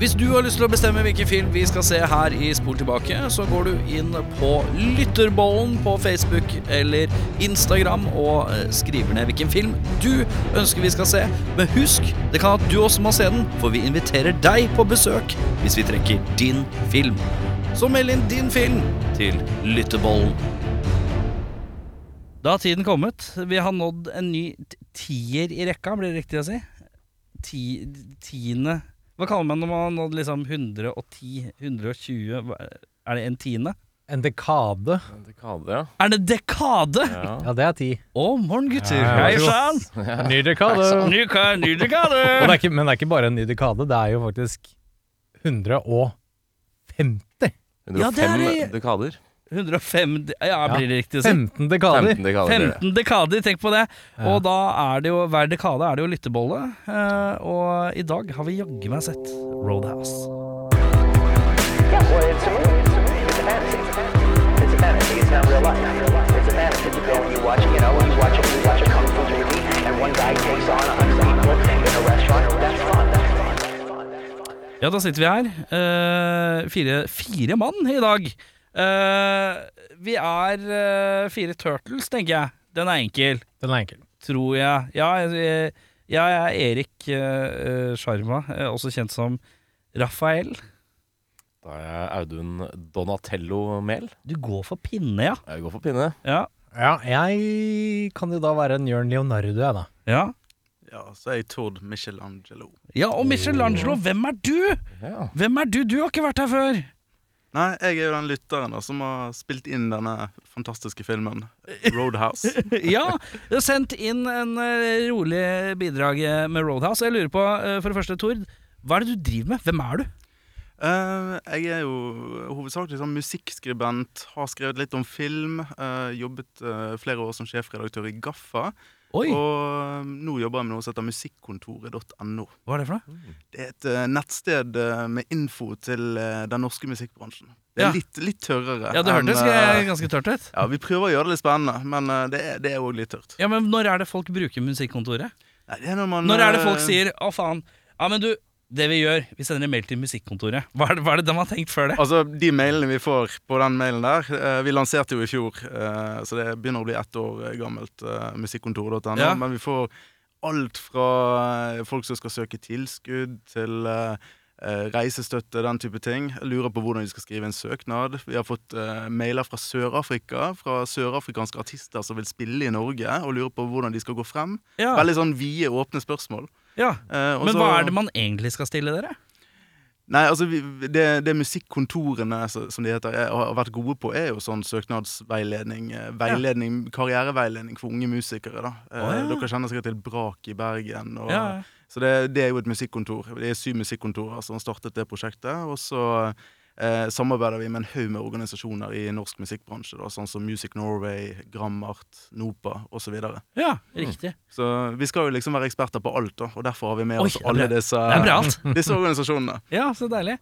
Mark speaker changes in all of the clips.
Speaker 1: Hvis du har lyst til å bestemme hvilken film vi skal se her i Spol tilbake, så går du inn på Lytterbollen på Facebook eller Instagram og eh, skriver ned hvilken film du ønsker vi skal se. Men husk, det kan at du også må se den, for vi inviterer deg på besøk hvis vi trekker din film. Så meld inn din film til Lytterbollen. Da har tiden kommet. Vi har nådd en ny t- tier i rekka, blir det riktig å si. Ti, tiende Hva kaller man når man har nådd liksom 110? 120? hva- Er det en tiende?
Speaker 2: En dekade.
Speaker 3: En dekade, ja.
Speaker 1: Er det dekade?
Speaker 2: Ja, det er ti.
Speaker 1: Å, morgen, gutter.
Speaker 2: Ja,
Speaker 1: Hei
Speaker 2: vær så
Speaker 1: sann!
Speaker 2: Ny dekade. Og
Speaker 1: Ny ka- ny
Speaker 2: det
Speaker 1: dekade!
Speaker 2: er ikke, men det er ikke bare en ny dekade, det er jo faktisk 150.
Speaker 3: 105
Speaker 1: Ja, det er det-
Speaker 3: dekader.
Speaker 1: 105 de- Ja,
Speaker 2: Ja.
Speaker 1: blir det riktig å si?
Speaker 2: 15 dekader.
Speaker 3: 15 dekader. blir det.
Speaker 1: 15 dekader, tenk på det.
Speaker 2: Ja.
Speaker 1: Og da er det jo hver dekade er det jo lyttebolle. eh, Og i dag har vi jaggu meg sett Roadhouse.
Speaker 4: Yeah, well, it's a movie. It's a movie. It's a fantasy. It's a fantasy. It's not real life. It's a fantasy. You go and you watch, you know, you watch a, you watch a kung fu movie, and one guy takes on a hundred people in a restaurant. That's fun. That's fun. That's fun. That's fun.
Speaker 1: Ja, da sitter vi her. Eh, fire, fire mann i dag. Eh, vi er eh, fire turtles, tenker jeg. Den er enkel,
Speaker 2: Den er enkel.
Speaker 1: tror jeg. Ja, jeg, jeg er Erik eh, eh, Sharma, eh, også kjent som Rafael.
Speaker 3: Da er jeg Audun Donatello Mehl.
Speaker 1: Du går for pinne, ja.
Speaker 3: Jeg går for pinne.
Speaker 1: Ja.
Speaker 2: Ja, jeg kan jo da være en Jørn Leonardo, jeg, da.
Speaker 1: ja.
Speaker 5: Ja, så er jeg Tord Michelangelo.
Speaker 1: ja og Michelangelo, hvem er du?
Speaker 3: Ja.
Speaker 1: Hvem er du? Du har ikke vært her før.
Speaker 5: Nei, jeg er jo den lytteren da, som har spilt inn denne fantastiske filmen Roadhouse.
Speaker 1: ja, du har sendt inn en eh, rolig bidrag eh, med Roadhouse. Jeg lurer på, eh, for det første, Tord, hva er det du driver med? Hvem er du?
Speaker 5: Eh, jeg er jo hovedsakelig sånn musikkskribent, har skrevet litt om film, eh, jobbet eh, flere år som sjefredaktør i Gaffa,
Speaker 1: Oi,
Speaker 5: og eh, nå jobber jeg med noe som heter musikkontoret.no.
Speaker 1: hva er det for noe?
Speaker 5: Det er et eh, nettsted eh, med info til eh, den norske musikkbransjen. Det
Speaker 1: Ja.
Speaker 5: er litt, litt tørrere.
Speaker 1: Ja, det
Speaker 5: enn,
Speaker 1: hørtes
Speaker 5: eh,
Speaker 1: eh, ganske tørt ut.
Speaker 5: ja, Vi prøver å gjøre det litt spennende, men eh, det er- det er òg litt tørt.
Speaker 1: Ja, men når er det folk bruker Musikkontoret?
Speaker 5: Nei, det er når, man,
Speaker 1: Når er det folk
Speaker 5: eh,
Speaker 1: sier 'Å, faen', ja, men du, det vi gjør, vi sender en mail til Musikkontoret. Hva er det, hva er det de har tenkt før det?
Speaker 5: Altså, De mailene vi får på den mailen der eh, Vi lanserte jo i fjor, eh, så det begynner å bli ett år eh, gammelt, eh, musikkontoret.no.
Speaker 1: Ja.
Speaker 5: Men vi får alt fra eh, folk som skal søke tilskudd, til eh, eh, reisestøtte, den type ting. Jeg lurer på hvordan de skal skrive en søknad. Vi har fått eh, mailer fra Sør-Afrika, fra sørafrikanske artister som vil spille i Norge, og lurer på hvordan de skal gå frem.
Speaker 1: Ja,
Speaker 5: Veldig sånn vide, åpne spørsmål.
Speaker 1: ja.
Speaker 5: Eh, og
Speaker 1: Men
Speaker 5: så-
Speaker 1: hva er det man egentlig skal stille dere?
Speaker 5: Nei, altså vi, det, det musikkontorene så- som de heter, er, har vært gode på, er jo sånn søknadsveiledning. eh, Veiledning, Karriereveiledning for unge musikere. da Eh,
Speaker 1: Å, ja.
Speaker 5: Dere kjenner sikkert til Brak i Bergen. Og,
Speaker 1: Ja,
Speaker 5: Så det, det er jo et musikkontor. Det er syv musikkontorer som startet det prosjektet. Og så eh, samarbeider vi med en haug med organisasjoner i norsk musikkbransje. da Sånn som Music Norway, Grammart, NOPA osv. Så, videre.
Speaker 1: ja riktig.
Speaker 5: Mm. så vi skal jo liksom være eksperter på alt, da. Og derfor har vi med
Speaker 1: Oi,
Speaker 5: oss
Speaker 1: det er
Speaker 5: alle
Speaker 1: bra.
Speaker 5: disse,
Speaker 1: Det er bra alt.
Speaker 5: disse organisasjonene.
Speaker 1: Ja, så deilig.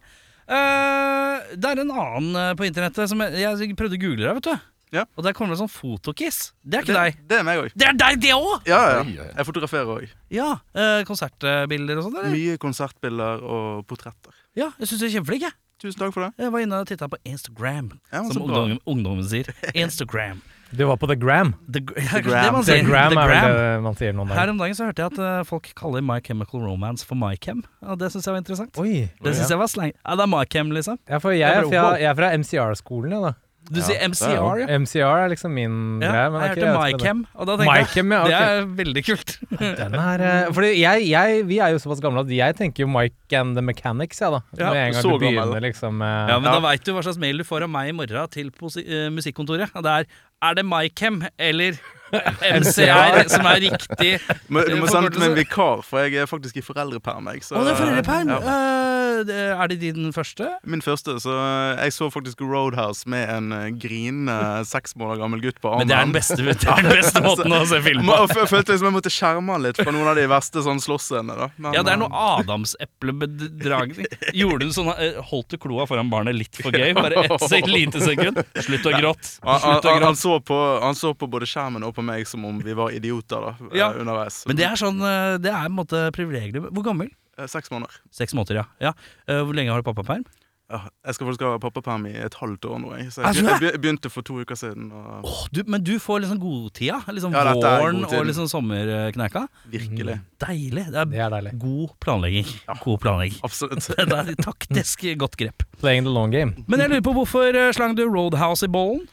Speaker 1: Eh, det er en annen eh, på internettet som jeg, jeg prøvde å google deg, vet du.
Speaker 5: Ja.
Speaker 1: Og der kommer det sånn fotokiss. Det er ikke
Speaker 5: Det,
Speaker 1: deg.
Speaker 5: det er meg òg.
Speaker 1: Det er deg, det òg!
Speaker 5: Ja, ja.
Speaker 3: Oi, oi.
Speaker 5: Jeg fotograferer òg.
Speaker 1: Ja. eh, konsertbilder og sånn, eller?
Speaker 5: Mye konsertbilder og portretter.
Speaker 1: Ja, jeg syns du er kjempeflink, jeg.
Speaker 5: Tusen takk for det.
Speaker 1: Jeg var inne og titta på Instagram,
Speaker 5: Ja, men så
Speaker 1: som
Speaker 5: bra.
Speaker 1: ungdom, ungdommen sier. Instagram.
Speaker 2: Du var på The Gram.
Speaker 1: The, gr- ja, kanskje
Speaker 5: gram.
Speaker 1: Det man
Speaker 2: The
Speaker 1: sier.
Speaker 2: Gram
Speaker 1: The
Speaker 2: er
Speaker 1: gram.
Speaker 2: vel det man sier noen
Speaker 1: Her
Speaker 2: dager.
Speaker 1: om dagen så hørte jeg at eh, folk kaller My Chemical Romance for MyChem. Og det syns jeg var interessant.
Speaker 2: Oi.
Speaker 1: Det synes jeg var slang. Ja, det er MyChem, liksom.
Speaker 2: Ja, for jeg, er
Speaker 1: Det er
Speaker 2: fra,
Speaker 1: bra.
Speaker 2: jeg er fra MCR-skolen, jeg, da.
Speaker 1: Du
Speaker 3: Ja, det
Speaker 1: sier
Speaker 3: er jo-
Speaker 1: MCR, ja.
Speaker 2: MCR er liksom min
Speaker 1: ja.
Speaker 2: greie. Men det
Speaker 1: Jeg
Speaker 2: er
Speaker 1: hørte
Speaker 2: ikke jeg som er
Speaker 1: MyChem, og da tenkte jeg
Speaker 2: MyChem, ja, ok.
Speaker 1: det er veldig kult.
Speaker 2: det. Den er, eh, fordi jeg, jeg, vi er jo såpass gamle at jeg tenker jo Mike and the Mechanics, jeg, da.
Speaker 1: Ja,
Speaker 2: Med en gang
Speaker 5: så
Speaker 2: du
Speaker 5: gammel.
Speaker 2: begynner liksom eh,
Speaker 1: Ja, Men da veit du hva slags mail du får av meg i morgen til posi- eh, musikkontoret. Og det er er det MyChem eller MCR som er riktig?
Speaker 5: Men, du må
Speaker 1: Forkortelse.
Speaker 5: sende meg en vikar, for jeg er faktisk i foreldreperm. Jeg, så,
Speaker 1: Å, det er foreldreperm!
Speaker 5: Ja.
Speaker 1: Eh, det- er det din første?
Speaker 5: Min første, så eh, Jeg så faktisk Roadhouse med en eh, grinende seks måneder gammel gutt på armen.
Speaker 1: Men det er den beste, det er den beste måten å se film på.
Speaker 5: Må- og f- følte liksom jeg måtte skjerme han litt fra noen av de verste sånn slåssscenene. da. Men,
Speaker 1: Ja, det er noe
Speaker 5: eh,
Speaker 1: adamseplebedragning. Gjorde du sånn eh, Holdt du kloa foran barnet litt for gøy? Bare ett se- lite sekund? Slutt å gråte.
Speaker 5: han, han,
Speaker 1: Slutt å
Speaker 5: han, han,
Speaker 1: gråte.
Speaker 5: så på, han så på både skjermen og på meg som om vi var idioter da, eh,
Speaker 1: Ja.
Speaker 5: underveis.
Speaker 1: Men det er sånn eh, Det er på en måte privilegium. Hvor gammel?
Speaker 5: Eh, Seks måneder.
Speaker 1: Seks måneder, ja. ja. Eh, Hvor lenge har du pappaperm?
Speaker 5: Ja, jeg skal faktisk ha pappaperm i et halvt år nå. Jeg. Så
Speaker 1: Er det
Speaker 5: jeg, be- jeg be- begynte for to uker siden. Og
Speaker 1: Åh, du, men du får liksom godtida. Liksom
Speaker 5: Ja, dette er
Speaker 1: våren
Speaker 5: godtiden.
Speaker 1: og liksom sommerkneika.
Speaker 5: virkelig.
Speaker 1: Mm. Deilig. Det er
Speaker 2: Det er deilig.
Speaker 1: god planlegging. God planlegging.
Speaker 5: Absolutt.
Speaker 1: Det er et taktisk godt grep.
Speaker 2: Playing the long game.
Speaker 1: Men jeg lurer på hvorfor eh, slang du Roadhouse i bollen?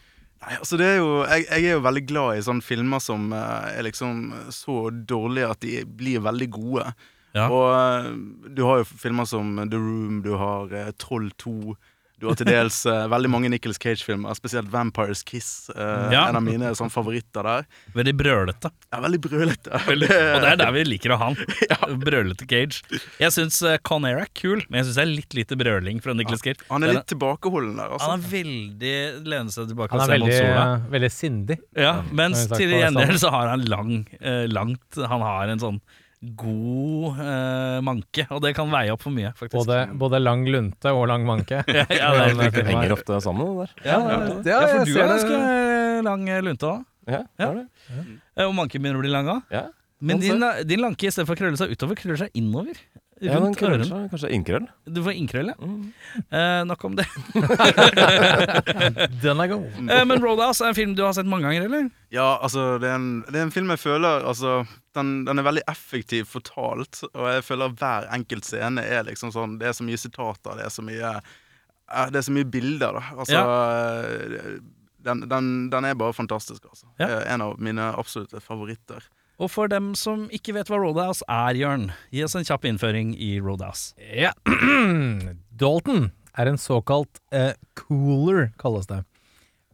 Speaker 5: Nei, altså det er jo, jeg, jeg er jo veldig glad i sånne filmer som eh, er liksom så dårlige at de blir veldig gode.
Speaker 1: Ja.
Speaker 5: Og eh, du har jo filmer som The Room, du har eh, Troll 2. Du har til dels eh, veldig mange Nicholas Cage-filmer, spesielt Vampires Kiss. eh,
Speaker 1: Ja.
Speaker 5: En av mine sånne favoritter der.
Speaker 1: Veldig brølete.
Speaker 5: Jeg er veldig brølete.
Speaker 1: Og det er der vi liker å ha han. Brølete Cage. Jeg syns Conair er kul, men jeg syns det er litt lite brøling fra Nicholas Cage.
Speaker 5: Han er litt tilbakeholden der,
Speaker 1: han
Speaker 5: altså.
Speaker 1: er veldig lener seg tilbake
Speaker 2: Han
Speaker 1: og
Speaker 2: er
Speaker 1: ser mot
Speaker 2: veldig, eh,
Speaker 1: sola.
Speaker 2: veldig sindig.
Speaker 1: Ja, mens
Speaker 2: Har vi sagt
Speaker 1: til
Speaker 2: på det
Speaker 1: gjengjeld
Speaker 2: samme?
Speaker 1: så har han lang, eh, langt Han har en sånn god eh, manke, og det kan veie opp for mye, faktisk.
Speaker 2: Både, både lang lunte og lang manke.
Speaker 1: ja, ja, det er helt
Speaker 2: Men,
Speaker 1: riktig.
Speaker 3: Det henger ofte sammen, det der.
Speaker 1: Ja,
Speaker 2: Ja,
Speaker 1: ja, for
Speaker 2: jeg
Speaker 1: du
Speaker 2: ser
Speaker 1: har
Speaker 2: det.
Speaker 1: ganske lang eh, lunte òg.
Speaker 3: Ja, det
Speaker 1: Ja.
Speaker 3: er det.
Speaker 1: Og manken begynner å bli lang òg.
Speaker 3: Ja.
Speaker 1: Men
Speaker 3: Sånn
Speaker 1: din, eh, din lanke istedenfor å krølle seg utover, krøller seg innover.
Speaker 3: Ja, den
Speaker 1: Rundt
Speaker 3: krøller
Speaker 1: øren.
Speaker 3: seg. Kanskje innkrøll?
Speaker 1: Du får innkrøll, ja.
Speaker 3: Mm.
Speaker 1: Eh, nok om det.
Speaker 2: Den er god.
Speaker 1: Eh, men Roadhouse er en film du har sett mange ganger, eller?
Speaker 5: Ja, altså, det er en, det er en film jeg føler altså, den, den er veldig effektiv fortalt, og jeg føler hver enkelt scene er liksom sånn Det er så mye sitater, det er så mye eh, Det er så mye bilder, da. Altså eh, den, den, den er bare fantastisk, altså.
Speaker 1: Ja.
Speaker 5: Eh, En av mine absolutte favoritter.
Speaker 1: Og for dem som ikke vet hva Roadhouse er, Jørn, gi oss en kjapp innføring i Roadhouse.
Speaker 2: Ja. Dalton er en såkalt eh, cooler, kalles det.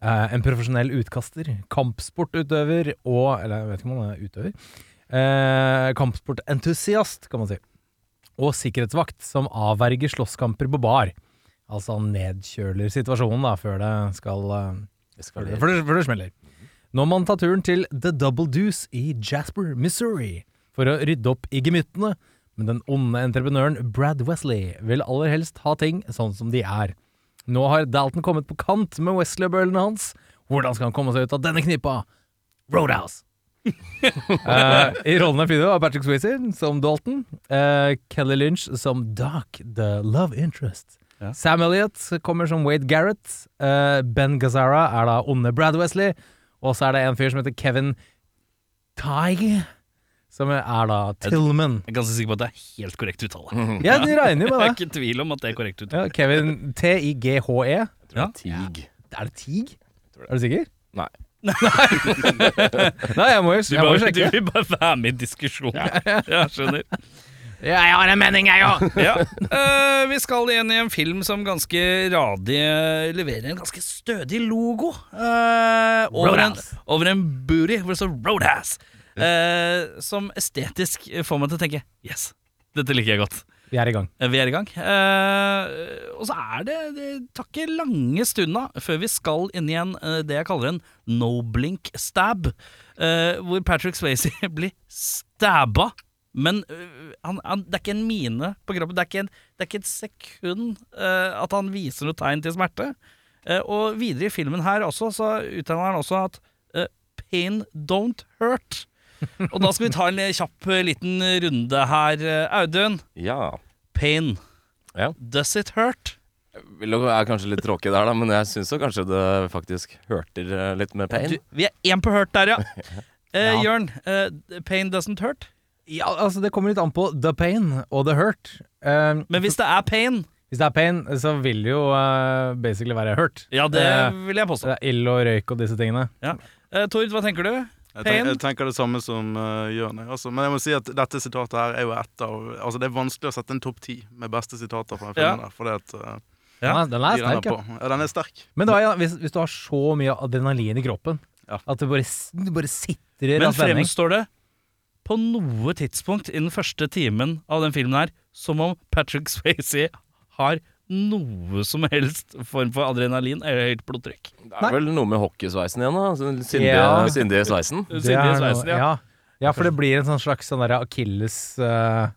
Speaker 2: Eh, en profesjonell utkaster, kampsportutøver og Eller jeg vet ikke om han er utøver. Eh, kampsportentusiast, kan man si. Og sikkerhetsvakt som avverger slåsskamper på bar. Altså han nedkjøler situasjonen da, før det skal eh, før det, før det, før det smeller. Nå må han ta turen til The Double Deuce i Jasper, Missouri, for å rydde opp i gemyttene, men den onde entreprenøren Brad Wesley vil aller helst ha ting sånn som de er. Nå har Dalton kommet på kant med Wesley-bøllene hans. Hvordan skal han komme seg ut av denne knipa? Roadhouse! Eh, I rollene finner du Patrick Swayze som Dalton, eh, Kelly Lynch som Doc, the love interest. Sam Elliot kommer som Wade Garrett. eh, ben Gazzara er da onde Brad Wesley. Og så er det en fyr som heter Kevin Tig, som er da Tillman.
Speaker 1: Jeg er ganske sikker på at det er helt korrekt uttale.
Speaker 2: Ja, de regner
Speaker 1: Jeg
Speaker 2: jo
Speaker 1: er
Speaker 2: med det.
Speaker 1: ikke i tvil om at det er korrekt uttale.
Speaker 2: Ja, Kevin T-I-G-H-E.
Speaker 1: Ja.
Speaker 3: Tig.
Speaker 2: E. Er det Tig? Er du sikker?
Speaker 3: Nei.
Speaker 2: Nei, jeg må jo,
Speaker 1: Du,
Speaker 2: jeg må jo
Speaker 1: bare, du
Speaker 2: sjekke.
Speaker 1: vil bare være med i diskusjonen. Ja, skjønner.
Speaker 2: Ja, jeg har en mening, jeg òg!
Speaker 1: Ja. Eh, vi skal igjen i en film som ganske radig eh, leverer en ganske stødig logo. eh, over, en,
Speaker 2: Roadhouse.
Speaker 1: over en booty hvor det står Roadhouse. eh, som estetisk får meg til å tenke Yes, dette liker jeg godt.
Speaker 2: Vi er i gang.
Speaker 1: Eh, Vi er i gang. Eh, og så er det Det tar ikke lange stunda før vi skal inn i en eh, det jeg kaller en no blink stab. eh, hvor Patrick Swayze blir stabba. Men eh, han, han, det er ikke en mine på kroppen. Det er ikke, en, det er ikke et sekund eh, at han viser noe tegn til smerte. Eh, og videre i filmen her også så uttaler han også at eh, 'pain don't hurt'. Og da skal vi ta en eh, kjapp eh, liten runde her, eh, Audun.
Speaker 3: Ja.
Speaker 1: Pain.
Speaker 3: Ja.
Speaker 1: Does it hurt?
Speaker 3: Vil og er kanskje litt tråkig der, da, men jeg syns kanskje det faktisk hørter eh, litt med pain.
Speaker 1: Du, vi er én på hurt der, ja. Eh,
Speaker 2: Ja.
Speaker 1: Jørn, eh, pain doesn't hurt.
Speaker 2: Ja, altså Det kommer litt an på the pain og the hurt. Eh,
Speaker 1: Men hvis det er pain
Speaker 2: hvis det er pain, så vil det jo eh, basically være hurt.
Speaker 1: Ja, det
Speaker 2: Eh,
Speaker 1: vil jeg
Speaker 2: så det
Speaker 1: påstå.
Speaker 2: er ild og røyk og disse tingene.
Speaker 1: Ja. Eh, Tord, hva tenker du?
Speaker 5: Jeg,
Speaker 1: Pen.
Speaker 5: tenk, jeg tenker det samme som uh, Jørn. jeg, Altså. Men jeg må si at dette sitatet her er jo et av Altså, det er vanskelig å sette en topp ti med beste sitater fra den
Speaker 1: Ja.
Speaker 5: filmen der, fordi at uh,
Speaker 1: Ja,
Speaker 2: Den er- den er
Speaker 5: de renner
Speaker 2: sterk, ja.
Speaker 5: på. Ja, den er sterk.
Speaker 2: Men da, ja, hvis, hvis du har så mye adrenalin i kroppen
Speaker 5: Ja.
Speaker 2: at du bare, s- du bare sitrer
Speaker 1: Men
Speaker 2: av spenning
Speaker 1: fremstår det på noe tidspunkt i den første timen av den filmen her som om Patrick Swayze har noe som helst form for adrenalin eller høyt blodtrykk?
Speaker 3: Det
Speaker 2: Nei.
Speaker 3: er vel noe med hockeysveisen igjen, da. altså Den syndige,
Speaker 2: Ja.
Speaker 3: syndige sveisen.
Speaker 1: Det
Speaker 2: Det er
Speaker 1: sitter i
Speaker 2: noe-
Speaker 1: sveisen, ja.
Speaker 2: ja. ja, for det blir en sånn slags sånn derre akilles eh,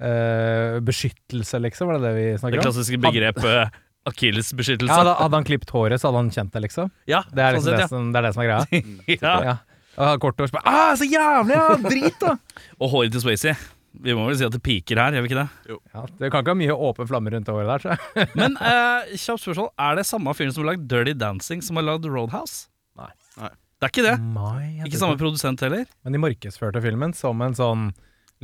Speaker 2: eh, beskyttelse, liksom. Var det det vi
Speaker 1: Det
Speaker 2: snakket om?
Speaker 1: klassiske begrepet uh, akillesbeskyttelse.
Speaker 2: Ja, da, hadde han klippet håret, så hadde han kjent det, liksom.
Speaker 1: Ja,
Speaker 2: Det
Speaker 1: sånn
Speaker 2: er, liksom
Speaker 1: sett,
Speaker 2: det, som, det, er det som er greia.
Speaker 1: ja. ja.
Speaker 2: Ja. Og har kort hår så bare Ah, så jævlig! Ja, drit, da!
Speaker 1: Og håret til Swayze Vi må vel si at det piker her, gjør vi ikke det?
Speaker 2: Ja, det kan ikke ha mye åpen flamme rundt det håret der. Så.
Speaker 1: Men eh, kjapt spørsmål, er det samme fyren som har lagd Dirty Dancing, som har lagd Roadhouse?
Speaker 2: Nei.
Speaker 5: Nei.
Speaker 1: Det er ikke det.
Speaker 2: Mai, jeg
Speaker 1: Ikke
Speaker 2: tror
Speaker 1: samme produsent heller.
Speaker 2: Men de markedsførte filmen som en sånn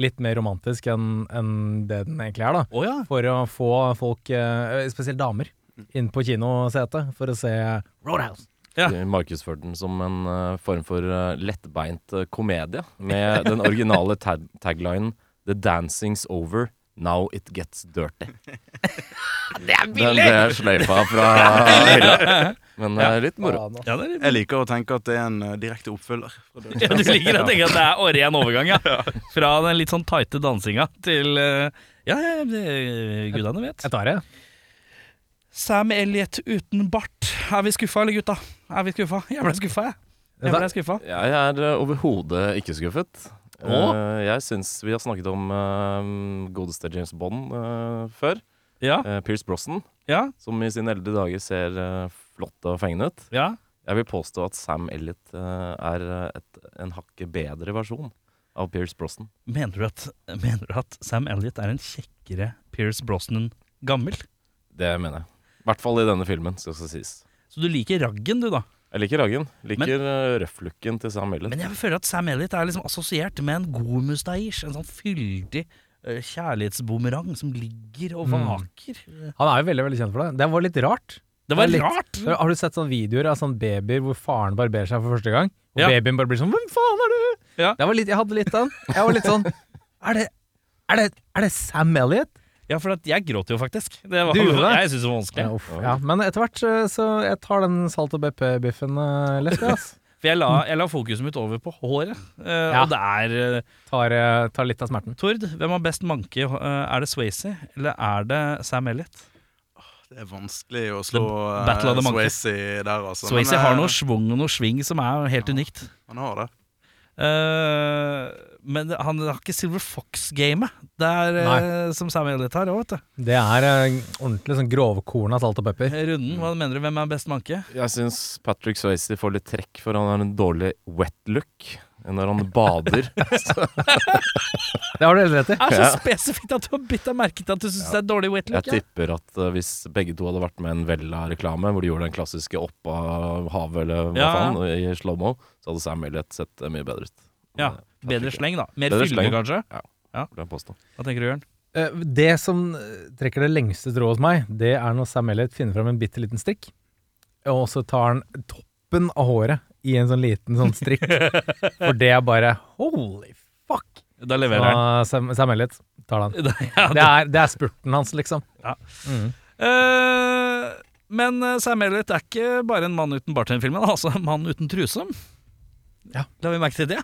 Speaker 2: litt mer romantisk enn enn det den egentlig er, da.
Speaker 1: Å ja.
Speaker 2: For å få folk, eh, spesielt damer, inn på kinosetet for å se Roadhouse.
Speaker 1: Ja.
Speaker 3: De markedsførte den som en eh, form for eh, lettbeint eh, komedie, med den originale tag taglinen 'The dancing's over, now it gets dirty'. Det er billig! Den ble sløyfa fra hylla. Men eh, litt moro.
Speaker 2: Faen, ass.
Speaker 1: ja, det er
Speaker 5: Jeg liker å tenke at det er en eh, direkte oppfølger. Fra Dirty
Speaker 1: ja, du
Speaker 5: Dancing.
Speaker 1: liker å tenke at det er å- ren overgang, ja. Fra den litt sånn tighte dansinga til eh, Ja, ja, det- gudene vet.
Speaker 2: Jeg tar det.
Speaker 1: Sam Elliot uten bart. Er vi skuffa, eller gutta? Er vi skuffa? Jeg ble skuffa, jeg. Jeg ble skuffa.
Speaker 3: Jeg er eh, overhodet ikke skuffet.
Speaker 1: Å?
Speaker 3: Eh, jeg syns vi har snakket om eh, godeste James Bond eh, før.
Speaker 1: Ja,
Speaker 3: Eh, Pierce Brosnan,
Speaker 1: ja,
Speaker 3: som i sine eldre dager ser eh, flott og fengende ut.
Speaker 1: ja.
Speaker 3: Jeg vil påstå at Sam Elliot eh, er et, en hakket bedre versjon av Pierce Brosnan.
Speaker 1: Mener du at, mener du at Sam Elliot er en kjekkere Pierce Brosnan gammel?
Speaker 3: Det mener jeg. I hvert fall i denne filmen, skal det sies.
Speaker 1: Så du liker raggen, du, da?
Speaker 3: Jeg liker Ragen.
Speaker 1: Men-
Speaker 3: Liker eh, røff-looken til Sam Elliot.
Speaker 1: Men jeg føler at Sam Elliot er liksom assosiert med en god mustasje. En sånn fyldig eh, kjærlighetsbumerang som ligger og vaker.
Speaker 2: Han er jo veldig veldig kjent for det. Det var litt rart.
Speaker 1: Det var
Speaker 2: Det er litt-
Speaker 1: rart!
Speaker 2: Har du sett sånne videoer av sånne babyer hvor faren barberer seg for første gang? Og
Speaker 1: Ja.
Speaker 2: babyen bare blir sånn 'Hvem faen er du?'
Speaker 1: Ja.
Speaker 2: Det var litt, jeg hadde litt den. Jeg var litt sånn Er det, er det, er det Sam Elliot?
Speaker 1: Ja, for at jeg gråt jo faktisk. Det var,
Speaker 2: Du gjorde det?
Speaker 1: Jeg synes det var vanskelig.
Speaker 2: Ja, uff. ja, men etter hvert eh, så jeg tar den salt og BP-biffen eh, lett, jeg, ass.
Speaker 1: For jeg la, jeg la fokuset mitt over på håret. eh,
Speaker 2: Ja.
Speaker 1: Og det er eh,
Speaker 2: Tar, eh, tar litt av smerten.
Speaker 1: Tord, hvem har best manke? Eh, er det Swayze, eller er det Sam Elliot?
Speaker 5: Det er vanskelig å slå
Speaker 1: The
Speaker 5: eh,
Speaker 1: Battle of the Monkey.
Speaker 5: Swayze der, altså. Men,
Speaker 1: Swayze
Speaker 5: eh,
Speaker 1: har noe schwung og noe sving som er helt unikt.
Speaker 5: Han har det.
Speaker 1: Eh, men han har ikke Silver Fox-gamet Det er eh, som Sam Elliot har òg, vet du.
Speaker 2: Det er eh, ordentlig sånn grovkorn av salt og pepper.
Speaker 1: Runden, hva mener du? Hvem er best manke?
Speaker 3: Jeg syns Patrick Swayze får litt trekk for han har en dårlig wet-look når han bader.
Speaker 2: Det har du helt rett i.
Speaker 1: Det er så
Speaker 3: Ja.
Speaker 1: spesifikt at du har bitt deg merke til at du syns det er dårlig wet
Speaker 3: Jeg
Speaker 1: look. ja.
Speaker 3: tipper at eh, hvis begge to hadde vært med en Vella-reklame, hvor de gjorde den klassiske opp av havet eller hva
Speaker 1: Ja.
Speaker 3: faen, i slow-mo, så hadde Sam Elliot sett eh, mye bedre ut.
Speaker 1: Ja,
Speaker 3: Det
Speaker 1: Bedre sleng, da. Mer
Speaker 3: Bedre
Speaker 1: fylle,
Speaker 3: sleng.
Speaker 1: kanskje.
Speaker 3: vil jeg påstå.
Speaker 1: Hva tenker du, Jørn?
Speaker 2: Eh, Det som eh, trekker det lengste strået hos meg, det er når Sam Elliot finner fram en bitte liten strikk, og så tar han toppen av håret i en sånn liten sånn strikk. For det er bare holy fuck!
Speaker 1: Da leverer han.
Speaker 2: Og Sam, Sam Elliot tar den.
Speaker 1: Ja,
Speaker 2: Det er, det er spurten hans, liksom.
Speaker 1: Eh, men eh, Sam Elliot er ikke bare en mann uten bart i den filmen, han er altså en mann uten truse.
Speaker 2: Ja. Eh,
Speaker 1: La vi merke til det.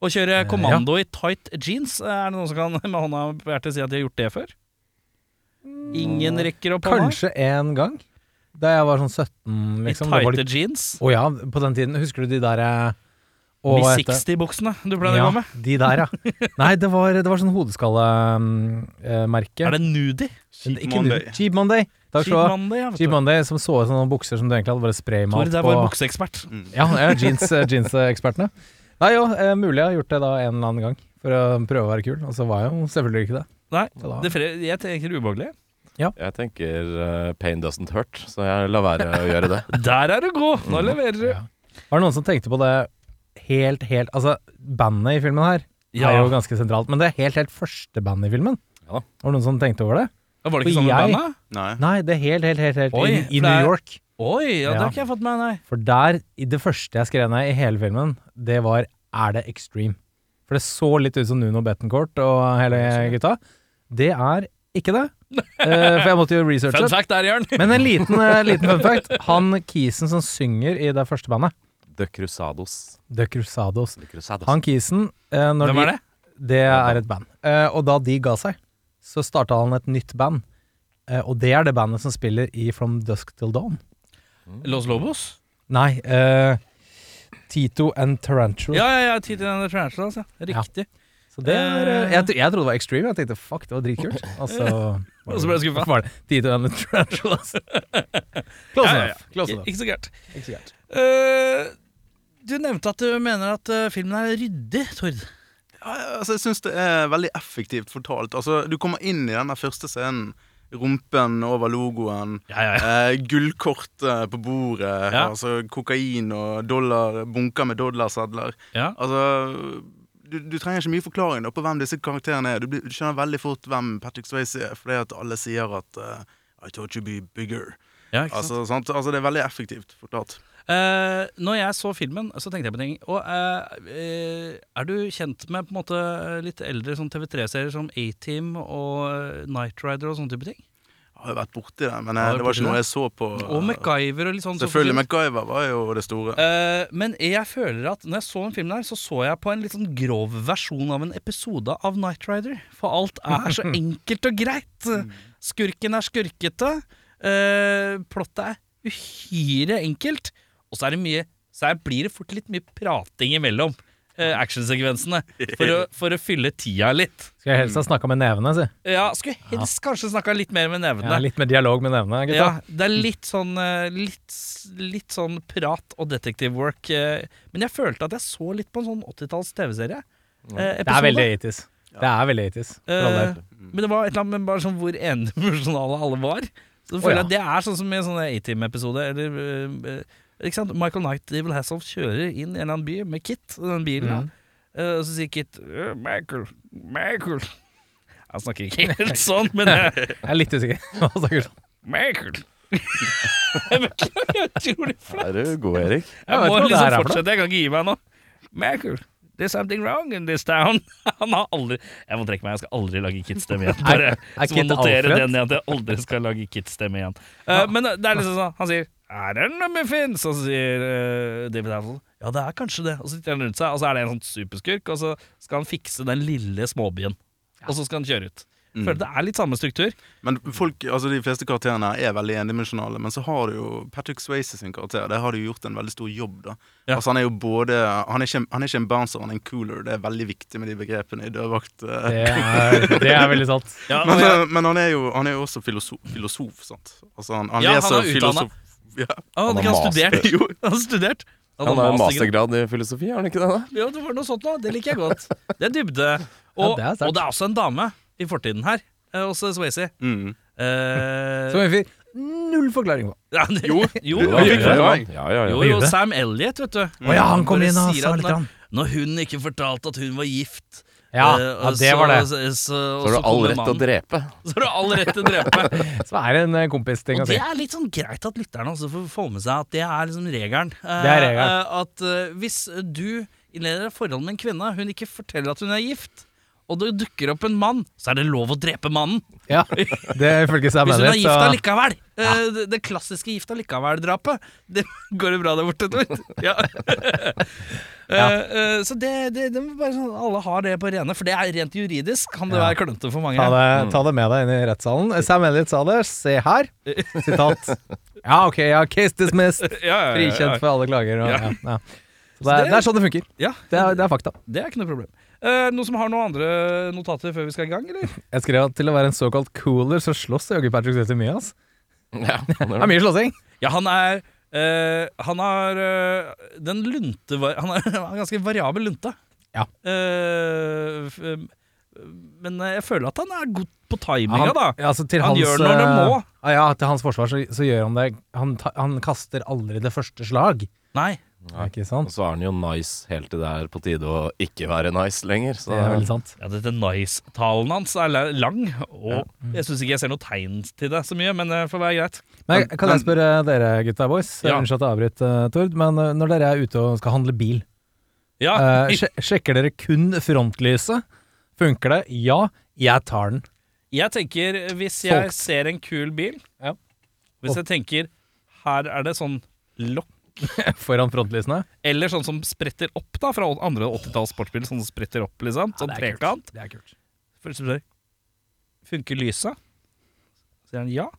Speaker 1: Å kjøre kommando i tight jeans, eh, er det noen som kan med hånda på hjertet si at de har gjort det før? Ingen rekker opp hånda.
Speaker 2: Mm. Kanskje en gang, da jeg var sånn 17,
Speaker 1: I
Speaker 2: liksom. det var
Speaker 1: tighte
Speaker 2: litt-
Speaker 1: jeans.
Speaker 2: Å ja, på den tiden. Husker du de der eh, å, hva
Speaker 1: De
Speaker 2: heter det?
Speaker 1: 60-buksene du pleide å
Speaker 2: ja,
Speaker 1: gå med.
Speaker 2: De der, ja. Nei, det var, det var sånn mm, eh, hodeskallemerke.
Speaker 1: Er det nudie?
Speaker 5: Cheap
Speaker 2: Ikke
Speaker 5: Monday.
Speaker 2: nu- Cheap Monday. Takk skal du ha.
Speaker 1: Cheap-mandag, ja. vet
Speaker 2: Cheap
Speaker 1: du.
Speaker 2: Monday som så ut som noen bukser som du egentlig hadde bare
Speaker 1: Tore,
Speaker 2: spraymalt
Speaker 1: det er vår
Speaker 2: på.
Speaker 1: bukseekspert.
Speaker 2: Ja, ja jeans- eh, jeansekspertene. Nei, jo, eh, mulig jeg har gjort det da en eller annen gang for å prøve å være kul, og så var jeg jo selvfølgelig ikke det.
Speaker 1: Nei,
Speaker 2: Så da-
Speaker 1: det fre- jeg tenker ubehagelig.
Speaker 3: Jeg tenker eh, pain doesn't hurt, så jeg lar være å gjøre det.
Speaker 1: Der er du god! Nå leverer du.
Speaker 2: Mm. Ja. Var det noen som tenkte på det helt, helt Altså, bandet i filmen her
Speaker 1: Ja.
Speaker 2: er jo ganske sentralt, men det er helt, helt første bandet i filmen.
Speaker 3: Ja da.
Speaker 2: Var det noen som tenkte over det?
Speaker 1: Var det ikke
Speaker 2: Og
Speaker 1: sånn med
Speaker 2: jeg-
Speaker 1: bandet?
Speaker 5: Nei.
Speaker 2: Nei, det er helt, helt, helt, helt
Speaker 1: Oi,
Speaker 2: i,
Speaker 1: for
Speaker 2: i
Speaker 1: det
Speaker 2: New
Speaker 1: er-
Speaker 2: York.
Speaker 1: Oi, ja, det
Speaker 2: Ja.
Speaker 1: har ikke jeg fått med meg, nei.
Speaker 2: For der, i det første jeg skrev ned i hele filmen, det var Er det extreme? For det så litt ut som Nuno Bettencourt og hele gutta. Det er ikke det. Eh, for jeg måtte jo researche.
Speaker 1: Fun fact der, Jørn.
Speaker 2: Men en liten, eh, liten fun fact. Han Kisen som synger i det første bandet,
Speaker 3: The Crusados.
Speaker 2: The Crusados
Speaker 3: The Crusados.
Speaker 2: Han Kisen eh, når
Speaker 1: Hvem
Speaker 2: de-
Speaker 1: er det?
Speaker 2: Det er et band. Eh, og da de ga seg, så starta han et nytt band. Eh, og det er det bandet som spiller i From Dusk Till Dawn.
Speaker 1: Los Lobos?
Speaker 2: Nei, eh, Tito and Tarantula.
Speaker 1: Ja, ja, ja. Tid til denne Tarantulas, altså. ja. Riktig.
Speaker 2: Så det er,
Speaker 1: Eh.
Speaker 2: jeg, tro- jeg trodde det var extreme. Jeg tenkte fuck, det var dritkult. Altså, Og så
Speaker 1: Og så ble jeg skuffa.
Speaker 2: var det Tito and the Tarantulas. Close
Speaker 1: Ja, ja, ja.
Speaker 2: enough. Close enough.
Speaker 1: Ikke så gærent.
Speaker 2: Ikke så gærent.
Speaker 1: Eh, du nevnte at du mener at eh, filmen er ryddig, Tord.
Speaker 5: Ja, altså, jeg syns det er veldig effektivt fortalt. Altså, du kommer inn i den der første scenen. Rumpen over logoen,
Speaker 1: Ja, ja,
Speaker 5: eh, gullkortet på bordet,
Speaker 1: Ja.
Speaker 5: altså kokain og dollar, bunker med dollarsedler.
Speaker 1: Ja.
Speaker 5: Altså, du, du trenger ikke mye forklaring da på hvem disse karakterene er. Du, blir, du skjønner veldig fort hvem Patrick Swayze er, fordi at alle sier at eh, I thought you'd be bigger.
Speaker 1: Ja, ikke sant?
Speaker 5: Altså, sant? altså, det er veldig effektivt forklart.
Speaker 1: Eh, når jeg så filmen, så tenkte jeg på ting. Og eh, eh, er du kjent med på en måte litt eldre sånn TV3-serier som A-Team og eh, Night Rider og sånne type ting?
Speaker 5: Jeg har jo vært borti det, men
Speaker 1: Har
Speaker 5: eh,
Speaker 1: du
Speaker 5: det var
Speaker 1: borti
Speaker 5: ikke noe
Speaker 1: det?
Speaker 5: jeg så på. eh,
Speaker 1: Og MacGyver og litt sånn.
Speaker 5: Selvfølgelig, MacGyver var jo det store.
Speaker 1: Eh, men jeg føler at når jeg så den filmen her, så så jeg på en litt sånn grov versjon av en episode av Night Rider. For alt er så enkelt og greit. Skurken er skurkete. eh, plottet er uhyre enkelt. Og så er det mye Så her blir det fort litt mye prating imellom eh, actionsekvensene. For, å- for å fylle tida litt.
Speaker 2: Skal jeg helst ha snakka med nevene, si.
Speaker 1: Ja, skulle helst kanskje snakka litt mer med
Speaker 2: Ja,
Speaker 1: nevene.
Speaker 2: litt mer dialog med nevene, gutta.
Speaker 1: Ja, det er litt sånn, eh, litt, s- litt sånn prat og detective work. eh, Men jeg følte at jeg så litt på en sånn 80-talls TV-serie. eh,
Speaker 2: Det er veldig
Speaker 1: episode.
Speaker 2: 80s. Det er veldig 80s. for all
Speaker 1: Eh,
Speaker 2: del.
Speaker 1: Men det var et eller annet med bare sånn hvor endimensjonale alle var. Så jeg
Speaker 2: Å,
Speaker 1: føler
Speaker 2: ja.
Speaker 1: at det er sånn som i en sånn A-Team-episode. Eller eh, eh, ikke sant? Michael Knight, Devil Hasselhoff kjører inn i en eller annen by med Kit, den bilen. da.
Speaker 2: Mm.
Speaker 1: Eh, Og så sier Kit «Øh, 'Michael, Michael'. Han snakker ikke helt sånn, men eh,
Speaker 2: Jeg er litt usikker. Hva snakker du om?
Speaker 1: 'Michael'. Jeg beklager, jeg er utrolig flau.
Speaker 3: Er du god, Erik?
Speaker 2: Jeg
Speaker 1: Jeg
Speaker 2: vet
Speaker 1: må
Speaker 2: ikke hva det her
Speaker 1: liksom
Speaker 2: er for noe.
Speaker 1: fortsette, jeg kan ikke gi meg nå. Michael, there's something wrong in this town. Han har aldri Jeg må trekke meg, jeg skal aldri lage Kit-stemme igjen. Bare,
Speaker 2: er
Speaker 1: så må jeg
Speaker 2: Kit
Speaker 1: notere
Speaker 2: Alfred?
Speaker 1: den igjen at jeg aldri skal lage Kit-stemme igjen. Eh, men det er liksom sånn Han sier Er det noe muffins? Og så sier eh, David Hassel Ja, det er kanskje det. Og så titter han rundt seg, og så er det en sånn superskurk, og så skal han fikse den lille småbyen. Og så skal han kjøre ut.
Speaker 2: Mm.
Speaker 1: Jeg Føler det er litt samme struktur.
Speaker 5: Men folk, altså De fleste karakterene her er veldig endimensjonale, men så har du jo Patrick Swayze sin karakter. Der har du gjort en veldig stor jobb. da
Speaker 1: Ja.
Speaker 5: Altså Han er jo både Han er ikke, han er ikke en bouncer, han er en cooler. Det er veldig viktig med de begrepene i dørvakt. eh.
Speaker 2: Det er, det er veldig sant.
Speaker 5: men eh, men han, er jo, han er jo også filosof, filosof sant? Altså han, han
Speaker 1: Ja, han
Speaker 5: leser
Speaker 1: er utdannet.
Speaker 5: filosof... Ja.
Speaker 1: Han
Speaker 3: Han
Speaker 1: ikke
Speaker 3: har
Speaker 1: Ah, har studert.
Speaker 5: Jo.
Speaker 1: Han har studert.
Speaker 3: Han har jo
Speaker 1: mastergrad.
Speaker 3: mastergrad i filosofi, har han ikke det? da?
Speaker 1: Ja, det var noe sånt nå. Det liker jeg godt. Det er dybde. Og,
Speaker 2: Ja, det er sterkt.
Speaker 1: og det er også en dame i fortiden her, eh, også Swayze.
Speaker 5: Mm.
Speaker 1: Eh,
Speaker 2: Som en fyr null forklaring på.
Speaker 1: ja, det- jo, jo,
Speaker 3: Jo, da,
Speaker 1: jo,
Speaker 3: ja, ja, ja, ja, ja.
Speaker 1: jo,
Speaker 2: gjorde det.
Speaker 1: Sam Elliot, vet du.
Speaker 2: Å ja, han kom
Speaker 1: Bare
Speaker 2: inn og
Speaker 1: sier
Speaker 2: sa
Speaker 1: at
Speaker 2: litt.
Speaker 1: når-
Speaker 2: grann.
Speaker 1: Når hun ikke fortalte at hun var gift
Speaker 2: Ja,
Speaker 1: eh,
Speaker 2: ja,
Speaker 1: og
Speaker 2: det
Speaker 1: så-
Speaker 2: var det.
Speaker 1: Så, så, og
Speaker 3: Så har
Speaker 1: så
Speaker 3: du all
Speaker 1: kommer
Speaker 3: rett til å
Speaker 1: mannen.
Speaker 3: drepe.
Speaker 1: Så har du all rett til å drepe.
Speaker 2: Som er en eh, kompisting å
Speaker 1: Og
Speaker 2: si.
Speaker 1: det er litt sånn greit at lytterne også får få med seg at det er liksom regelen. Eh,
Speaker 2: Det er regelen.
Speaker 1: eh, At eh, hvis du innleder et forhold med en kvinne, hun ikke forteller at hun er gift, og det dukker opp en mann, så er det lov å drepe mannen.
Speaker 2: Ja, det er ifølge Sam
Speaker 1: Hvis hun er
Speaker 2: Elliot.
Speaker 1: gift
Speaker 2: så-
Speaker 1: allikevel. Eh, det- Det klassiske gift allikevel-drapet. Det Går det bra der borte, Tor? Ja. Eh, eh, Så det, det, det må bare sånn alle har det på rene, for det er rent juridisk kan det
Speaker 2: Ja.
Speaker 1: være klønete for mange.
Speaker 2: Ta det, ta det med deg inn i rettssalen. Eh, Sam Elliot sa det. Se her. Sitat. Ja, OK, ja. Case dismissed.
Speaker 1: Ja, ja, ja, ja.
Speaker 2: Frikjent for alle klager. Og, ja, ja. Så det,
Speaker 1: Så
Speaker 2: er,
Speaker 1: det-
Speaker 2: det er sånn det funker.
Speaker 1: Ja,
Speaker 2: Det er, det er fakta.
Speaker 1: det er ikke noe problem. Eh, noen som har noen andre notater før vi skal i gang, eller?
Speaker 2: Jeg skrev at til å være en såkalt cooler, så slåss Jogge Patrick Swayze mye. ass.
Speaker 3: Ja, han
Speaker 2: Det er
Speaker 3: gjør det.
Speaker 2: mye slåssing.
Speaker 1: Ja, han er eh, Han har eh, den lunte Han er, han har en ganske variabel lunte.
Speaker 2: Ja.
Speaker 1: Eh, f- eh, men jeg føler at han er god på timinga,
Speaker 2: Han,
Speaker 1: da.
Speaker 2: ja, altså til
Speaker 1: Han
Speaker 2: hans,
Speaker 1: gjør når det
Speaker 2: eh,
Speaker 1: må.
Speaker 2: ah, Ja, til hans forsvar så, så gjør han det. Han, ta, han kaster aldri det første slag.
Speaker 1: Nei. Altså,
Speaker 3: Nei.
Speaker 2: Ikke
Speaker 3: Og
Speaker 2: sant?
Speaker 3: så er han jo nice helt til det er på tide å ikke være nice lenger. Så
Speaker 2: Det er veldig sant.
Speaker 1: Ja, Dette nice-talen hans er la- lang, og jeg syns ikke jeg ser noe tegn til det så mye, men det får være greit.
Speaker 2: Men jeg- Kan jeg
Speaker 5: Men-
Speaker 2: spørre dere gutta boys?
Speaker 1: Ja.
Speaker 2: Unnskyld at jeg avbryter, eh, Tord. Men eh, når dere er ute og skal handle bil,
Speaker 1: Ja,
Speaker 2: eh, sje- sjekker dere kun frontlyset? Funker det? Ja, jeg tar den.
Speaker 1: jeg tenker hvis jeg
Speaker 2: Folk-
Speaker 1: ser en kul bil
Speaker 2: Ja.
Speaker 1: Hvis jeg tenker her er det sånn lokk
Speaker 2: Foran frontlysene.
Speaker 1: Eller sånn som spretter opp da fra andre 80-talls sportsbiler. Sånn som spretter opp, liksom. Sånn
Speaker 2: det er kult.
Speaker 1: trekant.
Speaker 2: Det er kult.
Speaker 1: For eksempel sier jeg, Funker lyset? Så sier han ja.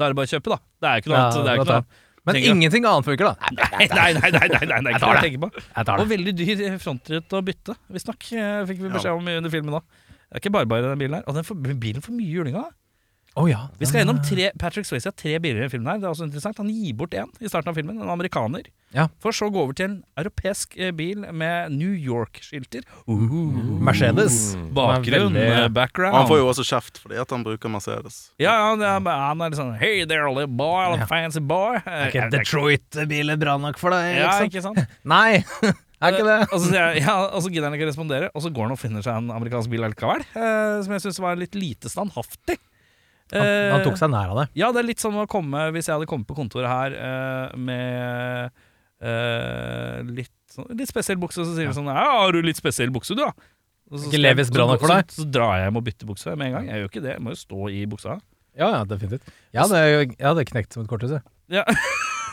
Speaker 1: Da er det bare å kjøpe, da. Det er jo ikke noe
Speaker 2: Ja,
Speaker 1: annet. Det er jo ikke
Speaker 2: da
Speaker 1: noe
Speaker 2: tar- Men
Speaker 1: Trenger-
Speaker 2: ingenting annet funker, da.
Speaker 1: Nei, nei, nei, nei, nei, nei, nei, ikke noe å tenke på.
Speaker 2: Jeg tar
Speaker 1: Og veldig dyr frontrute å bytte, visstnok. eh, Fikk vi beskjed om under filmen da. Det er ikke bare bare den bilen her. Og den får, bilen får mye juling av.
Speaker 2: Å ja.
Speaker 1: Vi skal gjennom tre,
Speaker 2: Ah.
Speaker 1: Patrick Swayze har tre biler i den filmen her. Det er også interessant. Han gir bort en i starten av filmen, en amerikaner.
Speaker 2: Ja.
Speaker 1: For så å gå over til en europeisk eh, bil med New York-skilter.
Speaker 2: Uh. Mercedes.
Speaker 1: Bakgrunn,
Speaker 2: Den er
Speaker 1: eh,
Speaker 2: veldig-
Speaker 5: Og han
Speaker 1: background.
Speaker 5: får jo også kjeft fordi at han bruker Mercedes.
Speaker 1: Ja, ja, det er, han er litt sånn Hey there, little boy, little fancy boy.
Speaker 2: Er ikke
Speaker 1: det
Speaker 2: Detroit-biler bra nok for deg?
Speaker 1: Ja,
Speaker 2: liksom?
Speaker 1: ikke sant?
Speaker 2: Nei, er ikke det.
Speaker 1: Og så, sier jeg, ja, og så gidder han ikke respondere, og så går han og finner seg en amerikansk bil allikevel. Eh, som jeg syns var litt lite standhaftig.
Speaker 2: Han, han
Speaker 1: Eh,
Speaker 2: tok seg nær av det.
Speaker 1: Ja, det er litt som å komme Hvis jeg hadde kommet på kontoret her eh, med eh, litt, sånn, litt spesiell bukse, så sier de sånn Ja, har du litt spesiell bukse, du, da? Og så
Speaker 2: Ikke
Speaker 1: skal-
Speaker 2: Levi's bra
Speaker 1: så-
Speaker 2: nok for deg?
Speaker 1: Så, så drar jeg hjem og bytter bukse med en gang. Jeg gjør ikke det, jeg må jo stå i buksa.
Speaker 2: Ja, ja, definitivt. Jeg hadde, jeg hadde knekt som et korthus. jeg.
Speaker 1: Ja.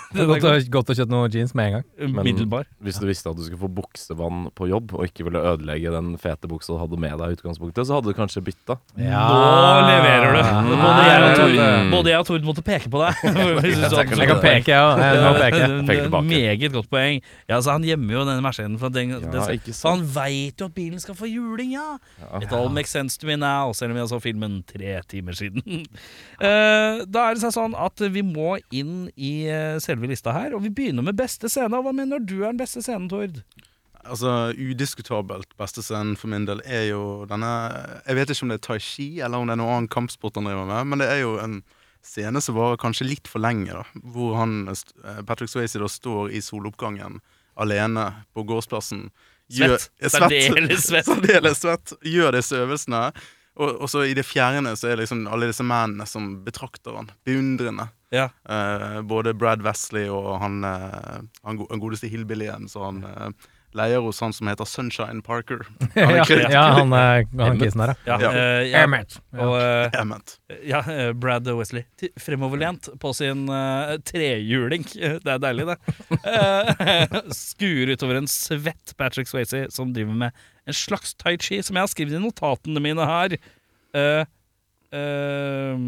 Speaker 2: Det
Speaker 1: Den er
Speaker 2: er Godt å- godt å kjøpe noen jeans med en gang.
Speaker 1: Umiddelbar.
Speaker 3: Hvis du visste at du skulle få buksevann på jobb, og ikke ville ødelegge den fete buksa du hadde med deg i utgangspunktet, så hadde du kanskje bytta.
Speaker 1: Nå leverer du! Både jeg og Tord,
Speaker 3: Mm.
Speaker 1: både jeg og Tord måtte peke på deg. Hvis du så-
Speaker 2: Jeg kan peke, ja. Eh, Jeg kan
Speaker 1: Det
Speaker 2: peke.
Speaker 1: er
Speaker 3: Eh, Peker
Speaker 1: et
Speaker 3: tilbake.
Speaker 1: Meget godt poeng. Ja, altså, han gjemmer jo denne Mercedesen. For den, den,
Speaker 3: ikke
Speaker 1: så han
Speaker 3: sant.
Speaker 1: veit jo at bilen skal få juling, ja. It all makes sense to me now, selv om jeg så filmen tre timer siden. Eh, da er det seg sånn at vi må inn i eh, selve lista her, og vi begynner med beste scene. Og Hva mener du er den beste scenen, Tord?
Speaker 5: Altså, Udiskutabelt beste scenen for min del er jo denne Jeg vet ikke om det er tai chi eller om det er noen annen kampsport han driver med, men det er jo en scene som varer kanskje litt for lenge, da. Hvor han, st- eh, Patrick Swayze da står i soloppgangen alene på gårdsplassen. Gjør-
Speaker 1: Svett.
Speaker 5: Ja,
Speaker 1: Særdeles svett.
Speaker 5: Særdeles svett. liksom Gjør disse øvelsene. Og, og så i det fjerne så er det liksom alle disse mennene som betrakter han beundrende.
Speaker 1: Ja.
Speaker 5: Eh, både Brad Wesley og han, eh, han, go han godeste hillbillyen som han eh, leier hos han som heter Sunshine Parker. Han er
Speaker 2: Ja,
Speaker 5: krøll-
Speaker 2: ja, han, eh, han kisen der,
Speaker 1: Ja,
Speaker 5: Ja.
Speaker 1: eh, ja.
Speaker 2: Emmett.
Speaker 1: Og eh,
Speaker 5: Emmett.
Speaker 1: ja, eh, Brad Wesley. T- Fremoverlent på sin eh, trehjuling. Det er deilig, det. Eh, Skuer utover en svett Patrick Swayze som driver med en slags tai chi, som jeg har skrevet i notatene mine her. Eh, ehm,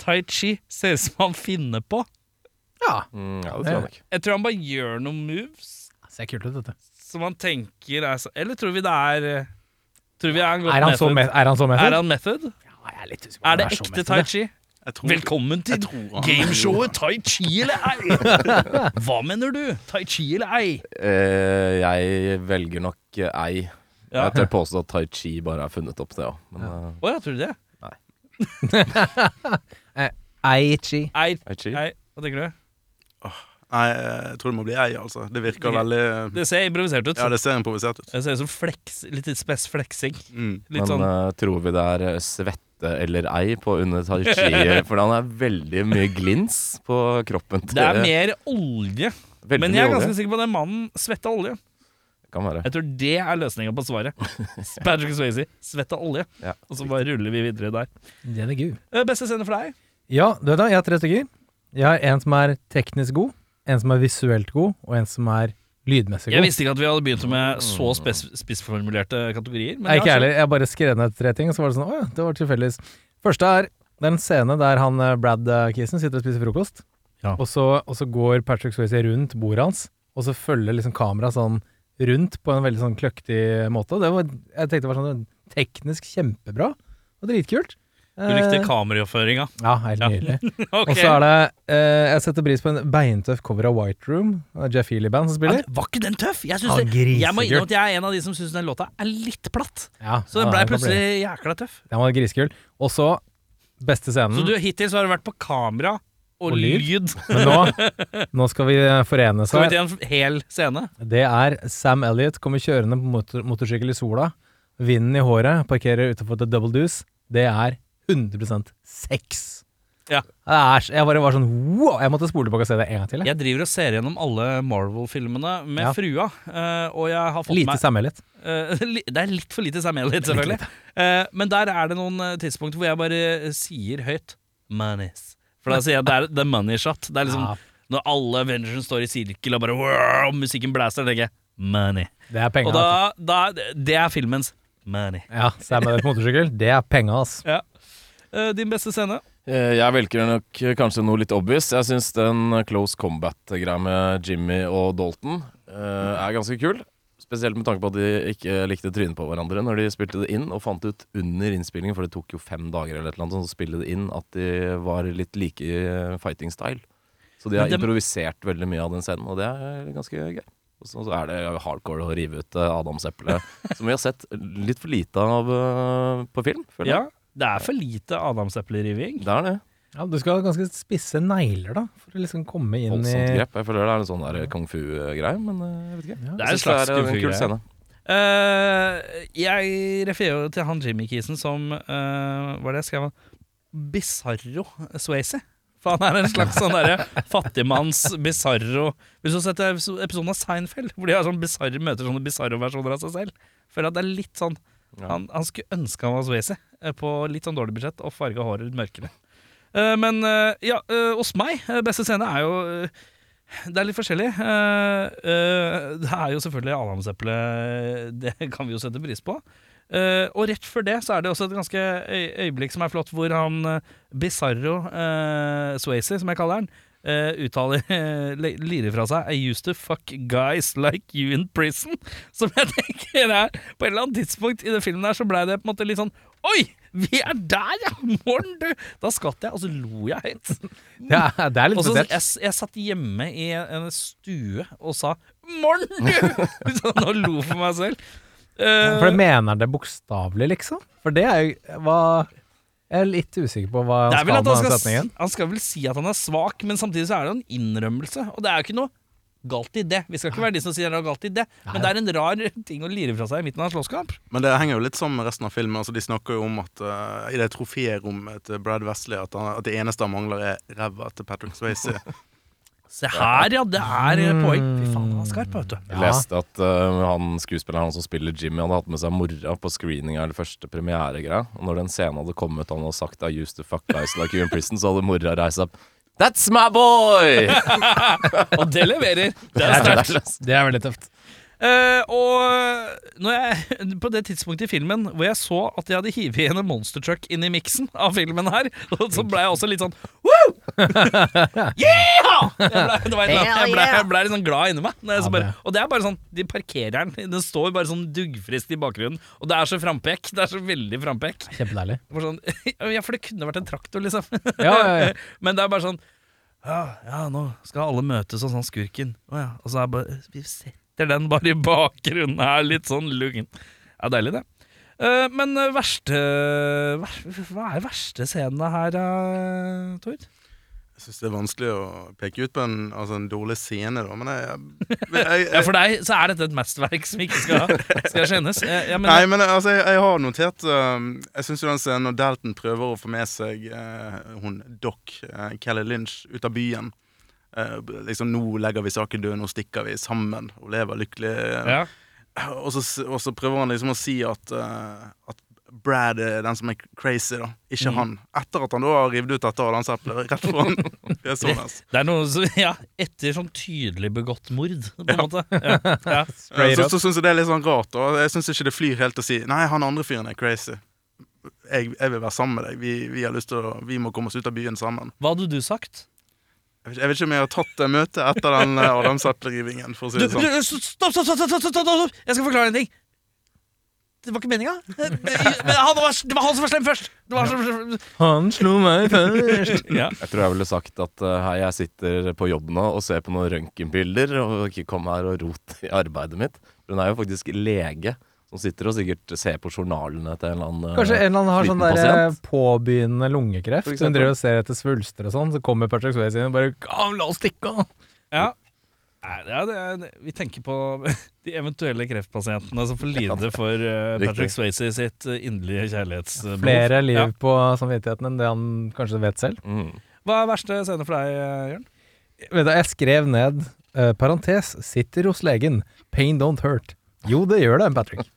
Speaker 1: tai chi ser ut som han finner på.
Speaker 2: Ja.
Speaker 3: Mm, ja, det tror jeg nok.
Speaker 1: Jeg tror han bare gjør noen moves
Speaker 2: Ser kult ut, dette.
Speaker 1: som han tenker er så Eller tror vi det er eh, Tror vi er han godt
Speaker 2: Er han så
Speaker 1: method?
Speaker 2: med? Er han så med?
Speaker 1: Er han method?
Speaker 2: Ja, jeg er litt usikker
Speaker 1: Er
Speaker 2: på om
Speaker 1: det
Speaker 2: han så
Speaker 1: ekte
Speaker 2: med.
Speaker 1: tai chi?
Speaker 5: Jeg tror-
Speaker 1: Velkommen til
Speaker 5: jeg tror han-
Speaker 1: gameshowet Tai Chi eller ei! Hva mener du? Tai Chi eller ei?
Speaker 3: Eh, jeg velger nok eh, ei.
Speaker 1: Ja.
Speaker 3: Jeg tør påstå at tai chi bare er funnet opp, det òg. Men eh,
Speaker 1: Å ja, tror du det?
Speaker 2: Ei chi.
Speaker 1: Ei,
Speaker 3: tai chi
Speaker 1: ei. Hva tenker du?
Speaker 5: Nei, jeg tror det må bli ei, altså. Det virker
Speaker 1: Ok.
Speaker 5: veldig
Speaker 1: Det ser improvisert ut.
Speaker 5: Ja, det ser improvisert ut.
Speaker 1: Det ser ut som fleks, litt spessfleksing.
Speaker 5: Mm.
Speaker 1: Litt
Speaker 3: Men
Speaker 1: sånn
Speaker 3: eh, tror vi det er eh, svette eller ei på under tai chi? For han er veldig mye glins på kroppen. til-
Speaker 1: Det er mer olje.
Speaker 3: Veldig
Speaker 1: Men jeg er
Speaker 3: mye
Speaker 1: ganske
Speaker 3: olje.
Speaker 1: sikker på at den mannen svetta olje.
Speaker 3: Kan være.
Speaker 1: Jeg tror det er løsninga på svaret. Patrick Swayze, svetta olje.
Speaker 3: Ja.
Speaker 1: Og så bare ruller vi videre der.
Speaker 2: Den er gud.
Speaker 1: Eh, Beste scene for deg?
Speaker 2: Ja, du vet da, jeg har tre stykker. Jeg har en som er teknisk god, en som er visuelt god, og en som er lydmessig
Speaker 1: Jeg
Speaker 2: god.
Speaker 1: visste ikke at vi hadde begynt med så spes spissformulerte kategorier. Men altså-
Speaker 2: Nei, ikke
Speaker 1: ja,
Speaker 2: jeg heller. Jeg bare skrev ned tre ting, og så var det sånn Å ja, det var tilfeldigvis. Første er det er en scene der han eh, Brad eh, Keeson sitter og spiser frokost,
Speaker 1: Ja.
Speaker 2: og, så, og så går Patrick Swayze rundt bordet hans, og så følger liksom kameraet sånn rundt på en veldig sånn kløktig måte. Og det var, jeg tenkte det var sånn teknisk kjempebra og dritkult.
Speaker 1: Du likte
Speaker 2: Eh,
Speaker 1: kameraoppføringa.
Speaker 2: Ja, helt
Speaker 1: Ja.
Speaker 2: nydelig.
Speaker 1: Ok.
Speaker 2: Og så er det eh, Jeg setter pris på en beintøff cover av White Room, av Jeff Healy-band som
Speaker 1: Ja,
Speaker 2: spiller.
Speaker 1: var ikke den tøff? Jeg, synes
Speaker 2: Ja,
Speaker 1: det, jeg må
Speaker 2: grisekul.
Speaker 1: innrømme at jeg er en av de som syns den låta er litt platt.
Speaker 2: Ja,
Speaker 1: Så den
Speaker 2: ja,
Speaker 1: blei
Speaker 2: kan bli.
Speaker 1: plutselig jækla tøff.
Speaker 2: Den var grisekul. Og så beste scenen.
Speaker 1: Så du, hittil så har du vært på kamera og,
Speaker 2: Mm. Og lyd.
Speaker 1: lyd.
Speaker 2: Men nå, nå skal vi forenes
Speaker 1: Skal vi
Speaker 2: her.
Speaker 1: til en hel scene?
Speaker 2: Det er Sam Elliot kommer kjørende på motor motorsykkel i sola. Vinden i håret, parkerer utenfor The Double Deuce. Det er 100 sex.
Speaker 1: Ja.
Speaker 2: Det er, så- jeg bare var sånn wow! Jeg måtte spole tilbake og se det en gang til. Jeg.
Speaker 1: Jeg driver og ser gjennom alle Marvel-filmene med
Speaker 2: Ja.
Speaker 1: frua, eh, og jeg har fått
Speaker 2: Lite
Speaker 1: meg
Speaker 2: Sam Elliot.
Speaker 1: Eh, li- Det er litt for lite Sam Elliot, selvfølgelig. Eh, men der er det noen eh, tidspunkter hvor jeg bare eh, sier høyt 'Moneys'. For da sier jeg det er the money shot. Det er liksom
Speaker 2: Ja.
Speaker 1: når alle Avengers står i sirkel og bare wow, musikken blæser, tenker jeg 'money'.
Speaker 2: Det er
Speaker 1: Og
Speaker 2: penga. vet
Speaker 1: da, da Det er filmens 'money'.
Speaker 2: du. Ja, Sam Elliot på motorsykkel, det er altså. penga, ass.
Speaker 1: Ja. Eh, din beste scene?
Speaker 3: Eh, Jeg velger nok eh, kanskje noe litt obvious. Jeg syns den eh, close combat-greia med Jimmy og Dalton eh, er ganske kul. Spesielt med tanke på at de ikke likte trynet på hverandre når de spilte det inn, og fant ut under innspillingen, for det tok jo fem dager eller et eller annet sånt å spille det inn, at de var litt like i eh, fighting style. Så de
Speaker 1: Men
Speaker 3: har
Speaker 1: dem-
Speaker 3: improvisert veldig mye av den scenen, og det er eh, ganske gøy. Og så så er det hardcore å rive ut eh, Adamseplet, som vi har sett litt for lite av eh, på film, føler jeg.
Speaker 1: Ja, det er for lite adamsepleriving.
Speaker 3: Det er det.
Speaker 2: Ja, du skal ha ganske spisse negler, da, for å liksom komme inn
Speaker 3: Voldsomt
Speaker 2: i
Speaker 3: grep. Jeg føler det er en sånn der kung fu-greie, men eh, jeg vet ikke.
Speaker 2: Ja.
Speaker 1: Det er
Speaker 3: Jeg
Speaker 1: en
Speaker 3: synes
Speaker 1: slags
Speaker 3: det er
Speaker 1: kung
Speaker 3: en kul
Speaker 1: fu-greie.
Speaker 3: scene.
Speaker 1: Eh, jeg refererer jo til han Jimmy Kisen som eh, Hva er det jeg skrev? han? Bizarro Swayze. For han er en slags sånn derre fattigmanns bizarro Hvis du setter episoden av Seinfeld, hvor de har sånn bizarre møter sånne bizarro-versjoner av seg selv, føler jeg at det er litt sånn
Speaker 3: Ja.
Speaker 1: han, han skulle ønske han var Swayze, eh, på litt sånn dårlig budsjett, og farga håret litt mørkere. Eh, men eh, ja, eh, hos meg, eh, beste scene er jo eh, det er litt forskjellig. Eh, eh, det er jo selvfølgelig adamseplet. Det kan vi jo sette pris på. Eh, og rett før det så er det også et ganske øy øyeblikk som er flott, hvor han eh, Bizarro uh, Swayze, som jeg kaller han, eh, uttaler eh, le- lirer fra seg I used to fuck guys like you in prison. Som jeg tenker er På et eller annet tidspunkt i den filmen her så blei det på en måte litt sånn Oi! Vi er der, ja! Morn, du! Da skvatt jeg, og så lo jeg høyt.
Speaker 2: Det er, det er litt
Speaker 1: Og så jeg,
Speaker 2: spesielt.
Speaker 1: jeg satt hjemme i en stue og sa 'morn, du!' Sånn, og lo for meg selv. Eh,
Speaker 2: For det mener det bokstavelig, liksom? For det er jo hva Jeg er litt usikker på hva
Speaker 1: det
Speaker 2: han
Speaker 1: er vel at
Speaker 2: skal med
Speaker 1: han,
Speaker 2: den
Speaker 1: skal,
Speaker 2: setningen.
Speaker 1: han skal vel si at han er svak, men samtidig så er det jo en innrømmelse. Og det er jo ikke noe galt i det. Vi skal ikke være de som sier det er galt i det, men det er en rar ting å lire fra seg i midten av en slåsskamp.
Speaker 5: Men det henger jo litt sammen med resten av filmen. Altså, de snakker jo om at eh, i det troférommet til Brad Wesley at, han, at det eneste han mangler, er ræva til Patrick Swayze.
Speaker 1: Se her, ja! Det er eh, poeng. Fy faen, han er skarp, vet du.
Speaker 3: Jeg leste at eh, han skuespilleren han som spiller Jimmy, hadde hatt med seg mora på screeninga eller første premieregreia. Og når den scenen hadde kommet han hadde sagt 'I used to fuck guys like you in prison', så hadde mora reist seg opp. That's my boy!
Speaker 1: Og det leverer. Det er
Speaker 3: Det er
Speaker 1: sterkt.
Speaker 3: sterkt.
Speaker 2: Det er veldig tøft.
Speaker 1: Eh, og når jeg, på det tidspunktet i filmen hvor jeg så at jeg hadde hivet igjen en monster truck inn i miksen av filmen her, og så ble jeg også litt sånn Woo! yeah! Jeg ble, det var et eller annet- jeg ble, jeg ble litt sånn glad inni meg. Når jeg så
Speaker 2: Ja,
Speaker 1: bare,
Speaker 2: det.
Speaker 1: og det er bare sånn De parkerer den. Den står bare sånn duggfrist i bakgrunnen, og det er så frampek. Det er så veldig frampek.
Speaker 2: Kjempedeilig.
Speaker 1: Hvor Sånn, ja, for det kunne vært en traktor, liksom.
Speaker 2: Ja, ja, ja.
Speaker 1: Men det er bare sånn Ja, ja nå skal alle møtes og sånn skurken. Å ja. Og så er det bare Vi setter den bare i bakgrunnen her, litt sånn lugn. Ja, deilig, det. Eh, men eh, verste ver, Hva er verste scenene her, eh, Tord?
Speaker 5: Jeg syns det er vanskelig å peke ut på en, altså en dårlig scene, da. Men jeg, jeg, jeg,
Speaker 1: Ja, For deg så er dette et mesterverk som ikke skal, skal skjennes. Eh, ja, men,
Speaker 5: Nei, men altså, jeg, jeg har notert ehm, Jeg syns jo den scenen når Dalton prøver å få med seg eh, hun Doc, eh, Kelly Lynch, ut av byen Eh, Liksom, nå legger vi saken død, nå stikker vi sammen og lever lykkelig.
Speaker 1: ja.
Speaker 5: Og, så, s- og så prøver han liksom å si at, eh, at Brad er den som er crazy, da. Ikke han. Etter at han da har revet ut dette adamseplet rett foran sånn, fjeset hans.
Speaker 1: Det er noe som Ja, etter sånn tydelig begått mord, på en måte. Ja, ja.
Speaker 5: Eh,
Speaker 2: Straight
Speaker 5: Så,
Speaker 2: up.
Speaker 5: så syns jeg det er litt sånn rart. Og jeg syns ikke det flyr helt å si Nei, han andre fyren er crazy. Jeg, jeg vil være sammen med deg. Vi, vi har lyst til å Vi må komme oss ut av byen sammen.
Speaker 1: Hva hadde du sagt?
Speaker 5: Jeg vet, jeg vet ikke om jeg har tatt det møtet etter den eh, adamseplerivingen, for å si
Speaker 1: Du,
Speaker 5: det sånn.
Speaker 1: du, stopp, stopp, stopp, stopp, stopp, stopp, stopp! Jeg skal forklare en ting. Det var ikke meninga. Det, men han var, det var han som var slem først! Det var han som,
Speaker 2: Han slo meg først.
Speaker 3: Jeg tror jeg ville sagt at eh, hei, jeg sitter på jobb nå og ser på noen røntgenbilder, og ikke kom her og rot i arbeidet mitt. Hun er jo faktisk lege, som sitter og sikkert ser på journalene til en eller annen eh,
Speaker 2: Kanskje en eller annen har sånn der
Speaker 3: sliten
Speaker 2: eh,
Speaker 3: pasient.
Speaker 2: påbegynnende
Speaker 3: For
Speaker 2: lungekreft.
Speaker 3: eksempel.
Speaker 2: Hun driver og ser etter svulster og sånn, så kommer Patrick Swayze inn og bare «Ah, La oss stikke av!
Speaker 1: ja. Nei, det er, det er, vi tenker på de eventuelle kreftpasientene som får lide for eh,
Speaker 3: Riktig.
Speaker 1: Patrick Swayze sitt eh, inderlige kjærlighetsbehov.
Speaker 2: Flere liv
Speaker 1: Ja.
Speaker 2: på samvittigheten enn det han kanskje vet selv.
Speaker 3: Mm.
Speaker 1: Hva er verste scene for deg, eh, Jørn?
Speaker 2: Vet du, jeg skrev ned eh, parentes 'sitter hos legen'. Pain don't hurt. Jo, det gjør det, Patrick.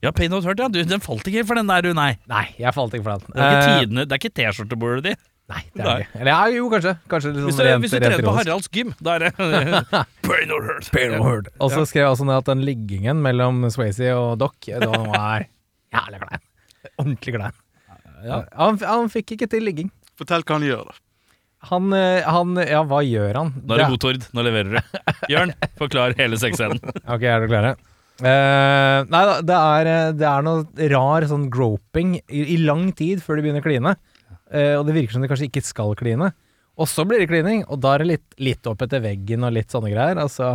Speaker 1: Ja, Pain Not Hurt, ja. Du, den falt ikke for den der, du, nei.
Speaker 2: Nei, jeg falt ikke for den.
Speaker 1: Det er ikke
Speaker 2: Eh,
Speaker 1: tidene- det er ikke T-skjortebordet ditt.
Speaker 2: Nei, det er det ikke. Eller ja, jo, kanskje. Kanskje litt sånn
Speaker 1: Hvis du,
Speaker 2: rent,
Speaker 1: hvis du
Speaker 2: rent
Speaker 1: trener på
Speaker 2: ironisk.
Speaker 1: Haralds gym, da er det Pain Not Hurt. Ja.
Speaker 2: Og så skrev jeg også ned at den liggingen mellom Swayze og Doc eh, Den var jævlig klein. Ordentlig klein.
Speaker 1: Ja.
Speaker 2: Han, han fikk ikke til ligging.
Speaker 5: Fortell hva han gjør, da.
Speaker 2: Han, eh, han Ja, hva gjør han?
Speaker 1: Nå er det
Speaker 2: Det-
Speaker 1: god tord. Nå leverer du. Jørn, forklar hele sexscenen.
Speaker 2: Ok, er dere klare? Eh, nei da, det er, eh, det er noe rar sånn groping i, i lang tid før de begynner å kline. Eh, og det virker som de kanskje ikke skal kline. Og så blir det klining, og da er det litt, litt opp etter veggen og litt sånne greier. Altså,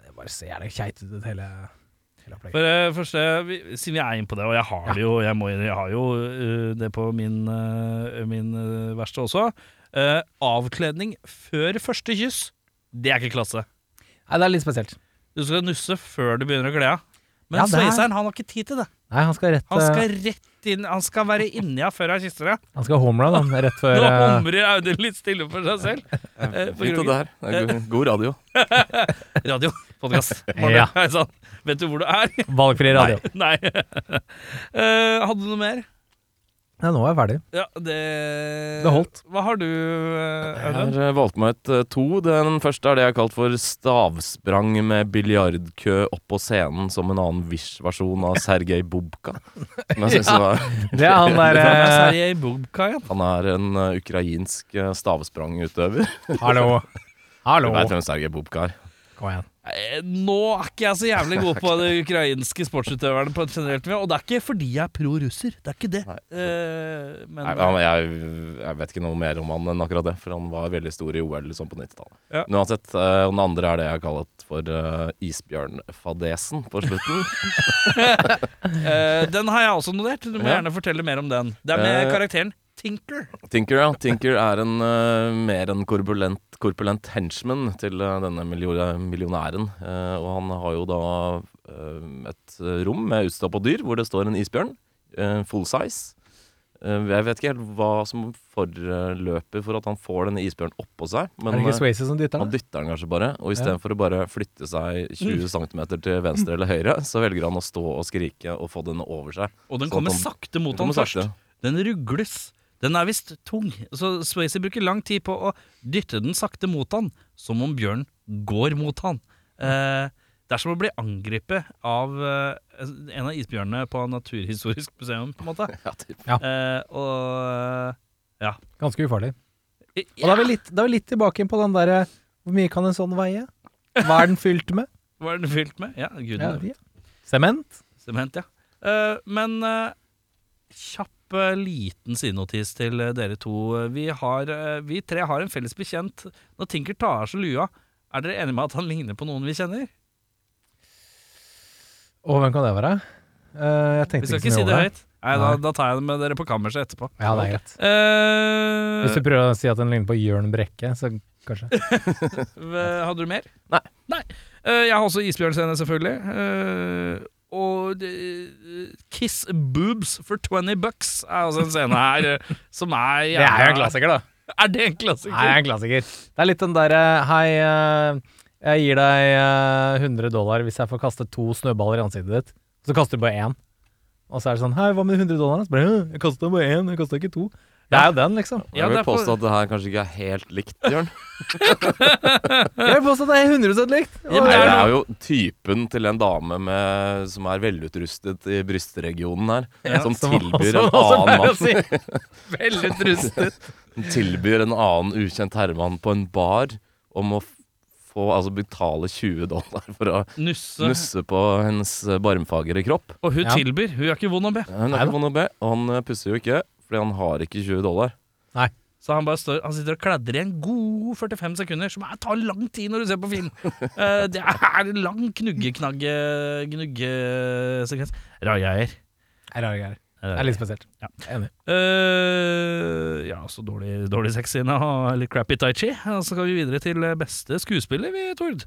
Speaker 2: det er bare ser jævlig keit ut, hele, hele opplegget.
Speaker 1: For det første, vi, siden vi er inne på det, og jeg har det jo, jeg, må, jeg har jo øh, det på min, øh, min øh, verste også Eh, Avkledning før første kyss, det er ikke klasse.
Speaker 2: Nei, det er litt spesielt.
Speaker 1: Du skal nusse før du begynner å kle av. Men
Speaker 2: Ja, det er-
Speaker 1: sveiseren han har ikke tid til det.
Speaker 2: Nei, han skal rett
Speaker 1: Han
Speaker 2: eh,
Speaker 1: skal rett inn, han skal være inni av før han kysser deg.
Speaker 2: han skal homla, da, rett
Speaker 1: Nå
Speaker 2: før eh,
Speaker 1: humrer Audun litt stille for seg selv. Eh, på
Speaker 3: Fint
Speaker 1: grunn-
Speaker 3: det her. Det er god- God radio.
Speaker 1: Radio, podcast.
Speaker 2: Ja.
Speaker 1: Hei sann. sånn? Vet du hvor du er?
Speaker 2: valgfri radio. Nei.
Speaker 1: Nei. Eh, hadde du noe mer?
Speaker 2: nå er jeg ferdig.
Speaker 1: Ja, det
Speaker 2: Det holdt.
Speaker 1: Hva har du, eh,
Speaker 3: Jeg
Speaker 1: Audun?
Speaker 3: har eh, valgt meg ut eh, to. Den første er det jeg har kalt for stavsprang med biljardkø opp på scenen som en annen Wish-versjon av Sergej Bubka. Men jeg synes det var
Speaker 2: Det er han der eh,
Speaker 1: Sergej Bubka igjen.
Speaker 3: Han er en eh, ukrainsk eh, stavsprangutøver.
Speaker 2: Hallo.
Speaker 3: Du
Speaker 2: Hallo.
Speaker 3: vet hvem Sergej Bubka er.
Speaker 2: Kom igjen.
Speaker 1: Eh, Nå er ikke jeg så jævlig god på de ukrainske sportsutøverne på et generelt nivå. Og det er ikke fordi jeg er pro russer, det er ikke det. Eh, men
Speaker 3: Nei, han- jeg, jeg vet ikke noe mer om han enn akkurat det, for han var veldig stor i OL sånn på 90-tallet.
Speaker 1: Ja.
Speaker 3: Men uansett, eh, og den andre er det jeg har kalt for eh, isbjørnfadesen på slutten.
Speaker 1: eh, den har jeg også notert. Du må
Speaker 3: Ja.
Speaker 1: gjerne fortelle mer om den. Det er med
Speaker 3: Eh,
Speaker 1: karakteren Tinker.
Speaker 3: Tinker, ja. Tinker er en eh, mer enn korpulent, korpulent henchman til eh, denne miljo- millionæren. Eh, og han har jo da eh, et rom med utstoppa dyr hvor det står en isbjørn. eh, full size. Eh, jeg vet ikke helt hva som forløper for at han får denne isbjørnen oppå seg.
Speaker 2: Er
Speaker 3: Men
Speaker 2: det ikke
Speaker 3: eh,
Speaker 2: Swayze som dytter
Speaker 3: han
Speaker 2: den?
Speaker 3: dytter den kanskje bare. Og istedenfor for å bare flytte seg
Speaker 2: Mm.
Speaker 3: 20 cm til venstre eller høyre, så velger han å stå og skrike og få denne over seg.
Speaker 1: Og den
Speaker 3: Så
Speaker 1: kommer
Speaker 3: at han-
Speaker 1: sakte mot
Speaker 3: Sånn Den
Speaker 1: han
Speaker 3: kommer
Speaker 1: først.
Speaker 3: sakte.
Speaker 1: Den rugles. Den er visst tung, så Swayze bruker lang tid på å dytte den sakte mot han, som om bjørnen går mot han. Eh, det er som å bli angrepet av eh, en av isbjørnene på Naturhistorisk museum, på en måte.
Speaker 3: Ja, typ.
Speaker 1: Eh, og
Speaker 2: Ganske ufarlig.
Speaker 1: eh,
Speaker 2: Og da er vi litt, da er vi litt tilbake inn på den derre Hvor mye kan en sånn veie? Hva er den fylt med?
Speaker 1: Hva er den fylt med? Ja,
Speaker 2: Ja,
Speaker 1: gudene.
Speaker 2: ja. Sement?
Speaker 1: Sement, ja. Eh, men eh, kjapp eh, liten sidenotis til eh, dere to. Vi, har, eh, vi tre har en felles bekjent. Når Tinker tar av seg lua, er dere enige med at han ligner på noen vi kjenner?
Speaker 2: Og hvem kan det være? Eh, jeg
Speaker 1: Vi
Speaker 2: tenkte
Speaker 1: skal
Speaker 2: ikke
Speaker 1: ikke
Speaker 2: så
Speaker 1: si
Speaker 2: mye
Speaker 1: det
Speaker 2: over det.
Speaker 1: høyt. Nei, da, da tar jeg det med dere på kammerset etterpå.
Speaker 2: Ja, det er greit.
Speaker 1: Eh,
Speaker 2: Hvis du prøver å si at den ligner på Jørn Brekke, så kanskje.
Speaker 1: v- hadde du mer?
Speaker 3: Nei.
Speaker 1: Eh, jeg har også isbjørnscene, selvfølgelig. Eh, og det- eh, Kiss Boobs for 20 bucks er også en scene her eh, som er
Speaker 2: Det er jo en
Speaker 1: jævla-
Speaker 2: klassiker, da.
Speaker 1: Er det en klassiker?
Speaker 2: Det er en klassiker. Det er litt den derre Hei, eh, jeg gir deg eh, 100 dollar hvis jeg får kaste to snøballer i ansiktet ditt. Så kaster du bare én. Og så er det sånn Hei, hva med 100 dollar? Så bare, «Hæ, jeg kasta bare én, jeg kasta ikke to. Det er jo den, liksom.
Speaker 1: Ja,
Speaker 3: jeg vil
Speaker 1: det er for-
Speaker 3: påstå at det her kanskje ikke er helt likt, Bjørn.
Speaker 2: Jeg vil påstå at det er 100 likt.
Speaker 1: Ja, men
Speaker 3: Nei,
Speaker 1: det er
Speaker 3: det
Speaker 1: noe-
Speaker 3: er jo typen til en dame med, som er velutrustet i brystregionen her, som, tilbyr en annen mann
Speaker 1: Veldig trustet.
Speaker 3: Som tilbyr en annen ukjent herremann på en bar om å f- få, altså betale 20 dollar for å
Speaker 1: Nusse.
Speaker 3: nusse på hennes eh, barmfagre kropp.
Speaker 1: Og hun
Speaker 2: Ja.
Speaker 1: tilbyr. Hun er ikke vond å be.
Speaker 3: Hun
Speaker 2: Nei
Speaker 3: er
Speaker 2: da.
Speaker 3: ikke vond å be, og han eh, pusser jo ikke, fordi han har ikke 20 dollar.
Speaker 1: Så han bare står Han sitter og kladrer i en god 45 sekunder, som er, tar lang tid når du ser på film. Eh, det er en lang knuggeknagge gnuggesekvens. Rajeier.
Speaker 2: Det er rare greier. Det er litt spesielt.
Speaker 1: Ja.
Speaker 2: Enig.
Speaker 1: Eh, ja, så dårlig, dårlig sexscene og litt crappy tai chi. Og så skal vi videre til eh, beste skuespiller, vi, Tord.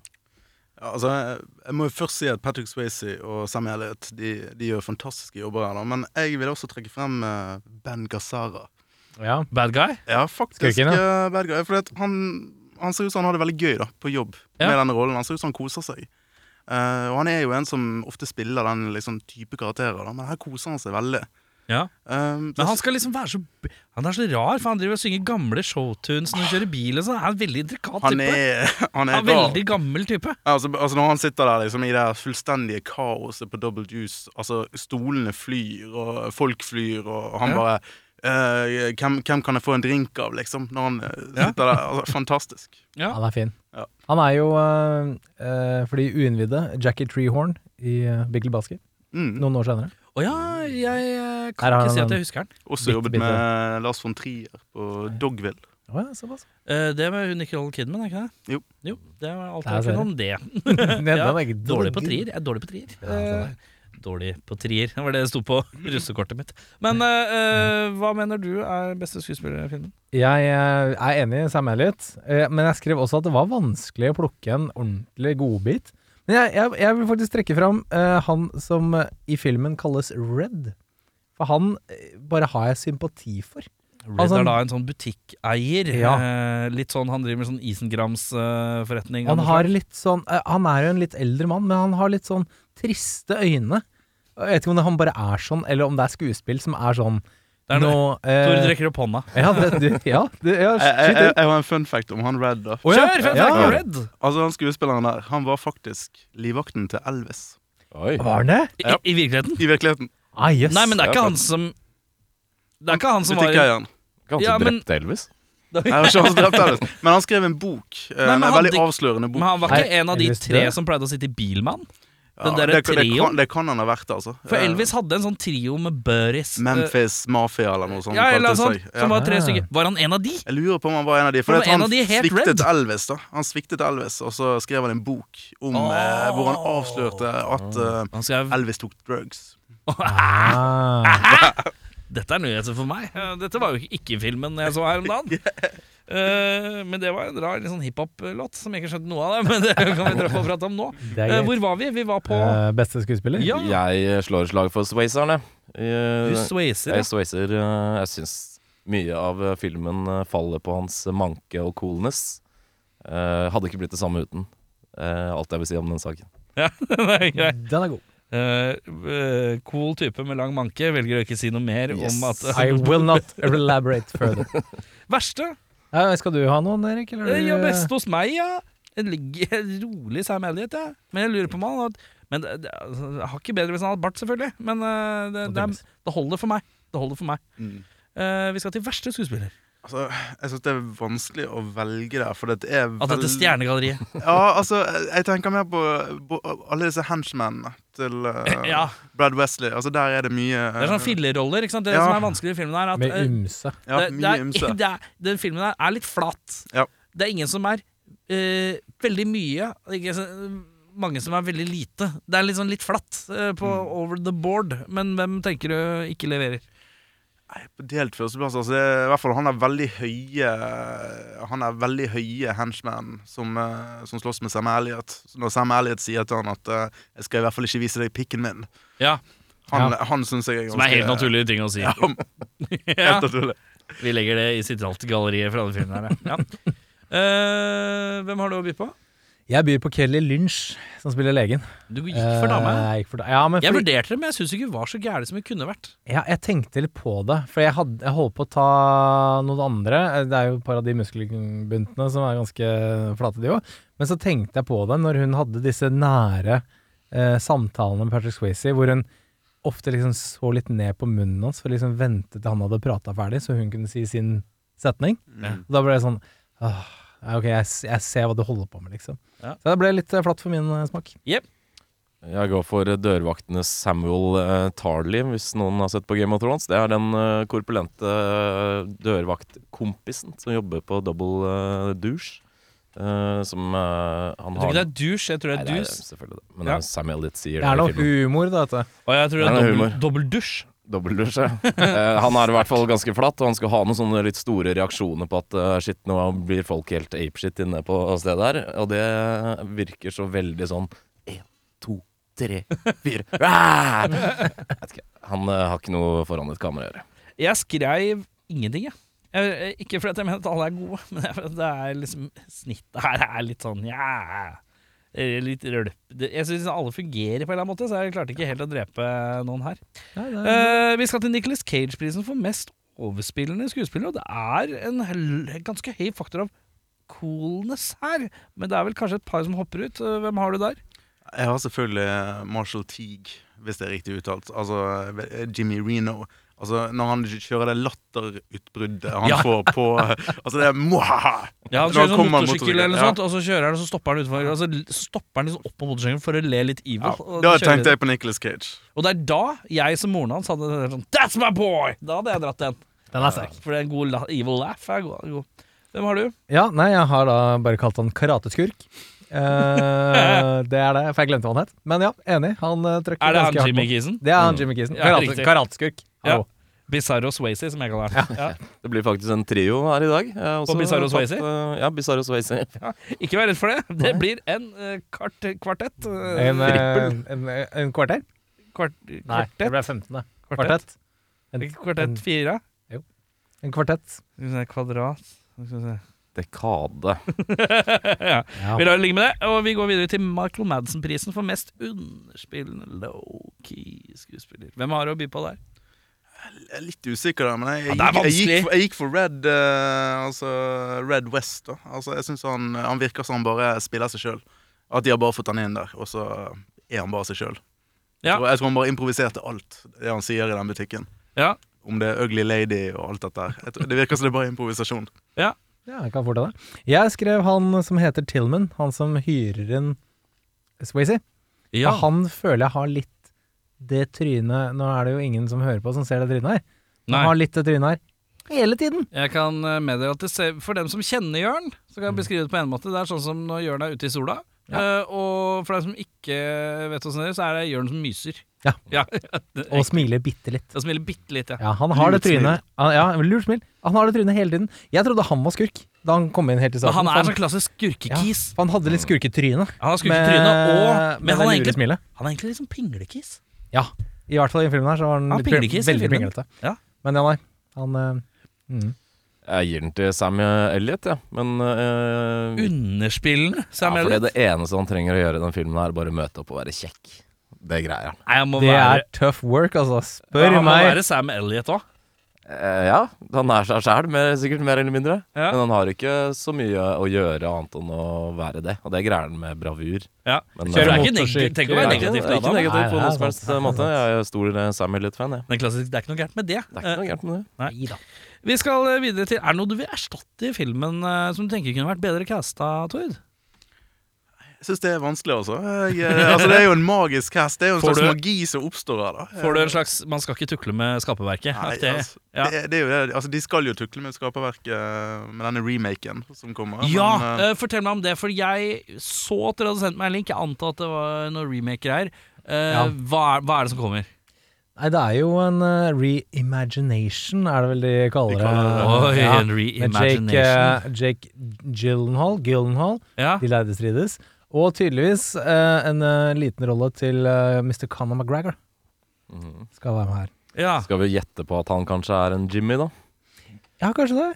Speaker 5: Ja, altså, jeg- jeg må jo først si at Patrick Swayze og Sam Elliot de, de gjør fantastiske jobber her, da. men jeg vil også trekke frem eh, Ben Gazzara.
Speaker 2: Ja.
Speaker 1: Bad guy.
Speaker 5: Ja, faktisk.
Speaker 2: Skurken,
Speaker 5: eh, bad guy, fordi at han, han ser ut som han har det veldig gøy da, på jobb
Speaker 1: Ja.
Speaker 5: med denne rollen. Han ser ut som han koser seg. Eh, og han er jo en som ofte spiller den liksom, type karakterer, da, men her koser han seg veldig.
Speaker 1: Ja.
Speaker 5: Um,
Speaker 1: Men han skal liksom være så b- Han er så rar, for han driver og synger gamle showtunes når han kjører bil og sånn. Han er en veldig intrikat
Speaker 5: han
Speaker 1: type.
Speaker 5: er, han er
Speaker 1: Han er
Speaker 5: rar.
Speaker 1: veldig gammel type.
Speaker 5: Ja, Altså, altså Når han sitter der liksom, i det her fullstendige kaoset på Double Juice, altså stolene flyr, og folk flyr, og han
Speaker 1: Ja.
Speaker 5: bare eh, hvem, hvem kan jeg få en drink av, liksom? Når han eh,
Speaker 1: Ja.
Speaker 5: sitter der. Altså, fantastisk.
Speaker 1: Ja.
Speaker 2: Han er fin.
Speaker 5: Ja.
Speaker 2: Han er jo, øh, øh, for de uinnvidde, Jackie Treehorn i øh, Big Lebowski
Speaker 5: Mm.
Speaker 2: noen år senere.
Speaker 1: Å ja, jeg eh,
Speaker 2: Her
Speaker 1: kan
Speaker 2: har
Speaker 1: ikke
Speaker 2: han
Speaker 1: si
Speaker 2: en-
Speaker 1: at jeg husker den.
Speaker 5: Også
Speaker 2: Bitte,
Speaker 5: jobbet
Speaker 2: bitte.
Speaker 5: med eh, Lars von Trier på Dogville.
Speaker 2: Å ja, såpass.
Speaker 1: Eh, det med hun Nicole Kidman, er ikke det?
Speaker 5: Jo.
Speaker 1: jo det er alt
Speaker 2: Der
Speaker 1: jeg
Speaker 2: ser
Speaker 1: kunne om det.
Speaker 2: Den, den
Speaker 1: Ja,
Speaker 2: var ikke
Speaker 1: Dårlig på trier. Jeg er dårlig på trier.
Speaker 2: Ja, sånn er
Speaker 1: Eh, dårlig på trier, det var det det sto på russekortet mitt. Men eh, eh, hva mener du er beste skuespiller i filmen?
Speaker 2: Jeg eh, er enig i Sam Elliot, eh, men jeg skrev også at det var vanskelig å plukke en ordentlig godbit. Men jeg, jeg, jeg vil faktisk trekke fram eh, han som eh, i filmen kalles Red. For han eh, bare har jeg sympati for.
Speaker 1: Red
Speaker 2: Altså,
Speaker 1: er da en sånn butikkeier.
Speaker 2: Ja.
Speaker 1: eh, litt sånn, Han driver med sånn Isengrams-forretning. liksom
Speaker 2: Han har litt sånn eh, Han er jo en litt eldre mann, men han har litt sånn triste øyne. Og Jeg vet ikke om det, han bare er sånn, eller om det er skuespill som er sånn
Speaker 1: Det er noe.
Speaker 2: nå, eh,
Speaker 1: Tor rekker opp hånda.
Speaker 2: ja, det, du, ja, det, ja,
Speaker 5: Jeg, jeg,
Speaker 2: skyt
Speaker 5: jeg,
Speaker 2: inn.
Speaker 5: jeg har en fun fact om han Red. da
Speaker 2: Å ja,
Speaker 1: Kjør! Fun
Speaker 2: ja.
Speaker 1: fact om Red!
Speaker 5: Altså han Skuespilleren der han var faktisk livvakten til Elvis.
Speaker 3: Oi.
Speaker 2: Var han det?
Speaker 1: I,
Speaker 5: Ja.
Speaker 1: I virkeligheten?
Speaker 5: I virkeligheten.
Speaker 2: Ah, yes.
Speaker 1: Nei, men det er
Speaker 3: Ja,
Speaker 1: ikke han som Det er ikke han som var i-
Speaker 5: Butikkeieren.
Speaker 3: Kanskje
Speaker 1: Ja, men-
Speaker 3: drepte Elvis?
Speaker 5: Nei, det var ikke han som drepte Elvis. Men han skrev en bok. eh,
Speaker 1: men
Speaker 5: en
Speaker 1: han
Speaker 5: veldig
Speaker 1: dik-
Speaker 5: avslørende bok.
Speaker 1: Men han var ikke
Speaker 2: Nei,
Speaker 1: en av de
Speaker 2: Elvis
Speaker 1: tre
Speaker 2: død.
Speaker 1: som pleide å sitte i Bilman?
Speaker 5: Ja,
Speaker 1: den der
Speaker 5: det, det,
Speaker 1: trioen?
Speaker 5: kan, det kan han ha vært, altså.
Speaker 1: For
Speaker 5: Eh,
Speaker 1: Elvis hadde en sånn trio med buddies. eh,
Speaker 5: Memphis Mafia eller noe sånt.
Speaker 1: Ja, eller
Speaker 5: kalte
Speaker 1: noe sånt.
Speaker 5: det seg.
Speaker 1: Som
Speaker 5: Ja.
Speaker 1: var tre
Speaker 2: Ah.
Speaker 1: stykker. Var han en av de?
Speaker 5: Jeg lurer på om han var en av de. For
Speaker 1: Men
Speaker 5: at
Speaker 1: en
Speaker 5: han
Speaker 1: av de helt red?
Speaker 5: sviktet Elvis, da. Han sviktet Elvis, og så skrev han en bok om eh, hvor han avslørte at eh,
Speaker 1: Han skrev
Speaker 5: Elvis tok drugs.
Speaker 2: Ah,
Speaker 1: Dette er nyheter for meg. Eh, Dette var jo ikke- ikke filmen jeg så her om dagen. Eh, men det var en rar litt sånn hiphop-låt som jeg ikke skjønte noe av. det Men det kan vi dra på og prate om nå.
Speaker 2: det er
Speaker 1: Eh,
Speaker 2: greit.
Speaker 1: hvor var vi? Vi var på
Speaker 2: Eh, beste skuespiller?
Speaker 1: Ja,
Speaker 3: Jeg slår et slag for Swayzerne. Eh,
Speaker 1: du
Speaker 3: Jeg,
Speaker 1: swayzer. ja.
Speaker 3: jeg Swayzer eh, Jeg syns mye av eh, filmen eh, faller på hans manke og coolness. Eh, hadde ikke blitt det samme uten. Eh, alt jeg vil si om den saken.
Speaker 1: Nei, greit.
Speaker 2: Den er god.
Speaker 1: Eh, eh, cool type med lang manke. Velger å ikke si noe mer om at
Speaker 2: I will not elaborate further.
Speaker 1: Verste?
Speaker 2: Ja, skal du ha noen, Erik? Eller?
Speaker 1: Eh, ja, best hos meg, ja. Jeg ligger rolig Sam Elliot, jeg. Men jeg lurer på om han hadde- Men det, det, altså, jeg har ikke bedre hvis han hadde bart, selvfølgelig. Men eh, det, det, er- det holder for meg. Det holder for meg. Eh, vi skal til verste skuespiller.
Speaker 5: Mm. Altså, jeg syns det er vanskelig å velge der, for det er
Speaker 1: At dette
Speaker 5: veld-
Speaker 1: stjernegalleriet.
Speaker 5: Ja, altså, jeg- jeg tenker mer på, på alle disse henchmennene til eh,
Speaker 1: Ja,
Speaker 5: Brad Wesley. Altså, der er det mye eh,
Speaker 1: det er sånn sånne filleroller. ikke sant? Det
Speaker 5: Ja.
Speaker 1: som er vanskelig i filmen, her, er at
Speaker 2: Med
Speaker 1: eh,
Speaker 2: ymse.
Speaker 5: ja,
Speaker 1: det, det
Speaker 5: mye
Speaker 1: er,
Speaker 5: ymse.
Speaker 1: det er, den filmen her er litt flat.
Speaker 5: Ja.
Speaker 1: Det er ingen som er eh, veldig mye. Ikke, så- mange som er veldig lite. Det er litt sånn litt flatt eh, på
Speaker 5: Mm.
Speaker 1: over the board. Men hvem tenker du ikke leverer?
Speaker 5: På delt førsteplass altså, det er, i hvert fall, Han er veldig høye Han er veldig høye henchman som, eh, som slåss med Sam Elliot. Så Når Sam Elliot sier til han at eh, 'Jeg skal i hvert fall ikke vise deg pikken min',
Speaker 1: Ja,
Speaker 5: han, han syns jeg er ganske
Speaker 1: Som er helt naturlige ting å si.
Speaker 5: Ja,
Speaker 1: Ja,
Speaker 5: helt naturlig.
Speaker 1: vi legger det i sitt alt galleriet for alle filmene her. Ja. Eh, hvem har du å by på?
Speaker 2: Jeg byr på Kelly Lynch, som spiller legen.
Speaker 1: Du gikk for dame.
Speaker 2: Eh, jeg gikk for dame. Ja, men
Speaker 1: Jeg
Speaker 2: fordi,
Speaker 1: vurderte det, men jeg syns ikke det var så gærent som det kunne vært.
Speaker 2: ja, jeg tenkte litt på det, for jeg, hadde, jeg holdt på å ta noen andre. Eh, Det er jo et par av de muskelbuntene som er ganske flate, de òg. Men så tenkte jeg på det når hun hadde disse nære eh, samtalene med Patrick Swayze, hvor hun ofte liksom så litt ned på munnen hans for å liksom vente til han hadde prata ferdig, så hun kunne si sin setning. Og da ble jeg sånn Åh, ja, Ok, jeg, s- jeg ser hva du holder på med, liksom.
Speaker 1: Ja.
Speaker 2: Så det ble litt eh, flatt for min eh, smak.
Speaker 3: Jeg går for eh, dørvaktenes Samuel eh, Tarly, hvis noen har sett på Game of Thrones. Det er den eh, korpulente eh, dørvaktkompisen som jobber på Double eh, Douche. eh, som eh, han
Speaker 1: Jeg
Speaker 3: har
Speaker 1: tror ikke det er douche, jeg tror det
Speaker 3: Nei,
Speaker 1: er
Speaker 3: det er
Speaker 1: dus.
Speaker 3: selvfølgelig det. Men
Speaker 1: Ja.
Speaker 3: det er Samuel Litt sier
Speaker 2: Det er
Speaker 3: det i
Speaker 2: noe
Speaker 3: filmen.
Speaker 2: humor, da, vet du.
Speaker 1: Og jeg tror det
Speaker 3: Nei,
Speaker 1: er
Speaker 3: det er
Speaker 1: dobbel,
Speaker 3: humor.
Speaker 1: dobbel dusj.
Speaker 3: Dobbeldusj, ja. Eh, han er i hvert fall ganske flat, og han skal ha noen sånne litt store reaksjoner på at eh, shit, nå blir folk helt apeshit inne på stedet her. Og det virker så veldig sånn én, to, tre, fire ah! Vet ikke. Han eh, har ikke noe foran et kamera å gjøre.
Speaker 1: Jeg skrev ingenting, jeg. jeg. eh, Ikke fordi at jeg mener at alle er gode, men jeg- det er liksom snittet her er litt sånn ja eh, Litt rølp. Det- Jeg syns alle fungerer på en eller annen måte, så jeg klarte ikke helt å drepe noen her.
Speaker 2: Nei, det er-
Speaker 1: Eh, vi skal til Nicholas Cage-prisen for mest overspillende skuespiller, og det er en hel- ganske høy faktor av coolness her, men det er vel kanskje et par som hopper ut. Eh, Hvem har du der?
Speaker 5: Jeg har selvfølgelig Marshall Teague, hvis det er riktig uttalt. Altså eh, Jimmy Reno. Altså, når han kjører det latterutbruddet han får på Altså, det er mwahaha!
Speaker 1: Ja, han
Speaker 5: Når han
Speaker 1: kjører sånn
Speaker 5: kommer med
Speaker 1: motorsykkel eller noe
Speaker 5: motorsykkel,
Speaker 1: sånt, og så kjører han, og så stopper han utenfor. Og så l- stopper han liksom opp på motorsykkelen for å le litt evil.
Speaker 5: Ja.
Speaker 1: og,
Speaker 5: Da
Speaker 1: så kjører de.
Speaker 5: tenkte jeg på Nicolas Cage.
Speaker 1: og det er da jeg som moren hans hadde vært sånn That's my boy! Da hadde jeg dratt den.
Speaker 2: Den er sterk.
Speaker 1: For det er en god la evil laugh. Er god, er god. Hvem har du?
Speaker 2: Ja, nei, jeg har da bare kalt han karateskurk. Eh, det er det, for jeg glemte hva han het. Men ja, enig. Han uh, trøkker
Speaker 1: Er det
Speaker 2: ganske
Speaker 1: han
Speaker 2: hardt
Speaker 1: Jimmy
Speaker 2: nå.
Speaker 1: Kisen?
Speaker 2: Det er han Jimmy Kisen.
Speaker 1: Ja,
Speaker 2: Karate,
Speaker 1: riktig.
Speaker 2: karateskurk.
Speaker 1: Ja.
Speaker 2: Hallo.
Speaker 1: Bizarro Swayze, som jeg kaller han. Ja.
Speaker 3: Det blir faktisk en trio her i dag. Jeg har også
Speaker 1: Bizarro
Speaker 3: tatt,
Speaker 1: Swayze?
Speaker 3: eh, Ja, Bizarro Swayze.
Speaker 1: Ikke vær redd for det. Det blir en eh, kvart, kvartett. eh,
Speaker 2: En, eh, en, en kvarter?
Speaker 1: kvart,
Speaker 2: Nei, det
Speaker 1: kvartett?
Speaker 2: ble 15.
Speaker 1: Kvartett?
Speaker 2: Kvartett. En,
Speaker 1: Ikke Kvartett fire?
Speaker 2: en kvartett.
Speaker 1: Skal vi se, Kvadrat Skal vi se.
Speaker 3: Dekade.
Speaker 1: ja.
Speaker 2: Ja.
Speaker 1: Vi lar det ligge med det, og vi går videre til Michael Madsen-prisen for mest underspillende low-key skuespiller. Hvem har å by på der?
Speaker 5: Jeg er litt usikker der, men jeg,
Speaker 1: Ja,
Speaker 5: jeg,
Speaker 1: det er
Speaker 5: gikk, jeg,
Speaker 1: vanskelig.
Speaker 5: gikk, for, jeg gikk for Red eh, Altså Red West. da Altså Jeg syns han, han virker som han bare spiller seg sjøl. At de har bare fått han inn der, og så er han bare seg sjøl.
Speaker 1: Ja.
Speaker 5: Jeg tror han bare improviserte alt det han sier i den butikken.
Speaker 1: Ja,
Speaker 5: Om det er Ugly Lady og alt dette her. Jeg tror- Det virker som det er bare improvisasjon.
Speaker 2: Ja, jeg kan fort ta det. Jeg skrev han som heter Tillman, han som hyrer inn Swayze. Og Han føler jeg har litt det trynet Nå er det jo ingen som hører på som ser det trynet her.
Speaker 1: Nei.
Speaker 2: Men Han har litt det trynet her hele tiden.
Speaker 1: Jeg kan eh, meddele at det ser, for dem som kjenner Jørn, så
Speaker 2: Mm.
Speaker 1: kan jeg beskrive det på en måte. Det er sånn som når Jørn er ute i sola. Eh, og for dem som ikke vet åssen det er, så er det Jørn som myser.
Speaker 2: Ja.
Speaker 1: ja. Det-
Speaker 2: Og smiler bitte litt.
Speaker 1: Jeg smiler bitte litt, ja.
Speaker 2: Ja, han har
Speaker 5: Lurt
Speaker 2: det trynet ja, ja, Lurt smil. Han har det trynet hele tiden. Jeg trodde han var skurk da han kom inn helt
Speaker 1: Men
Speaker 2: i starten.
Speaker 1: han er
Speaker 2: for
Speaker 1: sånn klassisk skurkekis.
Speaker 2: for han hadde litt
Speaker 1: Han
Speaker 2: skurketryne.
Speaker 1: har
Speaker 2: med-
Speaker 1: skurketryne, og Men han
Speaker 2: med eh, det
Speaker 1: er
Speaker 2: lure
Speaker 1: egentlig,
Speaker 2: smilet.
Speaker 1: han er egentlig liksom pinglekis.
Speaker 2: Ja. I hvert fall i filmen her så var han,
Speaker 1: Han
Speaker 2: litt
Speaker 1: pingler ikke i
Speaker 2: pr- veldig
Speaker 1: filmen.
Speaker 2: pinglete.
Speaker 1: Ja.
Speaker 2: Men ja, nei. Han eh, mm.
Speaker 3: Jeg gir den til Sam Elliot, ja. men eh,
Speaker 2: Mm.
Speaker 1: Underspillende,
Speaker 3: ja,
Speaker 1: Sam
Speaker 3: for det,
Speaker 1: Elliot.
Speaker 3: er det eneste han trenger å gjøre i den filmen, her, er bare møte opp og være kjekk. Det greier han.
Speaker 1: Nei, han må
Speaker 2: Det
Speaker 1: være
Speaker 2: er tough work, altså.
Speaker 1: Ja,
Speaker 2: Spør
Speaker 1: han må
Speaker 2: meg.
Speaker 1: være Sam Elliot òg.
Speaker 3: Eh, ja, han er seg sjæl, mer- sikkert mer eller mindre.
Speaker 1: Ja.
Speaker 3: Men han har ikke så mye å gjøre annet enn å være det, og det greier han med bravur.
Speaker 1: Ja.
Speaker 3: Men,
Speaker 1: Kjører
Speaker 3: eh,
Speaker 1: ikke neg-
Speaker 2: motorsykkel.
Speaker 1: Tenk å være
Speaker 3: Nei,
Speaker 1: negativ
Speaker 3: ikke-
Speaker 1: til
Speaker 3: Ikke
Speaker 1: Adam.
Speaker 3: negativ
Speaker 2: Nei,
Speaker 3: på
Speaker 2: det er
Speaker 3: noen som
Speaker 2: sant,
Speaker 3: helst
Speaker 2: det er
Speaker 3: måte.
Speaker 2: sant.
Speaker 3: Jeg er stor eh, Sam Elliot-fan, jeg.
Speaker 1: Men klassisk, det er ikke noe gærent med det.
Speaker 3: Det er ikke noe gærent med det.
Speaker 1: Eh, Vi skal eh, videre til Er det noe du vil erstatte i filmen eh, som du tenker kunne vært bedre casta, Tord?
Speaker 5: Jeg syns det er vanskelig, altså. Jeg, eh, altså. Det er jo en magisk hest. Det er jo en
Speaker 1: Får
Speaker 5: slags
Speaker 1: du-
Speaker 5: magi som oppstår her, da.
Speaker 1: Får du en slags 'man skal ikke tukle med skaperverket'?
Speaker 5: Nei,
Speaker 1: aktig?
Speaker 5: altså,
Speaker 1: ja.
Speaker 5: det, det er jo det. Altså, de skal jo tukle med skaperverket eh, med denne remaken som kommer.
Speaker 1: Ja,
Speaker 5: men, eh,
Speaker 1: eh, fortell meg om det, for jeg så at dere hadde sendt meg en link. Jeg antar at det var noen remaker her. Eh,
Speaker 2: Ja.
Speaker 1: hva, er, hva er det som kommer?
Speaker 2: Nei, det er jo en eh, reimagination, er det vel de kaller det.
Speaker 1: Oi,
Speaker 2: ja.
Speaker 1: en
Speaker 2: Med Jake,
Speaker 1: reimagination.
Speaker 2: eh, Jake Gyllenhaal, Gyllenhaal,
Speaker 1: Ja.
Speaker 2: de lærde strides. Og tydeligvis eh, en eh, liten rolle til eh, Mr. Conor McGregor
Speaker 3: Mhm.
Speaker 2: skal være med her.
Speaker 1: ja.
Speaker 3: Skal vi gjette på at han kanskje er en Jimmy, da?
Speaker 2: Ja, kanskje det.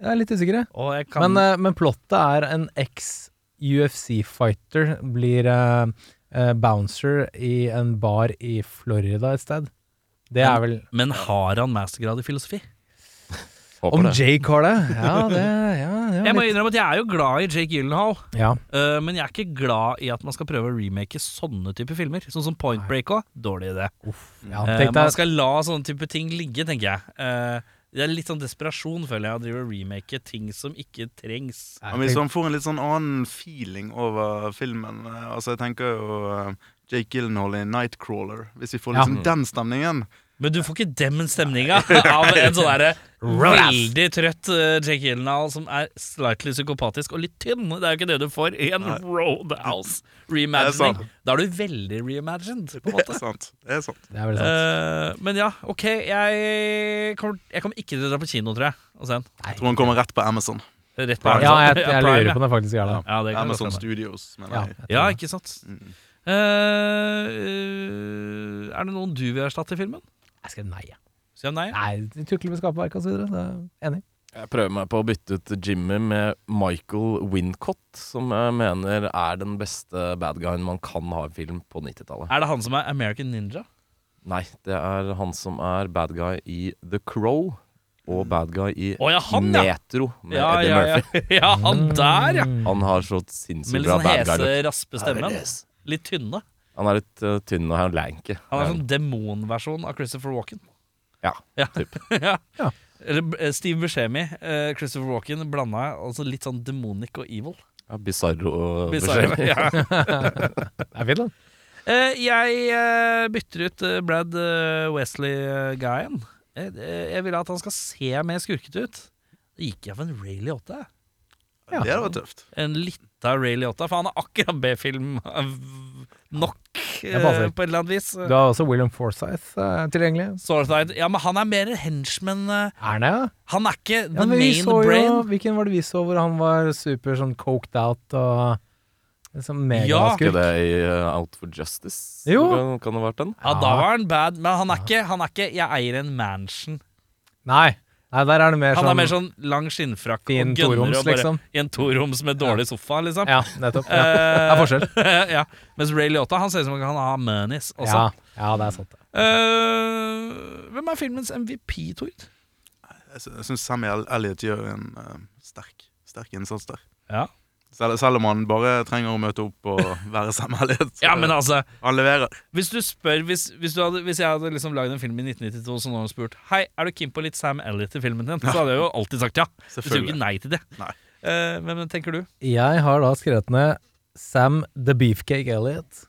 Speaker 2: Jeg er litt usikker, jeg.
Speaker 1: Og jeg kan
Speaker 2: Men, eh, men plottet er en eks-UFC-fighter blir eh, eh, bouncer i en bar i Florida et sted. Det er vel
Speaker 1: Men har han mastergrad i filosofi?
Speaker 3: Håper
Speaker 2: Om
Speaker 3: det.
Speaker 2: Jake har det? Ja, det, ja, det var
Speaker 1: Jeg må
Speaker 2: litt-
Speaker 1: innrømme at jeg er jo glad i Jake Gyllenhaal,
Speaker 2: ja.
Speaker 1: øh, men jeg er ikke glad i at man skal prøve å remake sånne typer filmer. Sånn som Point Break òg. Dårlig idé.
Speaker 2: ja
Speaker 1: Eh,
Speaker 2: tenk
Speaker 1: man
Speaker 2: deg,
Speaker 1: skal la sånne type ting ligge, tenker jeg. Eh, det er litt sånn desperasjon, føler jeg, å drive og remake ting som ikke trengs.
Speaker 5: Ja, men hvis han får en litt sånn annen feeling over filmen eh, Altså, jeg tenker jo eh, Jake Gyllenhaal i 'Nightcrawler'. Hvis vi får
Speaker 2: Ja.
Speaker 5: liksom den stemningen.
Speaker 1: Men du får ikke den stemninga av en sånn derre veldig trøtt eh, Jake Gyllenhaal som er slightly psykopatisk og litt tynn. Det er jo ikke det du får i en Roadhouse reimagining.
Speaker 5: Det er sant.
Speaker 1: Da er du veldig reimagined, på en
Speaker 5: Det
Speaker 1: måte.
Speaker 5: er sant. Det er sant.
Speaker 2: det er veldig sant.
Speaker 1: Eh, men ja, ok. Jeg kommer, jeg kommer ikke til å dra på kino, tror jeg. Og se den.
Speaker 5: Jeg tror han kommer rett på Amazon.
Speaker 1: Rett på
Speaker 2: ja,
Speaker 1: Amazon.
Speaker 2: jeg,
Speaker 1: Prime,
Speaker 2: jeg lurer på om det faktisk er det.
Speaker 1: Ja, det kan
Speaker 5: Amazon
Speaker 1: godt hende.
Speaker 5: Studios, mener
Speaker 2: Ja,
Speaker 5: jeg.
Speaker 2: jeg tror
Speaker 1: Ja,
Speaker 2: det.
Speaker 1: ikke sant.
Speaker 5: Mm.
Speaker 1: Eh, eh, er det noen du vil erstatte i filmen?
Speaker 2: Jeg skrev nei. jeg.
Speaker 1: Sier jeg nei?
Speaker 2: Nei, de Tukler med skaperverk og så videre. Så jeg er enig.
Speaker 3: Jeg prøver meg på å bytte ut Jimmy med Michael Wincott, som jeg mener er den beste bad guyen man kan ha i film på 90-tallet.
Speaker 1: Er det han som er American Ninja?
Speaker 3: Nei, det er han som er bad guy i The Crow, og bad guy i
Speaker 1: Mm. Å ja, han, ja!
Speaker 3: Metro med
Speaker 1: Ja,
Speaker 3: Eddie
Speaker 1: ja,
Speaker 3: Murphy.
Speaker 1: ja. ja han der, ja!
Speaker 3: Han har så
Speaker 1: Med
Speaker 3: sinnssykt
Speaker 1: litt
Speaker 3: bra
Speaker 1: sånn
Speaker 3: bad
Speaker 1: hese,
Speaker 3: guy-look.
Speaker 1: raspe stemmen. Litt tynne.
Speaker 3: Han er litt eh, tynn og han er lanky.
Speaker 1: sånn Han er sånn demonversjon av Christopher Walken.
Speaker 3: Ja,
Speaker 1: Ja.
Speaker 3: typ.
Speaker 1: ja.
Speaker 2: Ja.
Speaker 1: Eller eh, Steve Buscemi, eh, Christopher Walken, blanda jeg altså litt sånn demonic og evil.
Speaker 3: Ja, Bizarro og
Speaker 1: Bizarre,
Speaker 3: beskjed.
Speaker 1: ja.
Speaker 2: Det er fint, da.
Speaker 1: Eh, jeg eh, bytter ut eh, Brad eh, Wesley-guyen. Jeg, jeg vil at han skal se mer skurkete ut. Da gikk jeg for en Ray Liotta. jeg.
Speaker 2: Ja.
Speaker 5: Det hadde vært tøft.
Speaker 1: En lita Ray Liotta, for han er akkurat B-film eh, nok, eh, på
Speaker 2: passer.
Speaker 1: et eller annet vis.
Speaker 2: Du har også William Forsyth eh, tilgjengelig.
Speaker 1: Sorthide. Ja, men han er mer en henchman. eh.
Speaker 2: Er han det, ja?
Speaker 1: Han er ikke the
Speaker 2: ja men vi
Speaker 1: main
Speaker 2: så jo,
Speaker 1: brain.
Speaker 2: Hvilken var det vi så hvor han var super sånn coked out og liksom
Speaker 1: Ja.
Speaker 3: Ikke
Speaker 2: megaskurk?
Speaker 3: det i uh, Out for Justice?
Speaker 2: Jo.
Speaker 3: Kan, kan det ha vært den?
Speaker 1: Ja,
Speaker 2: Ah.
Speaker 1: da var han bad, men han er ikke, han er ikke 'jeg eier en mansion'.
Speaker 2: Nei. Nei, der er det mer
Speaker 1: Han
Speaker 2: sånn
Speaker 1: er mer sånn lang skinnfrakk
Speaker 2: Fin
Speaker 1: og gønner
Speaker 2: toroms,
Speaker 1: og bare
Speaker 2: liksom.
Speaker 1: i en toroms med dårlig sofa, liksom.
Speaker 2: Ja, nettopp. Ja. Det er forskjell.
Speaker 1: Eh, ja. Mens Ray Liotta han ser ut som om han har manis også.
Speaker 2: Ja, ja, det er sant. det.
Speaker 1: Eh, hvem er filmens MVP, Tord?
Speaker 5: Jeg sy- jeg syns Samuel Elliot gjør en eh, sterk, sterk innsats der.
Speaker 1: Ja.
Speaker 5: Selv, selv om han bare trenger å møte opp og være Samuel Elliot.
Speaker 1: ja, men altså
Speaker 5: Han leverer.
Speaker 1: Hvis du spør Hvis, hvis, du hadde, hvis jeg hadde liksom lagd en film i 1992 som noen hadde spurt Hei, er du keen på litt Sam Elliot i filmen din, så hadde jeg jo alltid sagt ja. Du sier jo ikke
Speaker 5: Selvfølgelig.
Speaker 1: nei til det.
Speaker 5: Nei.
Speaker 1: Eh, men men tenker du?
Speaker 2: Jeg har da skrevet ned Sam the Beefcake Elliot.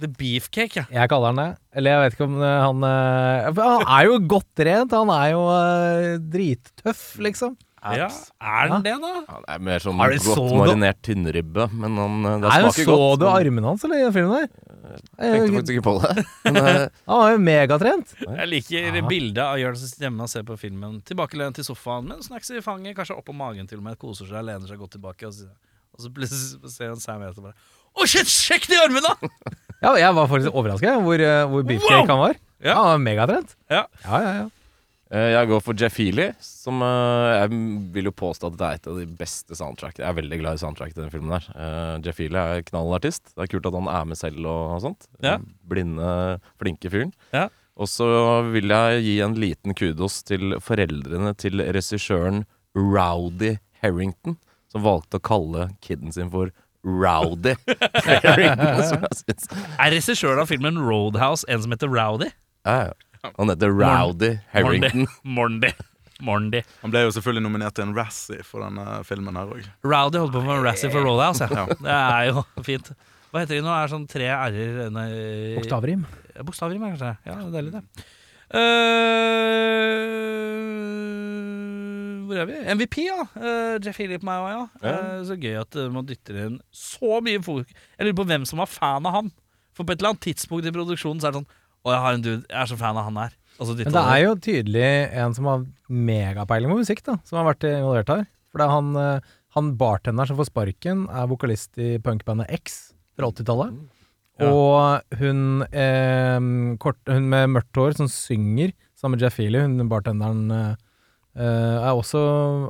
Speaker 1: The Beefcake, ja.
Speaker 2: Jeg kaller han det. Eller jeg vet ikke om eh, han eh, for Han er jo godt trent. Han er jo eh, drittøff, liksom.
Speaker 1: ja. Er den det, da?
Speaker 3: Ja, det er mer sånn
Speaker 2: Har du
Speaker 3: godt
Speaker 2: så det?
Speaker 3: marinert tynnribbe, men han, eh, det
Speaker 2: Nei, men
Speaker 3: smaker
Speaker 2: Så
Speaker 3: godt.
Speaker 2: du
Speaker 3: men
Speaker 2: armene hans eller, i den filmen der?
Speaker 3: Jeg tenkte
Speaker 2: Eh,
Speaker 3: faktisk ikke på det. Men, eh,
Speaker 2: Han var jo megatrent.
Speaker 1: Jeg liker
Speaker 2: Ja.
Speaker 1: bildet av Jørn som sitter hjemme og ser på filmen. Tilbakelent til sofaen med en snacks i fanget, kanskje oppå magen til og med. Koser seg, lener seg godt tilbake. Og så, og så plutselig ser han Sam Elliot og bare Å, shit, sjekk de armene! da!»
Speaker 2: Ja, jeg var faktisk overraska hvor, eh, hvor
Speaker 1: Wow!
Speaker 2: beefcake han var.
Speaker 1: Ja.
Speaker 2: Han var megatrent.
Speaker 1: Ja.
Speaker 2: ja, ja. ja.
Speaker 3: eh, jeg går for Jeff Healy, som eh, jeg vil jo påstå at det er et av de beste soundtrack Jeg er veldig glad i soundtrack til den filmen der. Eh, Jeff Healy er knallartist. Det er kult at han er med selv og, og sånt.
Speaker 1: Ja.
Speaker 3: Blinde, flinke fyren.
Speaker 1: Ja.
Speaker 3: Og så vil jeg gi en liten kudos til foreldrene til regissøren Rowdy Harrington, som valgte å kalle kiden sin for Rowdy Harrington. som jeg synes
Speaker 1: Er regissøren av filmen Roadhouse en som heter Rowdy?
Speaker 3: Ja, ja. Han heter Rowdy Harrington.
Speaker 1: Morndy. Morndy.
Speaker 5: Han ble jo selvfølgelig nominert til en Razzie for denne filmen her òg.
Speaker 1: Rowdy holdt på med Razzie for Roadhouse, ja.
Speaker 5: Ja.
Speaker 1: Det er jo fint. Hva heter de nå? Er det sånn tre r-er nei,
Speaker 2: Oktaverim.
Speaker 1: Ja, Bokstavrim, er kanskje. Ja, det er deilig, det. Eh, hvor er vi? MVP, ja. Eh, Jeff Healy på meg òg, ja. Eh, så gøy at eh, man dytter inn så mye folk. Jeg lurer på hvem som var fan av han. For på et eller annet tidspunkt i produksjonen så er det sånn Å, jeg har en dude. Jeg er så fan av han her. Og så dytter
Speaker 2: Men det
Speaker 1: han
Speaker 2: er
Speaker 1: inn.
Speaker 2: jo tydelig en som har megapeiling på musikk, da, som har vært involvert her. For det er han, eh, han bartenderen som får sparken, er vokalist i punkbandet X fra 80-tallet. Og hun, eh, kort, hun med mørkt hår som synger sammen med Jeff Healy, hun bartenderen eh, eh, er også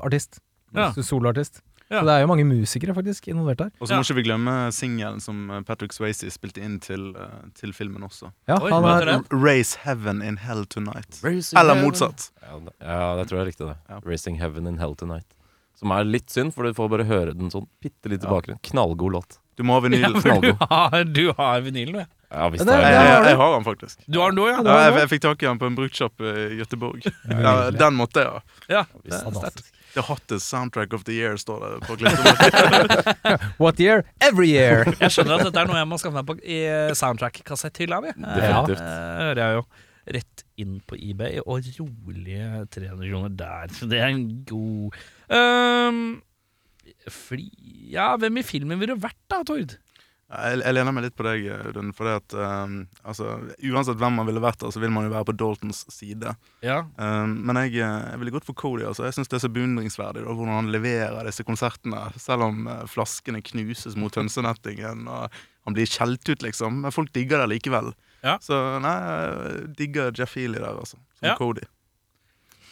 Speaker 2: artist.
Speaker 1: Ja.
Speaker 2: Soloartist.
Speaker 1: Ja.
Speaker 2: Så det er jo mange musikere faktisk involvert her.
Speaker 5: Og så
Speaker 1: Ja.
Speaker 5: må ikke vi glemme singelen som eh, Patrick Swayze spilte inn til, eh, til filmen også.
Speaker 2: Ja,
Speaker 1: Oi,
Speaker 2: han
Speaker 1: hva
Speaker 2: er,
Speaker 1: heter den?
Speaker 5: R- Raise heaven in hell tonight. Eller motsatt.
Speaker 3: Ja, det- ja, jeg tror jeg likte det.
Speaker 5: Ja.
Speaker 3: Racing Heaven in Hell Tonight. Som er litt synd, for du får bare høre den sånn bitte litt i bakgrunnen. Knallgod låt.
Speaker 5: Du må ha vinyl.
Speaker 1: for du
Speaker 5: jeg,
Speaker 1: har, du har vinylen, du.
Speaker 3: Ja visst.
Speaker 2: Ja, det er-
Speaker 3: har jeg
Speaker 5: jeg,
Speaker 3: det.
Speaker 5: jeg har den faktisk.
Speaker 1: Du har den nå, ja?
Speaker 5: Ja, jeg, jeg fikk tak i den på en bruktsjappe i Göteborg. Ja, den måtte jeg ha.
Speaker 1: ja.
Speaker 2: fantastisk.
Speaker 5: The hottest soundtrack of the year, står det på klistremerket.
Speaker 2: What year? Every year!
Speaker 1: Jeg skjønner at dette er noe jeg må skaffe meg på i eh, soundtrack-kassetthylla mi.
Speaker 3: Definitivt.
Speaker 1: Eh, hører jeg jo. Rett inn på eBay, og rolige 300 kroner der. Det er en god Ehm, fli... Ja, hvem i filmen ville du vært da, Tord?
Speaker 5: Jeg, jeg lener meg litt på deg, Audun. For at, um, altså, uansett hvem man ville vært der, så vil man jo være på Daltons side.
Speaker 1: Ja.
Speaker 5: Um, men jeg, eh, jeg ville gått for Cody. altså. Jeg syns det er så beundringsverdig da, hvordan han leverer disse konsertene. Selv om eh, flaskene knuses mot hønsenettingen, og han blir skjelt ut, liksom. Men folk digger det likevel.
Speaker 1: Ja.
Speaker 5: Så nei, jeg digger Jeff Healy der, altså. Som
Speaker 1: Ja.
Speaker 5: Cody.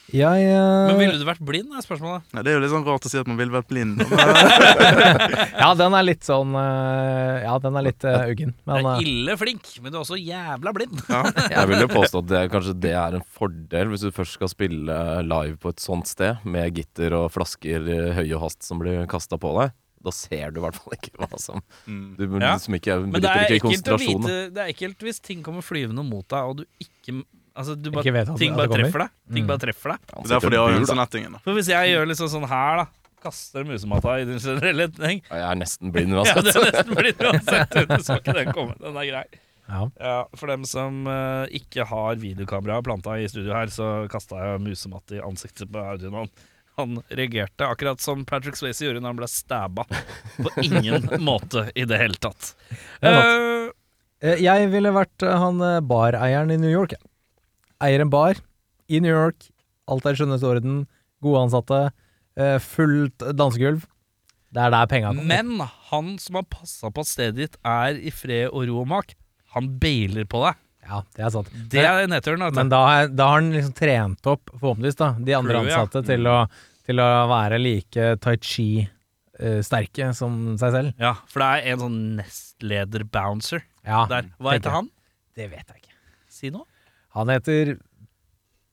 Speaker 2: Jeg eh,
Speaker 1: Men ville du vært blind, er spørsmålet.
Speaker 5: Nei, det er jo litt sånn rart å si at man ville vært blind. Men, eh,
Speaker 2: Ja, den er litt sånn eh, Ja, den er litt eh, uggen.
Speaker 1: Du
Speaker 2: Men
Speaker 1: er
Speaker 2: eh,
Speaker 1: ille flink, men du er også jævla blind.
Speaker 3: Jeg vil jo påstå at det, er- kanskje det er en fordel hvis du først skal spille live på et sånt sted, med gitter og flasker i høy og hast som blir kasta på deg. Da ser du i hvert fall ikke hva som Du
Speaker 1: Ja.
Speaker 3: liksom ikke,
Speaker 1: Men det er
Speaker 3: bryter ikke i
Speaker 1: ekkelt å
Speaker 3: konsentrasjonen.
Speaker 1: vite Det er ekkelt hvis ting kommer flyvende mot deg, og du ikke Altså, du bare,
Speaker 2: eh, Ikke vet at det-
Speaker 1: ting
Speaker 2: at det
Speaker 1: bare
Speaker 2: kommer.
Speaker 1: treffer deg. Ting
Speaker 2: Mm.
Speaker 1: bare treffer deg.
Speaker 3: Han
Speaker 5: Det er
Speaker 3: sitter
Speaker 5: derfor de
Speaker 3: i
Speaker 5: har
Speaker 3: bur, da.
Speaker 5: hønsenettingen. da.
Speaker 1: For hvis jeg gjør liksom sånn her, da. Kaster musematta i den generelle ting.
Speaker 3: Ja, Jeg er nesten blind
Speaker 1: Ja,
Speaker 3: uansett.
Speaker 1: det er nesten blitt uansett. Du så ikke den komme. Den er grei.
Speaker 2: Ja.
Speaker 1: Ja, for dem som eh, ikke har videokamera planta i studio her, så kasta jeg musematt i ansiktet på Audun. Han, han reagerte akkurat som Patrick Swayze gjorde når han ble stabba. På ingen måte i det hele tatt.
Speaker 2: Det er
Speaker 1: Eh,
Speaker 2: Eh, Jeg ville vært eh, han eh, bareieren i New York. jeg. Eier en bar i New York. Alt er i skjønnhetsorden. Gode ansatte. eh, Fullt dansegulv. Det er der penga kommer.
Speaker 1: men han som har passa på at stedet ditt er i fred og ro og mak, han bailer på deg.
Speaker 2: Ja, det er sant.
Speaker 1: Det er nedturen. vet du.
Speaker 2: Men da, har- da har han liksom trent opp, forhåpentligvis, da, de andre
Speaker 1: Crewet, ja. Mm.
Speaker 2: ansatte til å, til å være like tai chi-sterke som seg selv.
Speaker 1: Ja, for det er en sånn nestleder-bouncer
Speaker 2: Ja,
Speaker 1: der. Hva
Speaker 2: Ah, tenker jeg.
Speaker 1: heter han?
Speaker 2: Det vet jeg ikke.
Speaker 1: Si noe.
Speaker 2: Han heter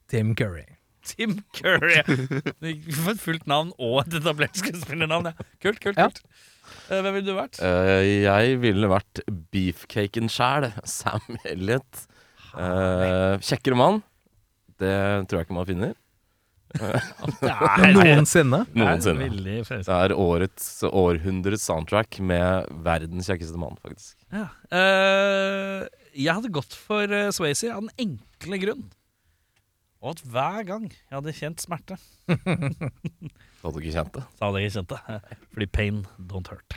Speaker 2: Tim Curry.
Speaker 1: Tim Curry. For et fullt navn og et etablert skuespillernavn. Ja. Kult, kult,
Speaker 2: Ja.
Speaker 1: kult. Eh, Hvem ville du vært?
Speaker 3: Eh, jeg ville vært beefcaken sjæl. Sam Elliot. Eh, kjekkere mann. Det tror jeg ikke man finner.
Speaker 2: Noensinne.
Speaker 3: Noensinne.
Speaker 1: Veldig frelst.
Speaker 3: Det er årets, århundrets soundtrack med verdens kjekkeste mann, faktisk.
Speaker 1: Ja. Eh, jeg hadde gått for uh, Swayze av den enkle grunn. Og at hver gang jeg hadde kjent smerte,
Speaker 3: Så hadde du ikke kjent det.
Speaker 1: så hadde jeg ikke kjent det. Fordi pain don't hurt.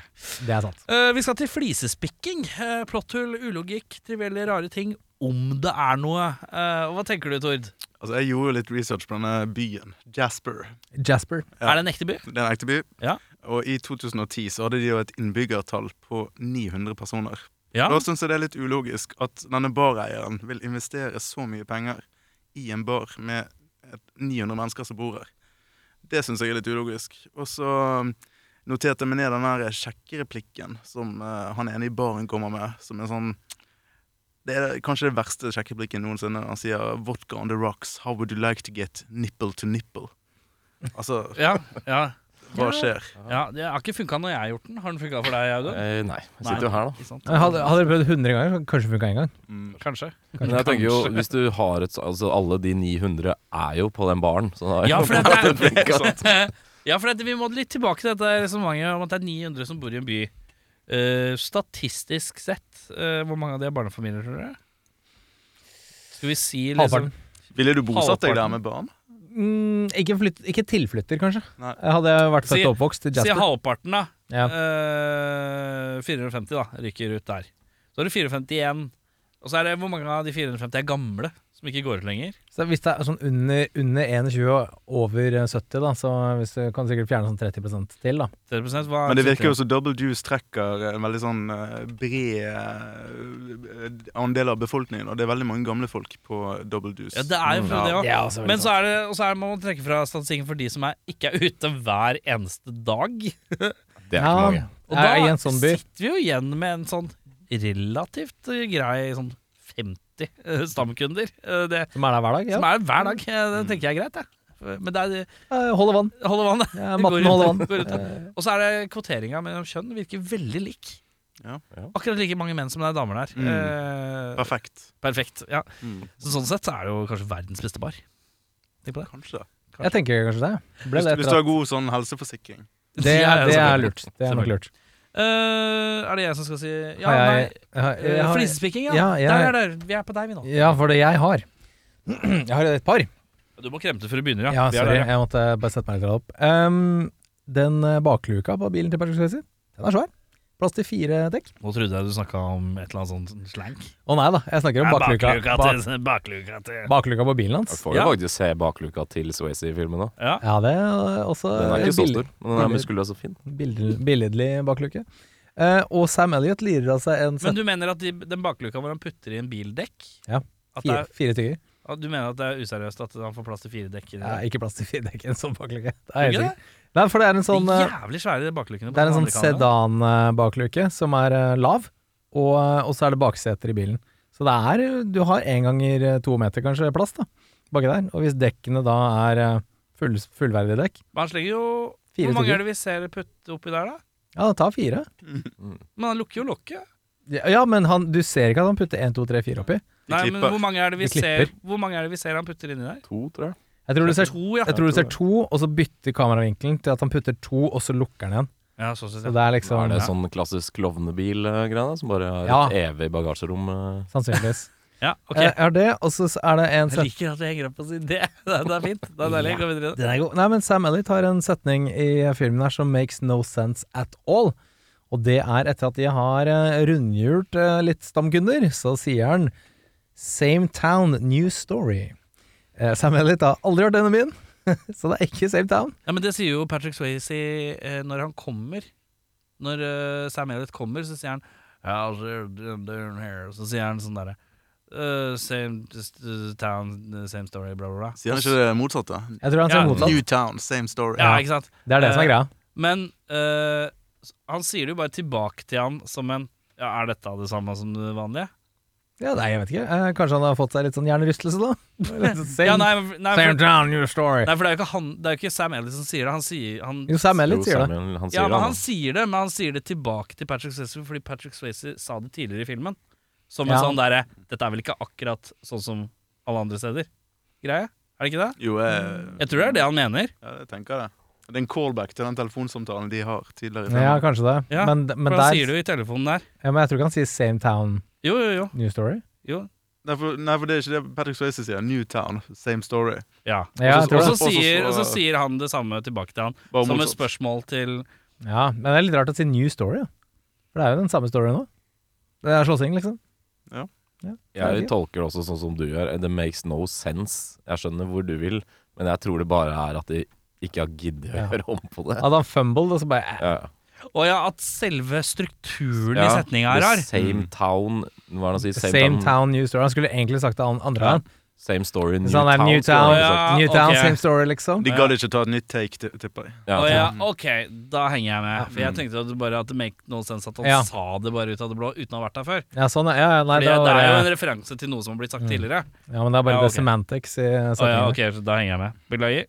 Speaker 2: Det er sant.
Speaker 1: Eh, vi skal til flisespikking. Uh, Plotthull, ulogikk, trivielle, rare ting. Om det er noe. Eh, og hva tenker du, Tord?
Speaker 5: Altså, jeg gjorde jo litt research på denne byen, Jasper.
Speaker 2: Jasper.
Speaker 5: Ja.
Speaker 1: Er det en ekte by?
Speaker 5: Det er en ekte by.
Speaker 1: Ja.
Speaker 5: Og i 2010 så hadde de jo et innbyggertall på 900 personer.
Speaker 1: Ja.
Speaker 5: Da syns jeg sånn det er litt ulogisk at denne bareieren vil investere så mye penger i en bar med et 900 mennesker som bor her. Det syns jeg er litt ulogisk. Og så um, noterte jeg meg ned den her sjekkereplikken som eh, han ene i baren kommer med, som er sånn Det er kanskje det verste sjekkereplikken noensinne. Han sier 'Vodka on the rocks, how would you like to get nipple to nipple?' Altså,
Speaker 1: Ja, ja.
Speaker 5: hva skjer?
Speaker 1: Ja, Det har ikke funka når jeg har gjort den. Har den funka for deg, Audun?
Speaker 3: Eh, nei. Jeg
Speaker 1: Nei.
Speaker 3: sitter jo her, da.
Speaker 1: Ikke sant?
Speaker 2: Hadde, hadde dere prøvd 100 ganger, så kanskje funka én gang.
Speaker 5: Mm.
Speaker 1: Kanskje.
Speaker 3: Men jeg tenker jo, hvis du har et så- Altså, alle de 900 er jo på den baren. Så da
Speaker 1: Ja, for det er-
Speaker 3: funker.
Speaker 1: Ja, for det, Vi må litt tilbake til dette resonnementet om at det er 900 som bor i en by. Eh, statistisk sett, eh, hvor mange av de er barnefamilier, tror dere? Skal vi si liksom
Speaker 2: Halvparten.
Speaker 5: Ville du bosatt deg der
Speaker 1: Halvparten.
Speaker 5: med barn?
Speaker 2: Mm, ikke, flytt, ikke tilflytter, kanskje.
Speaker 5: Nei.
Speaker 2: Jeg hadde jeg vært
Speaker 1: Si-
Speaker 2: født og oppvokst i
Speaker 1: Si
Speaker 2: Jasper.
Speaker 1: halvparten, da.
Speaker 2: Ja.
Speaker 1: Eh, 450 da, ryker ut der. Så er det 450 igjen. Og så er det hvor mange av de 450 er gamle, som ikke går ut lenger.
Speaker 2: Så hvis det er sånn under, under 21 og over eh, 70, da, så hvis du kan sikkert fjerne sånn 30 til, da.
Speaker 1: 30 hva er
Speaker 5: Men det virker jo som Double Juice trekker en veldig sånn eh, bred eh, andel av befolkningen, og det er veldig mange gamle folk på Double Juice.
Speaker 1: Ja, det er jo det òg.
Speaker 2: Det er også veldig
Speaker 1: Men så er det, og så er det, man må trekke fra statistikken for de som er, ikke er ute hver eneste dag.
Speaker 3: Det er ikke mange.
Speaker 1: Og
Speaker 2: Jeg er i
Speaker 1: da
Speaker 2: en sånn by.
Speaker 1: sitter vi jo igjen med en sånn relativt eh, grei sånn 50 eh, stamkunder. eh, Det,
Speaker 2: Som er der hver dag.
Speaker 1: Som
Speaker 2: Ja.
Speaker 1: er hver dag. Eh, Det tenker jeg er greit, jeg. Men det er,
Speaker 2: Eh, Holder vann.
Speaker 1: holder vann. det.
Speaker 2: Ja,
Speaker 1: Det
Speaker 2: matten
Speaker 1: går ut,
Speaker 2: holder
Speaker 1: går ut.
Speaker 2: vann. Eh,
Speaker 1: Og så er det kvoteringa mellom kjønn virker veldig lik.
Speaker 5: Ja.
Speaker 3: Ja.
Speaker 1: Akkurat like mange menn som det er damer der. Eh,
Speaker 5: Perfekt.
Speaker 1: perfekt. Ja.
Speaker 5: Mm.
Speaker 1: Så sånn sett så er det jo kanskje verdens beste bar. Tenk på det.
Speaker 5: Kanskje.
Speaker 2: Jeg tenker kanskje det. Ble
Speaker 5: Hvis,
Speaker 2: det,
Speaker 5: hvis
Speaker 2: etter
Speaker 5: du
Speaker 2: at-
Speaker 5: har god sånn helseforsikring.
Speaker 2: det,
Speaker 1: Ja, ja,
Speaker 2: det er
Speaker 1: selvfølgelig.
Speaker 2: lurt. Det er nok lurt.
Speaker 1: Eh, er det jeg som skal si Ja,
Speaker 2: Har
Speaker 1: nei.
Speaker 2: jeg- har-
Speaker 1: eh,
Speaker 2: jeg har-
Speaker 1: Flisespikking, ja.
Speaker 2: Ja, jeg-
Speaker 1: Der, der, der. Vi er på deg, vi nå.
Speaker 2: Ja, for det jeg har Jeg har et par.
Speaker 1: Du må kremte før du begynner,
Speaker 2: Ja,
Speaker 1: Vi er der,
Speaker 2: sorry,
Speaker 1: ja.
Speaker 2: jeg måtte bare sette meg litt opp. Um, den eh, bakluka på bilen til Patrick Swayze, den er svær. Plass til fire dekk.
Speaker 1: Nå trodde jeg du snakka om et eller annet sånt slank.
Speaker 2: Å nei da, jeg snakker om bakluka. Bak,
Speaker 1: til, bakluka til.
Speaker 2: bakluka på bilen
Speaker 3: Du
Speaker 2: hans.
Speaker 3: får jo faktisk se bakluka til Swayze i filmen òg.
Speaker 1: Ja.
Speaker 2: Ja, det er også
Speaker 3: Den er ikke så
Speaker 2: bill-
Speaker 3: stor, men den er muskuløs og fin.
Speaker 2: bill- Billedlig bakluke. Eh, og Sam Elliot lirer av seg en
Speaker 1: Men
Speaker 2: set,
Speaker 1: du mener at de, den bakluka hvor han putter i en bildekk
Speaker 2: Ja.
Speaker 1: at det
Speaker 2: fire,
Speaker 1: er,
Speaker 2: fire tygger.
Speaker 1: at Du mener at det er useriøst at han får plass til fire dekk? i
Speaker 2: Ja,
Speaker 1: det?
Speaker 2: ikke plass til fire dekk i en sånn bakluke. Det er helt
Speaker 1: Ikke det?
Speaker 2: sikkert. Nei, for det er en sånn
Speaker 1: de
Speaker 2: eh,
Speaker 1: jævlig svære baklukene. på
Speaker 2: Det er en sånn
Speaker 1: amerikanerne.
Speaker 2: sedan-bakluke som er eh, lav, og, eh, og så er det bakseter i bilen. Så det er, eh, du har én ganger eh, to meter kanskje plass da, baki der. Og hvis dekkene da er eh, full, fullverdige dekk,
Speaker 1: Men han slenger jo
Speaker 2: Fire
Speaker 1: Hvor mange
Speaker 2: stykker.
Speaker 1: er det vi ser putte oppi der, da?
Speaker 2: ja, da tar fire.
Speaker 1: Men han lukker jo lokket.
Speaker 2: Ja, men han, du ser ikke at han putter 1, 2, 3, 4 oppi?
Speaker 1: Nei, men
Speaker 5: klipper.
Speaker 1: hvor mange, er det vi
Speaker 2: Vi
Speaker 1: ser,
Speaker 2: klipper.
Speaker 1: hvor mange er det vi ser han putter inni der?
Speaker 3: To, tror jeg.
Speaker 2: Jeg tror du ser,
Speaker 1: To, ja.
Speaker 2: jeg tror du ser to, og så bytter kameravinkelen til at han putter to, og så lukker han igjen.
Speaker 1: ja sånn sett,
Speaker 2: Så
Speaker 1: ja.
Speaker 2: det er
Speaker 3: Så er
Speaker 2: liksom
Speaker 3: det sånn klassisk klovnebil-greie, som bare har
Speaker 2: Ja.
Speaker 3: et evig bagasjerom. eh.
Speaker 2: sånn, Sannsynligvis.
Speaker 1: ja, ok.
Speaker 2: Eh, Jeg har det, og så er det en
Speaker 1: Jeg
Speaker 2: setning
Speaker 1: liker at jeg henger opp på sin idé. Det, det er fint. Det er deilig. Gå videre.
Speaker 2: Den er god. Nei, men Sam Elliot har en setning i filmen her som makes no sense at all. Og det er etter at de har eh, rundhjult eh, litt stamkunder, så sier han Same town, new story. Eh, Sam Elliot har aldri hørt denne byen, så det er ikke same town.
Speaker 1: Ja, men det sier jo Patrick Swayze eh, når han kommer. Når eh, Sam Elliot kommer, så sier han "How's it doing here?" Så sier han sånn derre eh, Same just, uh, town, uh, same story, bla, bla, bla.
Speaker 5: Sier han ikke det motsatte?
Speaker 2: Jeg tror han sier
Speaker 1: Ja,
Speaker 2: motsatt.
Speaker 5: New town, same story.
Speaker 1: Ja, ikke sant?
Speaker 2: Det er det som er greia.
Speaker 1: Men eh, han sier det jo bare tilbake til han som en ja, Er dette det samme som det vanlige?
Speaker 2: Ja, nei, jeg vet ikke. Eh, Kanskje han har fått seg litt sånn hjernerystelse, da? Litt Same,
Speaker 1: Ja, nei, men- nei,
Speaker 2: same
Speaker 1: for,
Speaker 2: town, new story.
Speaker 1: nei, for det er jo ikke, han, det er jo ikke Sam Elliot som sier det. Han sier han,
Speaker 2: Jo, Sam
Speaker 3: Jo,
Speaker 2: Elliot sier det.
Speaker 3: Samuel, han sier
Speaker 1: Ja,
Speaker 3: det,
Speaker 1: men han
Speaker 3: da.
Speaker 1: sier det, men han sier det tilbake til Patrick Swayze fordi Patrick Swayze sa det tidligere i filmen. Som en
Speaker 2: Ja.
Speaker 1: sånn derre Dette er vel ikke akkurat sånn som alle andre steder? Greie? Er det ikke det?
Speaker 5: Jo, jeg,
Speaker 1: Jeg tror det er det han mener.
Speaker 5: ja, jeg tenker det. Det er en callback til den telefonsamtalen de har tidligere. i
Speaker 2: Ja,
Speaker 5: filmen.
Speaker 2: kanskje det.
Speaker 1: Ja,
Speaker 2: men, men,
Speaker 1: For han sier
Speaker 2: der,
Speaker 1: det jo i telefonen der.
Speaker 2: ja, men jeg tror ikke han sier same town,
Speaker 1: Jo, jo, jo.
Speaker 2: new story.
Speaker 1: jo.
Speaker 5: Nei, for, nei, for det er ikke det Patrick Swayze sier. New town, same story.
Speaker 1: Ja.
Speaker 2: Ja, jeg
Speaker 1: Og
Speaker 2: tror det.
Speaker 1: så
Speaker 5: Og så-
Speaker 1: sier, og så
Speaker 5: så-
Speaker 1: sier han det samme tilbake til han,
Speaker 5: Bare
Speaker 1: som et
Speaker 5: motsatt.
Speaker 1: spørsmål til
Speaker 2: Ja, men det er litt rart å si new story, da. For det er jo den samme storyen nå. Det er slåssing, liksom.
Speaker 5: Ja.
Speaker 2: Ja,
Speaker 3: Jeg
Speaker 2: det er fint.
Speaker 3: tolker det også sånn som du gjør. It makes no sense. Jeg skjønner hvor du vil, men jeg tror det bare er at de ikke har giddet å
Speaker 2: Ja.
Speaker 3: gjøre om på det.
Speaker 2: Hadde han fumbled, og så bare eh,
Speaker 3: Ja.
Speaker 1: Å ja, at selve strukturen i
Speaker 3: Ja,
Speaker 1: setninga her
Speaker 3: The
Speaker 1: er
Speaker 3: same town Hva er det han sier?
Speaker 2: Mm. eh, Same, town, new story. Han skulle egentlig sagt det an- andre veien.
Speaker 3: Same story, new
Speaker 2: Hvis han er
Speaker 3: town.
Speaker 2: new
Speaker 3: skulle
Speaker 2: town,
Speaker 3: han ha sagt.
Speaker 1: Ja,
Speaker 2: new town
Speaker 1: Ah, ok.
Speaker 2: same story, liksom.
Speaker 5: De gadd ikke ta et nytt take, ti- tipper jeg.
Speaker 3: Ja,
Speaker 1: Å ja,
Speaker 3: sånn.
Speaker 1: ok, da henger jeg med. For jeg tenkte at det bare at det make no sense at han
Speaker 2: Ja.
Speaker 1: sa det bare ut av det blå uten å ha vært der før.
Speaker 2: Ja, sånn, ja, ja,
Speaker 1: Fordi
Speaker 2: nei, det
Speaker 1: det,
Speaker 2: var
Speaker 1: er jo en
Speaker 2: bare,
Speaker 1: referanse til noe som har blitt sagt tidligere.
Speaker 2: ja, men det er bare
Speaker 1: Ja,
Speaker 2: the
Speaker 1: ok.
Speaker 2: semantics i
Speaker 1: Å ja,
Speaker 2: setningen.
Speaker 1: ok, så Da henger jeg med. Beklager.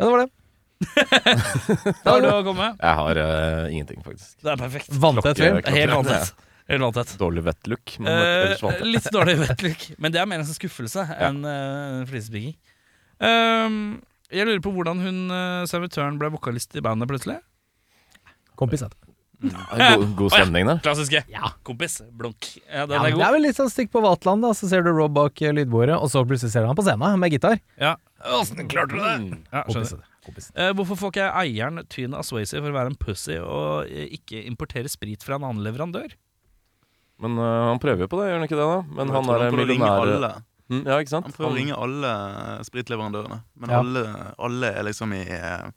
Speaker 2: Ja, det var det.
Speaker 1: Da har du å komme.
Speaker 3: Jeg har eh, ingenting, faktisk.
Speaker 1: Det er perfekt.
Speaker 2: Vanntett film.
Speaker 3: Klokke-
Speaker 1: Helt
Speaker 3: klokke-
Speaker 1: vanntett. Helt vanntett.
Speaker 3: Dårlig vettlook, men ellers
Speaker 1: Eh,
Speaker 3: vant jeg.
Speaker 1: litt dårlig vettlyk, men det er mer en sånn skuffelse enn uh, flisespiking. Ehm, jeg lurer på hvordan hun eh, servitøren ble vokalist i bandet plutselig.
Speaker 2: Kompis, heter det.
Speaker 3: Ja, God, god stemning, det.
Speaker 1: Klassiske. Kompis. Blunk. Ja, den
Speaker 2: Ja,
Speaker 1: er
Speaker 2: men det
Speaker 1: god.
Speaker 2: er vel litt sånn stikk på Vatland, da. Så ser du Rob bak eh, lydbordet, og så plutselig ser du han på scenen med gitar.
Speaker 1: Ja. Mm.
Speaker 2: Åssen klarte du det?
Speaker 1: Ja, skjønner.
Speaker 2: Kompis, heter det. Kompis.
Speaker 1: Eh, hvorfor får ikke eieren tyn av Swayze for å være en pussy og eh, ikke importere sprit fra en annen leverandør?
Speaker 3: Men eh, han prøver jo på det, gjør han ikke det? da? Men han
Speaker 5: Jeg
Speaker 3: er
Speaker 5: tror prøver å ringe
Speaker 3: millionær
Speaker 5: alle.
Speaker 3: Mm, Ja, ikke sant?
Speaker 5: Han prøver å
Speaker 3: Han-
Speaker 5: ringe alle eh, spritleverandørene, men
Speaker 2: Ja.
Speaker 5: alle, alle er liksom i, eh,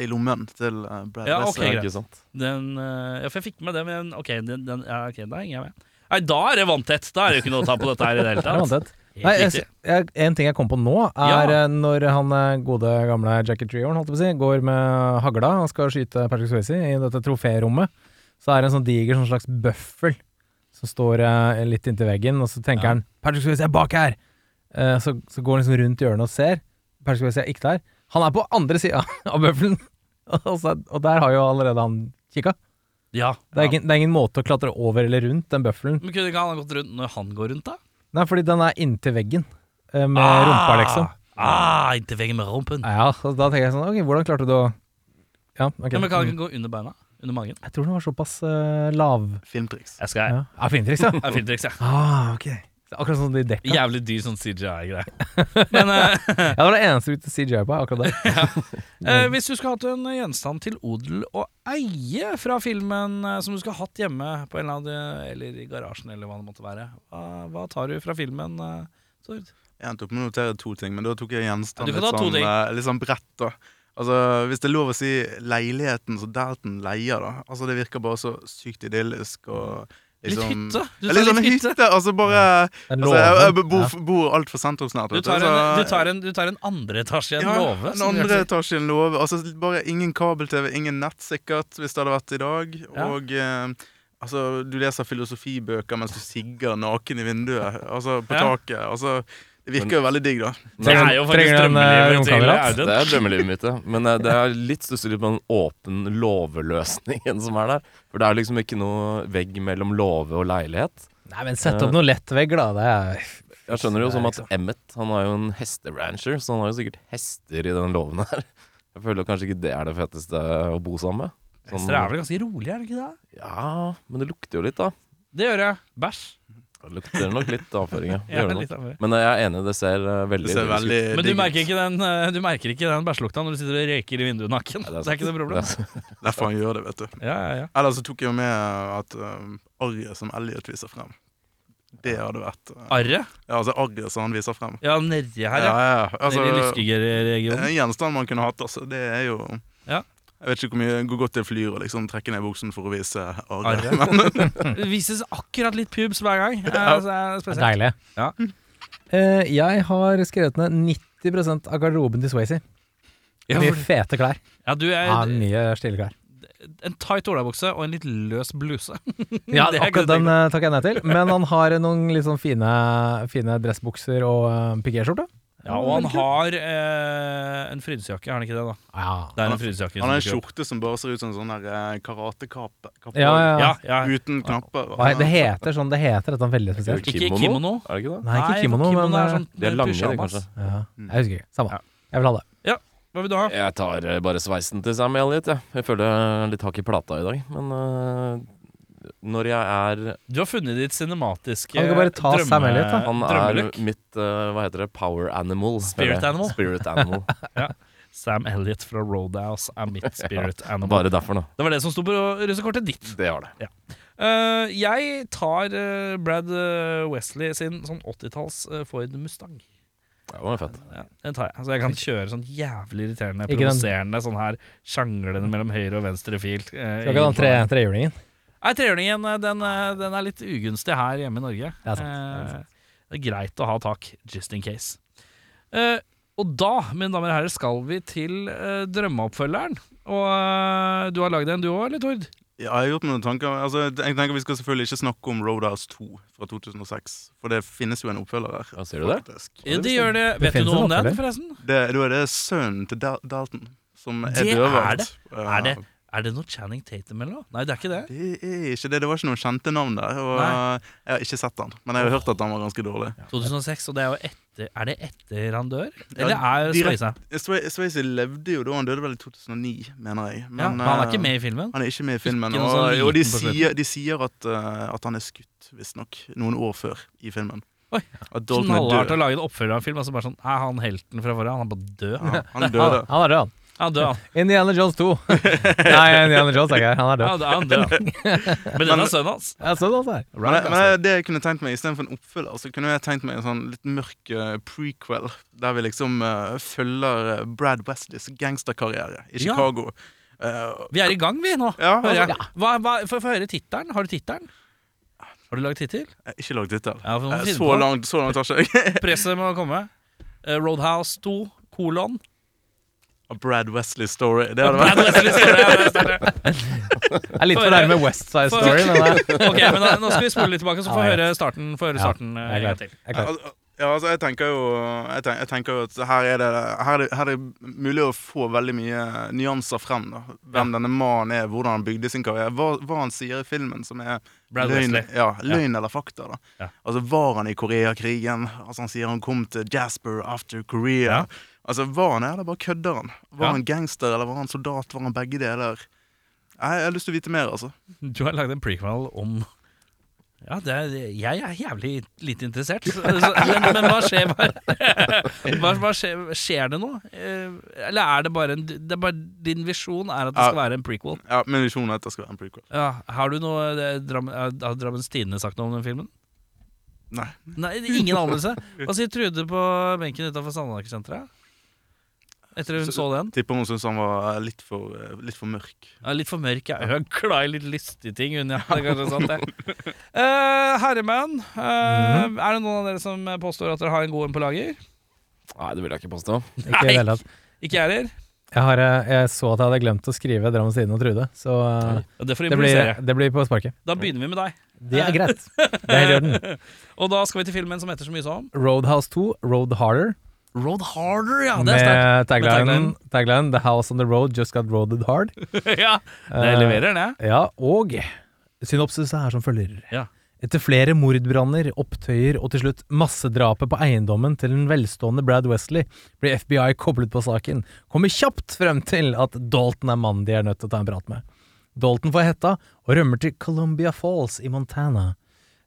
Speaker 5: i lommen til eh, Brad
Speaker 1: Ja,
Speaker 5: Wessel.
Speaker 1: ok,
Speaker 3: Ja,
Speaker 1: greit.
Speaker 3: ikke sant?
Speaker 1: Den, eh, ja, for jeg fikk med det, men ok, den, den, ja, ok, da henger jeg med. Nei, da er det vanntett! Da er det jo ikke noe å ta på dette her i det hele
Speaker 2: Det er
Speaker 1: tatt.
Speaker 2: vanntett. Nei,
Speaker 1: Helt
Speaker 2: jeg,
Speaker 1: riktig.
Speaker 2: jeg, en ting jeg kom på nå, er
Speaker 1: Ja.
Speaker 2: eh, når han eh, gode gamle Jackie Treehorn holdt jeg på å si, går med hagla og skal skyte Patrick Swayze i dette troférommet, så er det en sånn diger sånn slags bøffel som står eh, litt inntil veggen, og så tenker han 'Patrick Swayze er bak her!' Eh, så, så går han liksom rundt hjørnet og ser. Patrick Swayze er ikke der. Han er på andre sida av bøffelen, og, så, og der har jo allerede han kikka.
Speaker 1: Ja,
Speaker 2: Det er,
Speaker 1: ja.
Speaker 2: ingen, det er ingen måte å klatre over eller rundt den bøffelen.
Speaker 1: Men kunne ikke han ha gått rundt når han går rundt, da?
Speaker 2: Nei, fordi den er inntil veggen eh, med rumpa, liksom.
Speaker 1: Ah, inntil veggen med rumpen.
Speaker 2: Ja, så da tenker jeg sånn Ok, hvordan klarte du å Ja, ok.
Speaker 1: Ja, men kan han
Speaker 2: Mm.
Speaker 1: ikke gå under beina? Under magen?
Speaker 2: Jeg tror den var såpass eh, lav.
Speaker 5: Filmtriks.
Speaker 1: Jeg skal
Speaker 2: Ja, ja Fintriks, ja.
Speaker 1: Det er filmtriks, jeg.
Speaker 2: Ah, ok. Så Akkurat sånn de dekka.
Speaker 1: Jævlig dyr sånn CGI-greie. Men eh,
Speaker 2: Ja, det var det eneste vi til CJ på, akkurat det.
Speaker 1: eh, hvis du skulle hatt en gjenstand til odel og eie fra filmen eh, som du skulle hatt hjemme på en eller annen eh, Eller i garasjen, eller hva det måtte være, hva, hva tar du fra filmen, eh, Tord?
Speaker 5: Jeg endte opp med å notere to ting, men da tok jeg
Speaker 1: Ja, du
Speaker 5: gjenstand
Speaker 1: kan
Speaker 5: litt,
Speaker 1: ta to
Speaker 5: sånn,
Speaker 1: ting.
Speaker 5: eh, litt sånn bredt. da Altså, Hvis det er lov å si leiligheten som Dalton leier, da. Altså, Det virker bare så sykt idyllisk. og
Speaker 1: Litt
Speaker 5: liksom...
Speaker 1: hytte. Du
Speaker 5: Ja,
Speaker 1: tar
Speaker 5: Litt sånn
Speaker 1: litt hytte.
Speaker 5: hytte. Altså bare
Speaker 2: Den
Speaker 5: altså, jeg, jeg
Speaker 2: låven.
Speaker 5: bor,
Speaker 2: Ja.
Speaker 5: bor altfor sentrumsnært.
Speaker 1: Du
Speaker 5: vet
Speaker 1: tar,
Speaker 5: så-
Speaker 1: en, du, tar en, du tar en andre etasje i en
Speaker 5: ja,
Speaker 1: låve.
Speaker 5: En
Speaker 1: som vi har
Speaker 5: andre
Speaker 1: sett.
Speaker 5: etasje i en låve. Altså, bare ingen kabel-TV, ingen nett sikkert, hvis det hadde vært i dag.
Speaker 1: Ja.
Speaker 5: Og eh, altså, du leser filosofibøker mens du sigger naken i vinduet, altså på
Speaker 1: Ja.
Speaker 5: taket. Altså, Det virker jo veldig digg, da.
Speaker 1: Det er jo faktisk
Speaker 2: Trenger du en, eh,
Speaker 1: drømmelivet til
Speaker 2: romkamerat?
Speaker 3: Det
Speaker 1: Audun.
Speaker 3: er drømmelivet mitt, ja. Men eh, det er litt stusselig på den åpen låveløsningen som er der. For det er liksom ikke noe vegg mellom låve og leilighet.
Speaker 2: Nei, men sett opp noen lettvegg, da. Det er
Speaker 3: Jeg skjønner jo
Speaker 2: Det er
Speaker 3: som at Emmet han er jo en hesterancher, så han har jo sikkert hester i den låven her. Jeg føler kanskje ikke det er det feteste å bo sammen med. Sånn-
Speaker 1: Hester er vel ganske rolig, er det ikke det?
Speaker 3: ja, men det lukter jo litt, da.
Speaker 1: Det gjør jeg. Bæsj.
Speaker 3: Det lukter nok litt avføring, ja. Det
Speaker 1: Jeg
Speaker 3: gjør
Speaker 1: er
Speaker 3: det nok.
Speaker 1: litt av det.
Speaker 3: Men jeg er enig, det ser eh, veldig
Speaker 5: Det
Speaker 3: idyllisk
Speaker 5: ser
Speaker 3: ut.
Speaker 5: veldig
Speaker 1: Men du
Speaker 5: digg ut.
Speaker 1: merker ikke den, eh, du merker ikke den bæsjelukta når du sitter og røyker i vinduet naken. Det er ikke noe problem.
Speaker 3: sant.
Speaker 5: Derfor han gjør det, vet du.
Speaker 1: Ja, ja, ja.
Speaker 5: Eller så tok jeg jo med at um, arret som Elliot viser frem, det hadde vært uh,
Speaker 1: Arret?
Speaker 5: Ja, altså arret som han viser frem.
Speaker 1: Ja, nedi her,
Speaker 5: Ja,
Speaker 1: ja.
Speaker 5: ja,
Speaker 1: Nedi i
Speaker 5: altså, det er
Speaker 1: Lyskegøy-regionen.
Speaker 5: en gjenstand man kunne hatt, altså. Det er jo
Speaker 1: Ja.
Speaker 5: Jeg vet ikke hvor mye hvor godt det flyr å liksom trekke ned buksen for å vise arret.
Speaker 1: Arret. Det vises akkurat litt pubs hver gang. Eh,
Speaker 5: Ja.
Speaker 1: så er det
Speaker 2: Det er
Speaker 1: spesielt.
Speaker 2: deilig.
Speaker 1: Ja.
Speaker 2: Eh, jeg har skrevet ned 90 av garderoben til Swayze.
Speaker 1: Ja,
Speaker 2: mye
Speaker 1: for-
Speaker 2: fete klær.
Speaker 1: Ja, du
Speaker 2: Ja,
Speaker 1: er
Speaker 2: mye stille klær.
Speaker 1: en tight olabukse og en litt løs bluse.
Speaker 2: Ja,
Speaker 1: Mm, det er godt tenkt.
Speaker 2: akkurat den eh, takker jeg nei til. Men han har noen litt sånn fine, fine dressbukser og uh, pikéskjorte.
Speaker 1: Ja, og han har eh, en frydesjakke, har han ikke det? da?
Speaker 2: Ja.
Speaker 1: Det er
Speaker 5: Han-
Speaker 1: en frydesjakke.
Speaker 5: Han har en
Speaker 1: som dukker opp.
Speaker 5: skjorte som bare ser ut som en sånn der, eh, karatekappe. kappe-
Speaker 2: Ja, ja, ja.
Speaker 1: Ja, ja.
Speaker 5: Uten knapper.
Speaker 2: Hva he- Det heter sånn, det heter dette er veldig spesielt.
Speaker 1: Ikke kimono.
Speaker 3: Er det ikke det?
Speaker 2: Nei, ikke kimono, men
Speaker 1: er
Speaker 2: eh,
Speaker 1: sånn
Speaker 3: De er lange, de,
Speaker 1: pyjamas.
Speaker 3: kanskje.
Speaker 2: ja, Jeg husker ikke.
Speaker 1: Ja.
Speaker 2: Samme. Jeg vil ha det.
Speaker 1: Hva vil du ha?
Speaker 3: Jeg tar eh, bare sveisen til Sam Elliot, jeg. Jeg føler jeg er litt hakk i plata i dag. Men eh, når jeg er
Speaker 1: Du har funnet ditt cinematiske
Speaker 2: Han kan bare ta
Speaker 1: drømme-
Speaker 2: Sam Elliott, da.
Speaker 3: Han er
Speaker 1: drømmelook.
Speaker 3: mitt eh, Hva heter det? Power animal.
Speaker 1: Spirit
Speaker 3: føler jeg.
Speaker 1: animal.
Speaker 3: Spirit animal.
Speaker 1: Sam Elliot fra Roadhouse er mitt spirit animal.
Speaker 3: Bare derfor, nå.
Speaker 1: Det var det som sto på russekortet ditt.
Speaker 3: Det var det.
Speaker 1: Eh, jeg tar eh, Brad eh, Wesley sin sånn 80-talls eh, Ford Mustang.
Speaker 3: Det var fett.
Speaker 1: Ja, den tar jeg. Så jeg kan kjøre sånn jævlig irriterende,
Speaker 2: Ikke den-
Speaker 1: provoserende sånn her sjanglende mellom høyre og venstre fil. eh,
Speaker 2: Skal ikke ha den tre,
Speaker 1: innenfor-
Speaker 2: trehjulingen.
Speaker 1: Nei, trehjulingen eh, den, eh, den er litt ugunstig her hjemme i Norge.
Speaker 2: Det er sant,
Speaker 1: Eh, det er greit å ha tak, just in case. Eh, og da, mine damer og herrer, skal vi til eh, drømmeoppfølgeren. Og eh, du har lagd en du òg, eller Tord?
Speaker 5: Ja, jeg har gjort meg noen tanker. Altså, jeg tenker Vi skal selvfølgelig ikke snakke om Roadhouse 2 fra 2006, for det finnes jo en oppfølger her.
Speaker 3: Ja, ser du det?
Speaker 5: faktisk.
Speaker 1: Ja, det gjør det.
Speaker 2: Det
Speaker 1: Vet du
Speaker 2: finnes
Speaker 1: noe om
Speaker 2: en
Speaker 1: den,
Speaker 2: oppfølger.
Speaker 1: forresten?
Speaker 5: Det, da er det sønnen til Dal- Dalton som er
Speaker 1: Det er
Speaker 5: dødvakt.
Speaker 1: det. Er det, er det noe Channing Tatum eller noe? Nei, det er ikke det.
Speaker 5: Det er ikke det. Det var ikke noen kjente navn der. Og
Speaker 1: Nei.
Speaker 5: jeg har ikke sett han, men jeg har hørt at han var ganske dårlig.
Speaker 1: 2006, og det er jo etter Er det etter han dør? Eller
Speaker 5: Ja,
Speaker 1: er
Speaker 5: direkt-
Speaker 1: Swayze
Speaker 5: Sway- Swayze levde jo da han døde vel i 2009, mener jeg.
Speaker 1: ja,
Speaker 5: Men,
Speaker 1: men Han er
Speaker 5: eh,
Speaker 1: ikke med i filmen?
Speaker 5: Han er ikke med i filmen.
Speaker 1: Ikke noe
Speaker 5: Og,
Speaker 1: sånn
Speaker 5: eh,
Speaker 1: liten
Speaker 5: og de,
Speaker 1: på slutten.
Speaker 5: sier, de sier at, eh, at han er skutt, visstnok, noen år før i filmen.
Speaker 1: Oi.
Speaker 5: At Dalton er
Speaker 1: Knallhardt å
Speaker 5: død.
Speaker 1: lage en oppfølger av en film, og så bare sånn Er han helten fra forrige? Han er bare død.
Speaker 5: Ja, han
Speaker 2: Ja,
Speaker 5: døde.
Speaker 2: han er død, han.
Speaker 1: Han er død, han.
Speaker 2: Indiana Jones 2. Nei, Indiana Jones er ikke her. Han er død.
Speaker 1: Han er død, han. er død. Men den er sønnen hans.
Speaker 2: Jeg så det også her.
Speaker 5: Men, det- men
Speaker 1: altså.
Speaker 5: det, det jeg kunne tenkt meg Istedenfor en oppfølger Så kunne jeg tenkt meg en sånn litt mørk eh, prequel, der vi liksom eh, følger eh, Brad Westleys gangsterkarriere
Speaker 1: Ja.
Speaker 5: i Chicago. Eh,
Speaker 1: Vi er i gang, vi, nå.
Speaker 5: ja,
Speaker 1: Hører
Speaker 5: altså,
Speaker 1: jeg. Hva, hva, Få få høre tittelen. Har du tittelen? Har du lagd tittel?
Speaker 5: jeg har Eh, ikke lag tittel.
Speaker 1: Ja, for nå må
Speaker 5: Eh,
Speaker 1: vi finne
Speaker 5: Så
Speaker 1: på.
Speaker 5: langt så langt har ikke jeg.
Speaker 1: Presset må komme. Eh, Roadhouse 2, kolon
Speaker 5: A Brad Wesley Story. Det hadde
Speaker 1: Brad
Speaker 5: vært
Speaker 1: Wesley står der, der står det.
Speaker 2: Det er litt for nærme West Side
Speaker 1: For-
Speaker 2: Story, men eh, det er
Speaker 1: Ok, men da, Nå skal vi spole litt tilbake, så får vi
Speaker 2: Ja, ja.
Speaker 1: høre starten. Får høre
Speaker 2: Ja,
Speaker 1: starten eh,
Speaker 2: jeg er
Speaker 1: en
Speaker 2: klar.
Speaker 1: gang til.
Speaker 2: Jeg er klar.
Speaker 5: Al- ja, altså jeg tenker jo Jeg tenker, jeg tenker jo at her er, det, her, er det, her er det mulig å få veldig mye nyanser frem. da Hvem denne mannen er, hvordan han bygde sin karriere. Hva, hva han sier i filmen som er
Speaker 1: Brad
Speaker 5: løgn,
Speaker 1: Wesley.
Speaker 5: ja, løgn eller fakta. da
Speaker 1: Ja.
Speaker 5: Altså Var han i Koreakrigen? Altså Han sier han kom til Jasper after Korea. Altså Var han det, eller bare kødder han? Var
Speaker 1: Ja.
Speaker 5: han gangster, eller var han soldat? Var han begge deler? Jeg, jeg har lyst til å vite mer, altså.
Speaker 1: Du har lagd en prequel om ja, det er, jeg er jævlig lite interessert. Så, men, men hva skjer? Hva, hva, hva skjer, skjer det noe? Eh, Eller er det bare, en, det er bare Din visjon er at det skal være en prequel.
Speaker 5: Ja, Min visjon er at det skal være en prequel.
Speaker 1: Ja, har du noe eh, Dram, eh, Har Drammens Tidende sagt noe om den filmen?
Speaker 5: Nei.
Speaker 1: Nei, Ingen anelse. Hva sier Trude på benken utafor Sandaker-senteret? Etter hun så den?
Speaker 5: Tipper hun syns han var litt for, eh, litt for mørk.
Speaker 1: Ja, litt for mørk. Jeg er jo glad i litt lystige ting. Hun, ja. Det er kanskje sant, det. Eh, Herremann, eh, er det noen av dere som påstår at dere har en god en på lager?
Speaker 3: Nei, det vil jeg ikke påstå.
Speaker 2: Ikke i det hele tatt.
Speaker 1: Ikke jeg heller.
Speaker 2: Jeg, har, eh, jeg så at jeg hadde glemt å skrive Drammen Stine og Trude, så eh,
Speaker 1: Ja, Det får
Speaker 2: det blir,
Speaker 1: improvisere.
Speaker 2: det blir på sparket.
Speaker 1: Da begynner vi med deg.
Speaker 2: Det er greit. Det er helt i orden.
Speaker 1: Og da skal vi til filmen som heter så mye som
Speaker 2: Roadhouse 2, Road Harder,
Speaker 1: Road Harder, ja. Det er sterkt.
Speaker 2: med taglinen
Speaker 1: taglinen.
Speaker 2: taglinen, 'The house on the road just got roaded hard'.
Speaker 1: ja, det
Speaker 2: Eh,
Speaker 1: leverer, det.
Speaker 2: Ja, og synopsis er som følger.
Speaker 1: Ja.
Speaker 2: Etter flere mordbranner, opptøyer og til slutt massedrapet på eiendommen til den velstående Brad Wesley, blir FBI koblet på saken. Kommer kjapt frem til at Dalton er mannen de er nødt til å ta en prat med. Dalton får hetta og rømmer til Columbia Falls i Montana,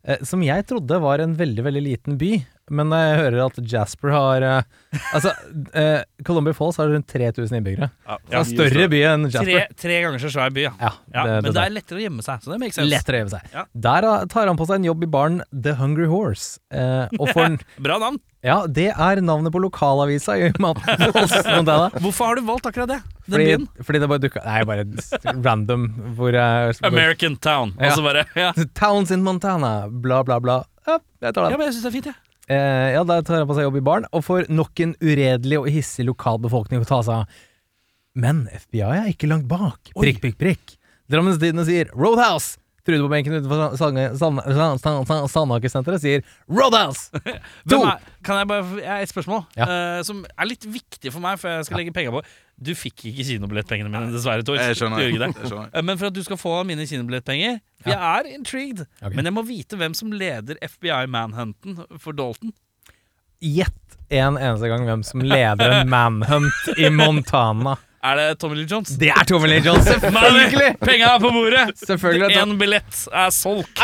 Speaker 2: eh, som jeg trodde var en veldig, veldig liten by. Men når jeg hører at Jasper har eh, Altså, eh, Columbia Falls har rundt 3000 innbyggere. Det er en større by enn
Speaker 1: Tre,
Speaker 2: Jasper.
Speaker 1: tre ganger så svær by, ja.
Speaker 2: Ja,
Speaker 1: ja
Speaker 2: det-
Speaker 1: men
Speaker 2: det
Speaker 1: det
Speaker 2: der.
Speaker 1: er lettere å gjemme seg. Så det makes sense.
Speaker 2: Lettere å gjemme seg.
Speaker 1: Ja.
Speaker 2: Der ah, tar han på seg en jobb i baren The Hungry Horse. Eh, og får den,
Speaker 1: Bra navn.
Speaker 2: ja, det er navnet på lokalavisa i Mountain Falls, Montana.
Speaker 1: Hvorfor har du valgt akkurat det? Den
Speaker 2: Fordi,
Speaker 1: byen?
Speaker 2: fordi det bare dukka Nei, bare s- random. Hvor jeg hvor-
Speaker 1: American Town.
Speaker 2: Ja.
Speaker 1: Og så bare ja.
Speaker 2: Towns in Montana, bla, bla, bla. Ja, jeg tar
Speaker 1: ja,
Speaker 2: den.
Speaker 1: men jeg syns det er fint, jeg. Ja.
Speaker 2: Eh, ja, der tar han på seg jobb i baren, og får nok en uredelig og hissig lokalbefolkning å ta seg av. Men FBI er ikke langt bak. Prikk, prikk, prikk. Drammens Tidende sier 'Roadhouse'. Trude på benken utenfor Sand- Sand- Sand- Sand- Sand- Sandaker-senteret sier 'Roadhouse'. To.
Speaker 1: Hvem er, kan jeg bare jeg har Et spørsmål eh, som er litt viktig for meg, for jeg skal legge penga på. Du fikk ikke kinobillettpengene mine, dessverre, Tor.
Speaker 5: Jeg skjønner.
Speaker 1: Du gjør ikke det.
Speaker 5: Jeg skjønner.
Speaker 1: Eh, Men for at du skal få mine kinobillettpenger for Jeg er intrigued,
Speaker 2: Ok.
Speaker 1: men jeg må vite hvem som leder FBI Manhunten for Dalton.
Speaker 2: Gjett en eneste gang hvem som leder en manhunt i Montana.
Speaker 1: Er det Tommy Lee Jones?
Speaker 2: Det er Tommy Lee Jones, selvfølgelig!
Speaker 1: Penga er på bordet!
Speaker 2: Selvfølgelig. er Tom-
Speaker 1: Én billett er solgt.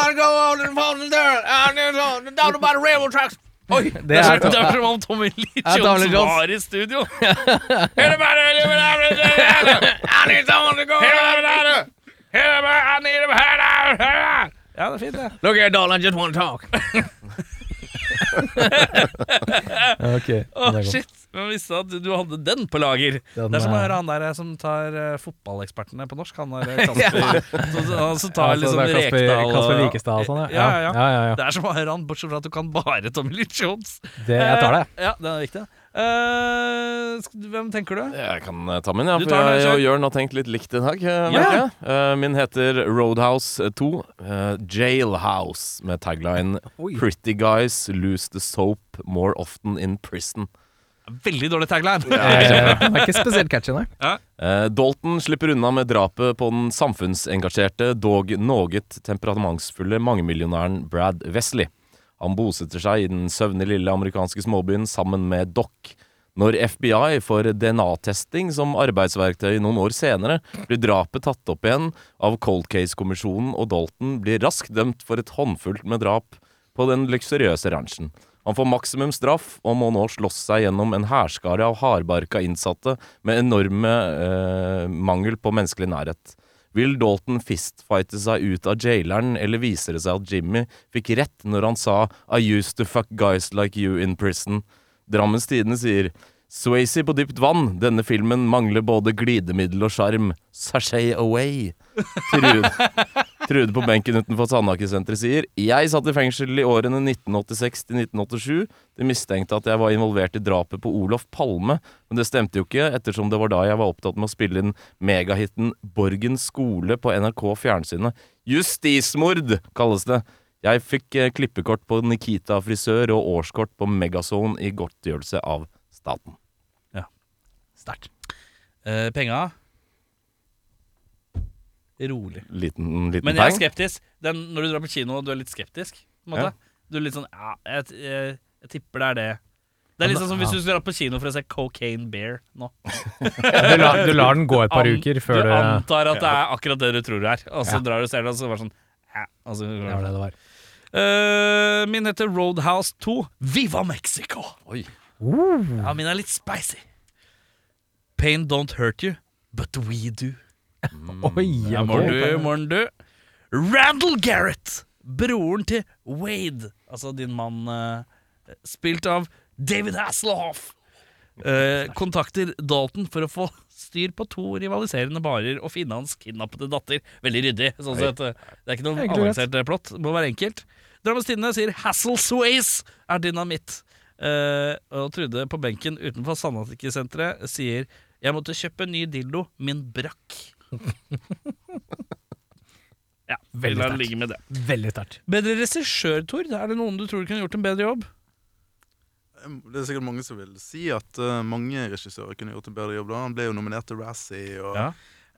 Speaker 1: Det er,
Speaker 2: Det er Tom-
Speaker 1: det er som om Tommy Lee
Speaker 2: er Tommy
Speaker 1: Jones
Speaker 2: Lee Jones.
Speaker 1: var i studio. Hele bare- hele bare- hele bare- Hele bare- hele bare- hele bare- hele bare- Ja, det er fint, det.
Speaker 2: Look here, darling, I just wanna talk. ok. det er
Speaker 1: Å,
Speaker 2: godt.
Speaker 1: shit. Men jeg visste at du- du hadde den på lager.
Speaker 2: Den
Speaker 1: det er som å
Speaker 2: er-
Speaker 1: høre han der eh, som tar eh, fotballekspertene på norsk. Han der eh, Kasper som, han som tar
Speaker 2: Ja, så
Speaker 1: liksom
Speaker 2: det er Kasper,
Speaker 1: Rekdal og-
Speaker 2: Kasper Vikestad og sånn,
Speaker 1: ja. Ja, ja.
Speaker 2: ja, ja, ja.
Speaker 1: Det er som å høre han, bortsett fra at du kan bare Tommy Lee Jones.
Speaker 2: Det, jeg tar det.
Speaker 1: Eh, Ja, den er viktig. Eh, sk- hvem tenker du?
Speaker 3: Jeg kan eh, ta min, ja,
Speaker 1: Du
Speaker 3: for
Speaker 1: tar den,
Speaker 3: jeg
Speaker 1: kjør.
Speaker 3: og Jørn har tenkt litt likt i dag. eh,
Speaker 1: Ja.
Speaker 3: merker jeg. Eh, Min heter Roadhouse 2, eh, Jailhouse, med tagline
Speaker 2: Oi.
Speaker 3: 'Pretty guys lose the soap more often in prison'.
Speaker 1: Veldig dårlig tagline.
Speaker 2: Eh, Den er ikke spesielt catchy, nei.
Speaker 3: Eh, Dalton slipper unna med drapet på den samfunnsengasjerte, dog noget temperamentsfulle mangemillionæren Brad Wesley. Han bosetter seg i den søvne lille amerikanske småbyen sammen med Doc. Når FBI får DNA-testing som arbeidsverktøy noen år senere, blir drapet tatt opp igjen av Cold Case-kommisjonen, og Dalton blir raskt dømt for et håndfullt med drap på den luksuriøse ranchen. Han får maksimum straff og må nå slåss seg gjennom en hærskare av hardbarka innsatte med enorme eh, mangel på menneskelig nærhet. Vil Dalton fistfighte seg ut av jaileren, eller viser det seg at Jimmy fikk rett når han sa I used to fuck guys like you in prison? Drammens Tidende sier Swayze på dypt vann. Denne filmen mangler både glidemiddel og sjarm. Sashay away. Trude. Trude på benken utenfor Sandaker-senteret sier Jeg satt i fengsel i årene 1986 til 1987. De mistenkte at jeg var involvert i drapet på Olof Palme, men det stemte jo ikke, ettersom det var da jeg var opptatt med å spille inn megahiten Borgen skole på NRK fjernsynet. Justismord kalles det. Jeg fikk eh, klippekort på Nikita frisør og årskort på Megazone i godtgjørelse av staten.
Speaker 2: Sterkt.
Speaker 1: Eh, penga Rolig.
Speaker 3: Liten, liten
Speaker 1: Men jeg er
Speaker 3: peng.
Speaker 1: skeptisk. Den, når du drar på kino og du er litt skeptisk, på en måte.
Speaker 3: Ja.
Speaker 1: Du er litt sånn ja, jeg, t- jeg, jeg tipper det er det. Det er litt sånn som hvis du skulle dratt på kino for å se Cocaine Bear nå.
Speaker 2: Du, lar- du lar den gå et par
Speaker 1: An-
Speaker 2: uker før
Speaker 1: du
Speaker 2: du
Speaker 1: antar at det er akkurat det du tror det er, og så
Speaker 2: Ja.
Speaker 1: drar du og ser det, og så bare sånn ja, altså,
Speaker 2: Det var det det var.
Speaker 1: Eh, Min heter Roadhouse 2. Viva Mexico! Ja, min er litt spicy. Pain don't hurt you, but we do.
Speaker 2: Oi, ja,
Speaker 1: Morn
Speaker 2: ok.
Speaker 1: Mm. du, morn du. Randall Garrett, broren til Wade, altså din mann, eh, spilt av David Hasselhoff, eh, kontakter Dalton for å få styr på to rivaliserende barer og finne hans kidnappede datter. Veldig ryddig, sånn sett. eh, Det er ikke noe
Speaker 2: Egentlig rett.
Speaker 1: avansert eh, plott, må være enkelt. Drammens Tidende sier Hassel Sways er dynamitt. eh, og Trude på benken utenfor Sandatikkesenteret sier Jeg måtte kjøpe en ny dildo, min brakk. ja, vi
Speaker 2: Veldig
Speaker 1: lar
Speaker 2: sterkt.
Speaker 1: det ligge med det.
Speaker 2: Veldig sterkt.
Speaker 1: Bedre regissør, Tor. Er det noen du tror kunne gjort en bedre jobb?
Speaker 5: Det er sikkert mange som vil si at eh, mange regissører kunne gjort en bedre jobb. da Han ble jo nominert til Razzie. Og...
Speaker 1: Ja.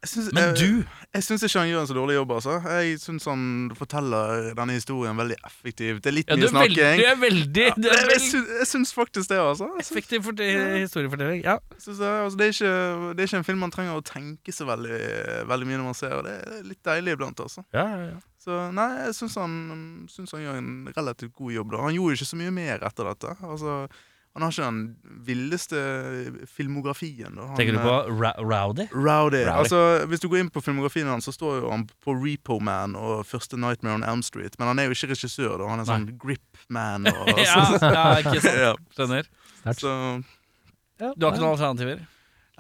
Speaker 5: Jeg synes-
Speaker 1: Men
Speaker 5: jeg-
Speaker 1: du
Speaker 5: Jeg syns ikke han gjør en så dårlig jobb. altså Jeg syns han forteller denne historien veldig effektivt. Det er litt
Speaker 1: ja, du
Speaker 5: mye
Speaker 1: er veldig,
Speaker 5: snakking.
Speaker 1: du er veldig, du
Speaker 5: Jeg,
Speaker 1: er
Speaker 5: jeg,
Speaker 1: veldig
Speaker 5: syns, jeg syns faktisk det, altså. Jeg syns,
Speaker 1: Effektiv forte- historiefortelling. Ja.
Speaker 5: jeg syns det, altså det, er ikke, det er ikke en film man trenger å tenke så veldig, veldig mye når man ser, og det er litt deilig iblant, altså.
Speaker 1: Ja, ja, ja.
Speaker 5: Så nei, jeg syns han, syns han gjør en relativt god jobb. da Han gjorde ikke så mye mer etter dette. Altså Han har ikke den villeste filmografien. da han, eh,
Speaker 1: Tenker du på Ra Rowdy?
Speaker 5: Rowdy.
Speaker 3: Rowdy.
Speaker 5: Altså, hvis du går inn på filmografien hans, så står jo han på Repo Man og første Nightmare on Elm Street. Men han er jo ikke regissør, da. Han er sånn grip man og
Speaker 1: Ja,
Speaker 5: sånn.
Speaker 1: ja, ikke sant.
Speaker 5: Ja.
Speaker 1: Skjønner.
Speaker 5: Så,
Speaker 1: Du har ikke noen alternativer?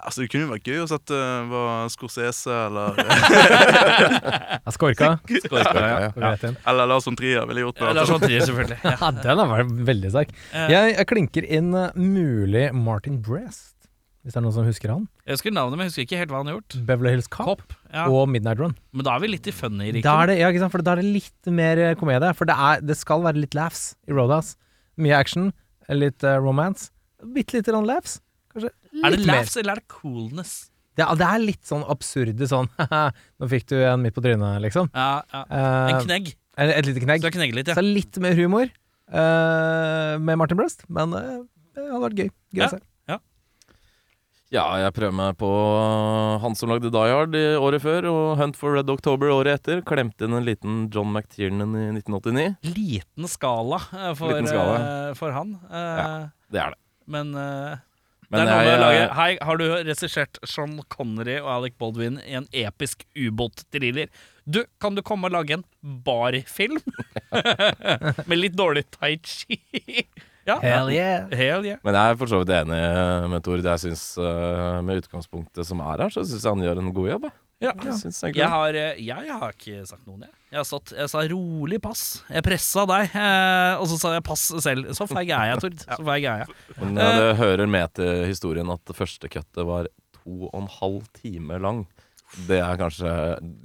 Speaker 5: altså, det kunne jo vært gøy å sette uh, hva Scorsese eller,
Speaker 2: Jeg skorka.
Speaker 3: Skorka, ja.
Speaker 2: Ja, ja.
Speaker 5: eller Lars von Trier ville gjort
Speaker 1: Lars
Speaker 5: det.
Speaker 1: von Trier, selvfølgelig. Ja.
Speaker 2: Ja, den har vært veldig sterk.
Speaker 1: Eh.
Speaker 2: Jeg, jeg klinker inn eh, mulig Martin Brest, hvis det er noen som husker han.
Speaker 1: Jeg husker navnet, men jeg husker ikke helt hva han har gjort.
Speaker 2: Beverly Hills Cop
Speaker 1: Ja.
Speaker 2: og Midnight Run.
Speaker 1: Men da er vi litt i funny-riket.
Speaker 2: Da er det, ja, ikke sant? For da er det litt mer eh, komedie. For det, er, det skal være litt laughs i Roadhouse. Mye action, litt eh, romance. Bitte lite grann laughs. Kanskje litt
Speaker 1: Er det
Speaker 2: mer.
Speaker 1: laughs, eller er det coolness?
Speaker 2: Det, er- det er litt sånn absurde sånn Nå fikk du en midt på trynet, liksom.
Speaker 1: Ja, ja.
Speaker 2: Eh,
Speaker 1: En knegg.
Speaker 2: et, et lite
Speaker 1: Du
Speaker 2: knegg.
Speaker 1: skal knegge litt,
Speaker 2: Så
Speaker 1: ja.
Speaker 2: det er litt mer humor eh, med Martin Brest, men eh, det hadde vært gøy. gøy
Speaker 1: Ja.
Speaker 2: å se.
Speaker 3: Ja, jeg prøver meg på han som lagde Die Hard i året før, og Hunt for Red October året etter. Klemte inn en liten John McTiernan i 1989.
Speaker 1: Liten skala eh, for,
Speaker 3: Liten skala.
Speaker 1: eh, for han. Eh,
Speaker 3: Det er det.
Speaker 1: Men, eh,
Speaker 3: Men
Speaker 1: det er noe med
Speaker 3: jeg- eh,
Speaker 1: å lage Hei, har du regissert Sean Connery og Alec Baldwin i en episk ubåt-thriller? Du, kan du komme og lage en barfilm? Med litt dårlig tai chi? ja.
Speaker 2: Hell yeah!
Speaker 1: Hell yeah.
Speaker 3: Men jeg er for så vidt enig med Tord. Jeg synes, eh, Med utgangspunktet som er her, så syns jeg han gjør en god jobb. Jeg.
Speaker 1: Ja.
Speaker 3: Jeg synes
Speaker 1: Jeg
Speaker 3: egentlig det.
Speaker 1: har, eh, jeg har ikke sagt noen, jeg. Jeg, har stått, jeg sa rolig pass. Jeg pressa deg, eh, og så sa jeg pass selv. Så feig er jeg, Tord. Så feig er jeg.
Speaker 3: Men eh, det hører med til historien at det første cuttet var to og en halv time lang. Det er kanskje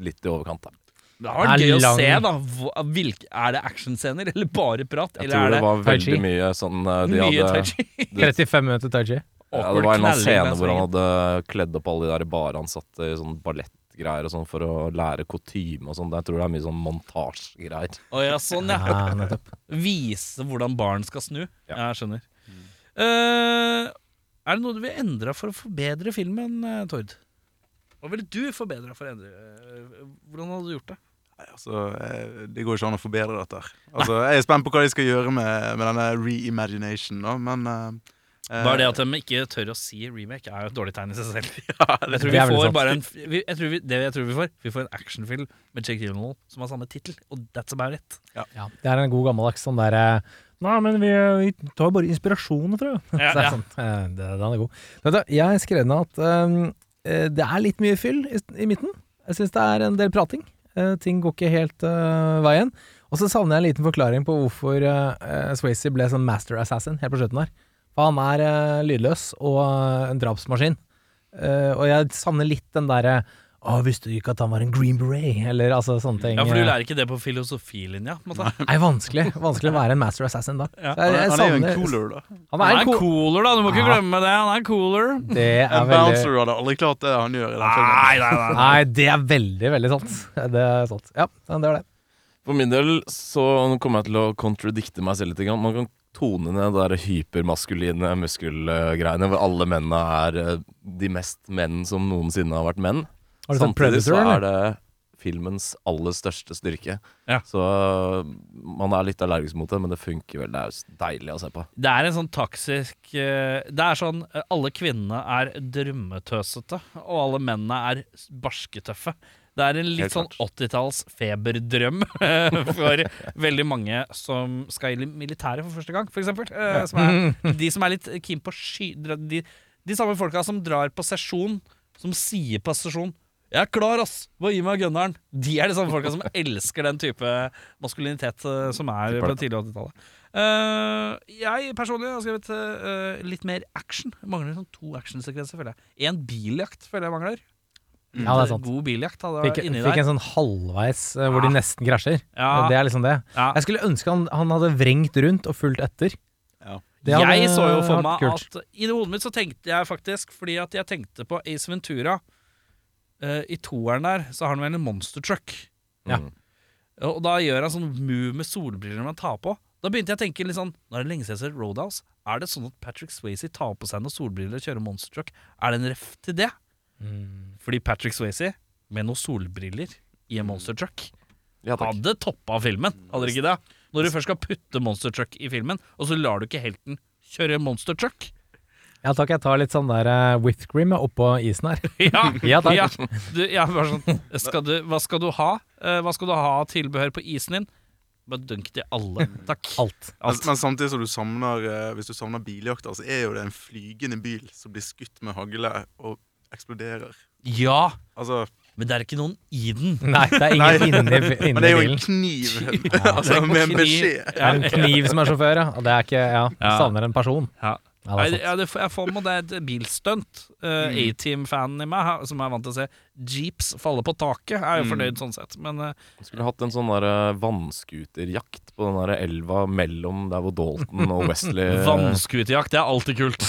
Speaker 3: litt i overkant, da.
Speaker 1: Det har vært
Speaker 2: Det
Speaker 1: gøy
Speaker 2: er
Speaker 1: å
Speaker 2: lang-
Speaker 1: se, da. Hva- Hvilke, er det actionscener, eller bare prat?
Speaker 3: Jeg
Speaker 1: eller er
Speaker 3: tror det
Speaker 1: det,
Speaker 3: var
Speaker 2: Tai chi?
Speaker 3: veldig mye sånn eh, de
Speaker 1: mye
Speaker 3: hadde,
Speaker 1: touchy?
Speaker 2: 35 minutter tai chi.
Speaker 3: ja, Det var en eller annen scene hvor han hadde kledd opp alle de der baransatte i sånn ballettgreier og sånn for å lære kutyme og sånn. Jeg tror det er mye sånn montasjegreier.
Speaker 1: Å ja, sånn, ja.
Speaker 2: Ja, Ah, nettopp.
Speaker 1: Vise hvordan barn skal snu. Ja,
Speaker 3: Ja. Mm.
Speaker 1: jeg skjønner. Eh, er det noe du vil endre for å forbedre filmen, eh, Tord? Hva ville du forbedra for å endre eh, Hvordan hadde du gjort det?
Speaker 5: Nei, altså, eh, det går ikke an å forbedre dette. her. Altså, jeg er spent på hva de skal gjøre med, med denne reimagination, da, men eh,
Speaker 1: Bare det at de ikke tør å si remake, er jo et dårlig tegn i seg selv. jeg tror
Speaker 2: Det
Speaker 1: vi
Speaker 2: er veldig
Speaker 1: får
Speaker 2: sant.
Speaker 1: bare en vi, jeg tror vi, Det jeg tror vi får, vi får en actionfilm med Jake Gyllenhaal som har samme tittel, og that's about it.
Speaker 2: Ja, det er en god gammeldags sånn derre Nei, men vi, vi tar bare inspirasjon fra
Speaker 1: Ja,
Speaker 2: Så det er
Speaker 1: ja.
Speaker 2: sånn, eh, det, den er god. Vet du, jeg skrev ned at ehm, eh, det er litt mye fyll i, i midten. Jeg syns det er en del prating. Eh, ting går ikke helt eh, veien. Og så savner jeg en liten forklaring på hvorfor uh, Swayze ble sånn master assassin helt på slutten her. For han er eh, lydløs og eh, en drapsmaskin. Eh, og jeg savner litt den derre Å, visste du ikke at han var en green beret? Eller altså sånne ting.
Speaker 1: Ja, For du
Speaker 2: eh.
Speaker 1: lærer ikke det på filosofilinja? på en måte.
Speaker 2: Nei, vanskelig. Vanskelig å være en master assassin da.
Speaker 1: Ja.
Speaker 2: Så jeg- jeg
Speaker 5: Han er jo en
Speaker 2: savner-
Speaker 5: cooler, da.
Speaker 2: Han
Speaker 1: Han
Speaker 2: er
Speaker 1: er
Speaker 2: en cool.
Speaker 1: cooler, da! Du må ikke
Speaker 2: Ja.
Speaker 1: glemme det. Han er cooler.
Speaker 2: Det er
Speaker 5: En
Speaker 2: veldig
Speaker 5: bouncer hadde aldri klart det han gjør i den filmen.
Speaker 1: Nei, nei, nei.
Speaker 2: Nei, det er veldig, veldig sant. Det er sant. Ja, det var det.
Speaker 3: For min del så kommer jeg til å kontradikte meg selv litt. grann. Man kan tone ned det der hypermaskuline muskelgreiene hvor alle mennene er eh, de mest menn som noensinne har vært menn.
Speaker 2: Har du sett
Speaker 3: Samtidig
Speaker 2: Predator,
Speaker 3: så er
Speaker 2: eller?
Speaker 3: det filmens aller største styrke.
Speaker 1: Ja.
Speaker 3: Så eh, man er litt allergisk mot det, men det funker vel. Det er jo s- deilig å se på.
Speaker 1: Det er en sånn taksisk eh, Det er sånn eh, alle kvinnene er drømmetøsete, og alle mennene er s- barsketøffe. Det er en litt
Speaker 3: Helt
Speaker 1: sånn
Speaker 3: klart.
Speaker 1: 80-talls feberdrøm for veldig mange som skal i militæret for første gang, f.eks. Uh, som er, de som er litt keen på sky... dra- De, de samme folka som drar på sesjon, som sier på sesjon Jeg er klar, ass! Bare gi meg gunneren. De er de samme folka som elsker den type maskulinitet eh, som er på det tidlige 80-tallet. Eh, jeg personlig har skrevet eh, litt mer action. Jeg mangler sånn to actionsekvenser, føler jeg. En biljakt føler jeg mangler.
Speaker 2: Ja, det er sant.
Speaker 1: God biljakt hadde
Speaker 2: Fikk,
Speaker 1: vært Mm. inni
Speaker 2: fikk
Speaker 1: der.
Speaker 2: en sånn halvveis eh, hvor de
Speaker 1: Ah.
Speaker 2: nesten krasjer.
Speaker 1: Ja.
Speaker 2: Det er liksom det.
Speaker 1: Ja.
Speaker 2: Jeg skulle ønske han, han hadde vrengt rundt og fulgt etter.
Speaker 5: Ja.
Speaker 2: Det hadde
Speaker 1: jeg så jo for meg
Speaker 2: vært kult.
Speaker 1: at I det hodet mitt så tenkte jeg faktisk Fordi at jeg tenkte på Ace Ventura Eh, I toeren der Så har han vel en monster truck
Speaker 2: Ja.
Speaker 3: Mm.
Speaker 1: Og da gjør han sånn move med solbriller man tar på Da begynte jeg å tenke litt sånn Nå er det lenge siden jeg ser Roadhouse Er det sånn at Patrick Swayze tar på seg noen solbriller Og kjører monster truck Er det en ref til det?
Speaker 2: Mm.
Speaker 1: Fordi Patrick Swayze Med noen solbriller I en monster truck
Speaker 3: Ja, takk.
Speaker 1: hadde toppa filmen, hadde det ikke det? Når du først skal putte monster truck i filmen, og så lar du ikke helten kjøre monster truck.
Speaker 2: Ja takk, jeg tar litt sånn der eh, whipped cream jeg, oppå isen her.
Speaker 1: Ja,
Speaker 2: Ja, takk.
Speaker 1: Du, ja bare sånn, skal du, hva skal du ha? Eh, hva skal du ha av tilbehør på isen din? Bare dunk til alle. Takk.
Speaker 2: Alt.
Speaker 5: Men, men samtidig som du savner eh, Hvis du savner biljakter, så er jo det en flygende bil som blir skutt med hagle og eksploderer.
Speaker 1: Ja,
Speaker 5: Altså,
Speaker 1: men det er ikke noen i den.
Speaker 2: Nei, det er
Speaker 5: Nei.
Speaker 2: ingen inni, inni
Speaker 5: men det er jo en
Speaker 2: bilen.
Speaker 5: kniv
Speaker 1: Det
Speaker 5: altså,
Speaker 1: er
Speaker 5: med en
Speaker 1: kniv.
Speaker 5: beskjed.
Speaker 2: Det er en kniv som er sjåfør, ja. Og det er ikke Ja,
Speaker 1: Ja.
Speaker 2: savner en person.
Speaker 1: Ja.
Speaker 2: Ja,
Speaker 1: Nei,
Speaker 2: det
Speaker 1: det-
Speaker 2: er sant.
Speaker 1: ja, det, jeg får med det er et bilstunt. Eh, A-team-fanen i meg, ha- som er vant til å se jeeps falle på taket, er jo fornøyd sånn sett. Men eh,
Speaker 3: Skulle hatt en sånn der eh, vannskuterjakt på den der elva mellom der hvor Dalton og Wesley
Speaker 2: Eh.
Speaker 1: vannskuterjakt, det er alltid kult.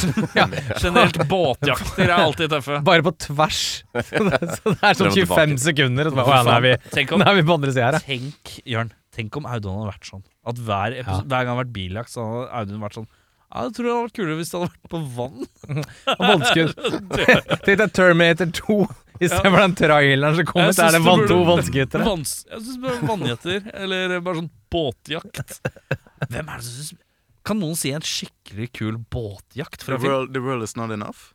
Speaker 1: Generelt båtjakter er alltid tøffe.
Speaker 2: Bare på tvers. Så det, så det er sånn
Speaker 3: Frem
Speaker 2: 25
Speaker 3: og tilbake.
Speaker 2: sekunder, og så bare, å ja, nå er vi,
Speaker 1: Tenk om,
Speaker 2: nå er vi på andre sida her, ja.
Speaker 1: tenk, Jørn, tenk om Audun hadde vært sånn. At hver,
Speaker 2: Ja.
Speaker 1: episode, hver gang det hadde vært biljakt, så hadde Audun vært sånn ja, Jeg tror det hadde vært kulere hvis det hadde vært på vann.
Speaker 2: Og vannskudd. Tenk deg Terminator 2 istedenfor den traileren som kom
Speaker 1: Jeg
Speaker 2: ut. Der
Speaker 1: synes
Speaker 2: er det
Speaker 1: det
Speaker 2: vann,
Speaker 1: burde-
Speaker 2: to vannskutere.
Speaker 1: Vanns, jeg syns bare vannjetter, eller bare sånn båtjakt. Hvem er det som synes Kan noen si en skikkelig kul båtjakt
Speaker 5: The
Speaker 1: fra film?
Speaker 5: world, the world is not enough.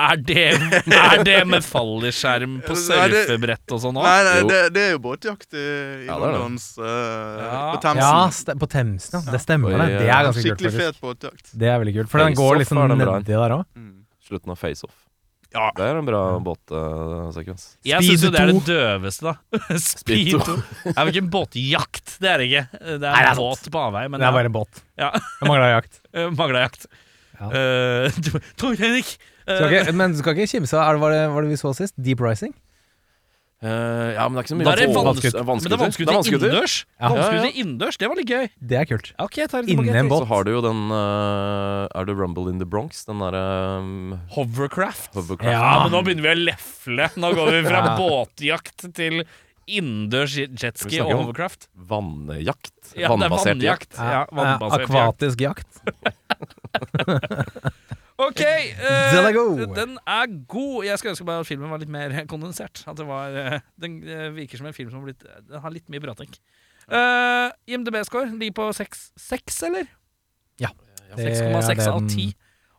Speaker 1: Er det, er det med falliskjerm på
Speaker 5: Nei, det-
Speaker 1: surfebrett og sånn òg?
Speaker 5: Nei, nei
Speaker 3: Jo.
Speaker 5: det, det er jo båtjakt i, i
Speaker 3: Ja, det er det.
Speaker 5: Londons eh,
Speaker 1: Ja.
Speaker 5: På Themsen.
Speaker 2: Ja, ste- på Themsen, ja. Det stemmer,
Speaker 3: Oi,
Speaker 2: det. Det
Speaker 3: ja.
Speaker 2: er ganske kult,
Speaker 5: Skikkelig
Speaker 2: faktisk.
Speaker 5: fet båtjakt.
Speaker 2: Det er veldig kult, for den
Speaker 3: Face
Speaker 2: går
Speaker 3: Off
Speaker 2: liksom
Speaker 3: er den bra.
Speaker 2: nedi der òg.
Speaker 5: Mm.
Speaker 3: eh, Slutten av Face Off.
Speaker 5: Ja.
Speaker 3: Det er en bra båtsekvens.
Speaker 1: Jeg syns jo
Speaker 2: Speed
Speaker 1: det er det
Speaker 2: to.
Speaker 1: døveste, da.
Speaker 3: Speed
Speaker 1: Speed 2. Det er vel ikke en båtjakt, det er det ikke. Det
Speaker 2: Nei,
Speaker 1: er
Speaker 2: det er
Speaker 1: en båt på avvei, men
Speaker 2: Det er bare en båt.
Speaker 1: Ja.
Speaker 2: Det mangla jakt.
Speaker 1: Uh, Mangla jakt.
Speaker 2: Ja.
Speaker 1: Eh, Tor- Tor Henrik! eh,
Speaker 2: Skal ikke, men du skal ikke kimse av er det- Var det, var det vi så sist? Deep Rising?
Speaker 3: Eh, ja, men det er ikke så mye
Speaker 1: Da er det
Speaker 3: vann-
Speaker 1: vannskuter.
Speaker 3: vannskuter.
Speaker 1: men det er
Speaker 3: Det er
Speaker 1: vannskuter innendørs.
Speaker 2: Ja.
Speaker 1: Vannskuter innendørs, det var litt gøy.
Speaker 2: Det er kult.
Speaker 1: Ok, jeg tar
Speaker 2: Inni en
Speaker 3: Så
Speaker 2: båt.
Speaker 3: har du jo den eh, Er det Rumble in the Bronx? Den derre um,
Speaker 1: Hovercraft.
Speaker 3: hovercraft.
Speaker 1: Ja,
Speaker 2: Ja.
Speaker 1: men nå begynner vi å lefle. Nå går vi fra
Speaker 2: Ja.
Speaker 1: båtjakt til innendørs
Speaker 3: Vi
Speaker 1: jetski
Speaker 3: snakker
Speaker 1: og
Speaker 3: om
Speaker 1: Hovercraft.
Speaker 3: Vannjakt.
Speaker 1: Ja, det er
Speaker 3: Vannbasert jakt.
Speaker 1: vannjakt. Ja, vannbasert jakt.
Speaker 2: Eh, Akvatisk jakt.
Speaker 1: Ok, eh,
Speaker 2: Den er god.
Speaker 1: den er god. Jeg skulle ønske bare at filmen var litt mer kondensert. At det var, eh, den eh, virker som en film som har, blitt, den har litt mye prating. Uh, IMDb-score ligger på 6, 6 eller?
Speaker 2: Det er
Speaker 1: 6,6 av
Speaker 2: den-
Speaker 1: 10.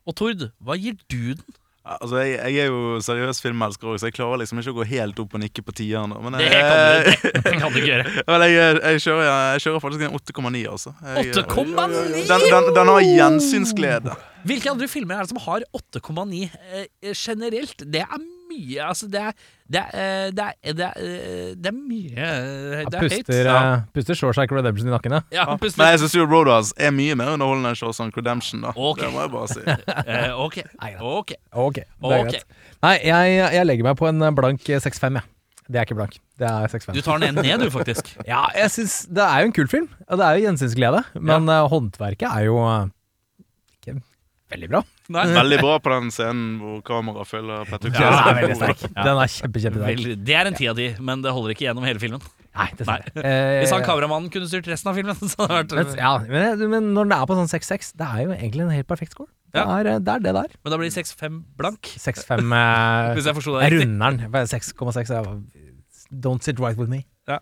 Speaker 1: Og Tord, hva gir du den?
Speaker 5: Altså, jeg, jeg er jo seriøs filmelsker òg, så jeg klarer liksom ikke å gå helt opp og nikke på tieren. da, Men
Speaker 1: Det
Speaker 5: jeg,
Speaker 1: kan du, det, det kan du ikke gjøre.
Speaker 5: men jeg, jeg, kjører, jeg kjører faktisk en 8,9, altså. Jeg-
Speaker 1: 8,9?
Speaker 5: Den, den, den har gjensynsglede.
Speaker 1: Hvilke andre filmer er det som har 8,9 eh, generelt? Det er mye, altså. Det er, det er, eh, det er, det er, eh, det er mye eh,
Speaker 2: Ja,
Speaker 1: Det er høyt.
Speaker 2: Puster,
Speaker 1: Ja,
Speaker 2: eh, puster Shawshank Redemption i nakken, ja.
Speaker 1: ja, puster.
Speaker 5: Men jeg syns jo Roadhouse er mye mer underholdende enn Shawshank Redemption, da.
Speaker 1: Ok.
Speaker 5: Det må jeg bare si.
Speaker 1: Eh, ok,
Speaker 2: Nei, da.
Speaker 1: ok.
Speaker 2: Ok, det er
Speaker 1: Ok.
Speaker 2: greit. Nei, jeg, jeg legger meg på en blank eh, 6-5, jeg. Det er ikke blank. Det er 6-5.
Speaker 1: Du tar den ene ned, du, faktisk.
Speaker 2: Ja, jeg synes Det er jo en kul film, og det er jo gjensynsglede, men eh, håndverket er jo eh, ikke veldig bra.
Speaker 1: Nei.
Speaker 5: Veldig bra på den scenen hvor kameraet følger Petter
Speaker 2: Den
Speaker 5: Kjell.
Speaker 2: er veldig sterk. Den er kjempe, kjempesterk.
Speaker 1: Vel, det er en ti av ti, men det holder ikke gjennom hele filmen.
Speaker 2: Nei, dessverre.
Speaker 1: Hvis han
Speaker 2: Eh,
Speaker 1: kameramannen kunne styrt resten av filmen, så hadde det
Speaker 2: men,
Speaker 1: vært
Speaker 2: ja, men, men når den er på sånn 6-6, det er jo egentlig en helt perfekt score. Det
Speaker 1: Ja.
Speaker 2: er eh, det er det der.
Speaker 1: Men da blir det 6-5 blank.
Speaker 2: 6-5
Speaker 1: Hvis
Speaker 2: eh,
Speaker 1: jeg forsto
Speaker 2: Jeg
Speaker 1: deg riktig.
Speaker 2: runder den. 6,6 er Don't sit right with me.
Speaker 3: Nei,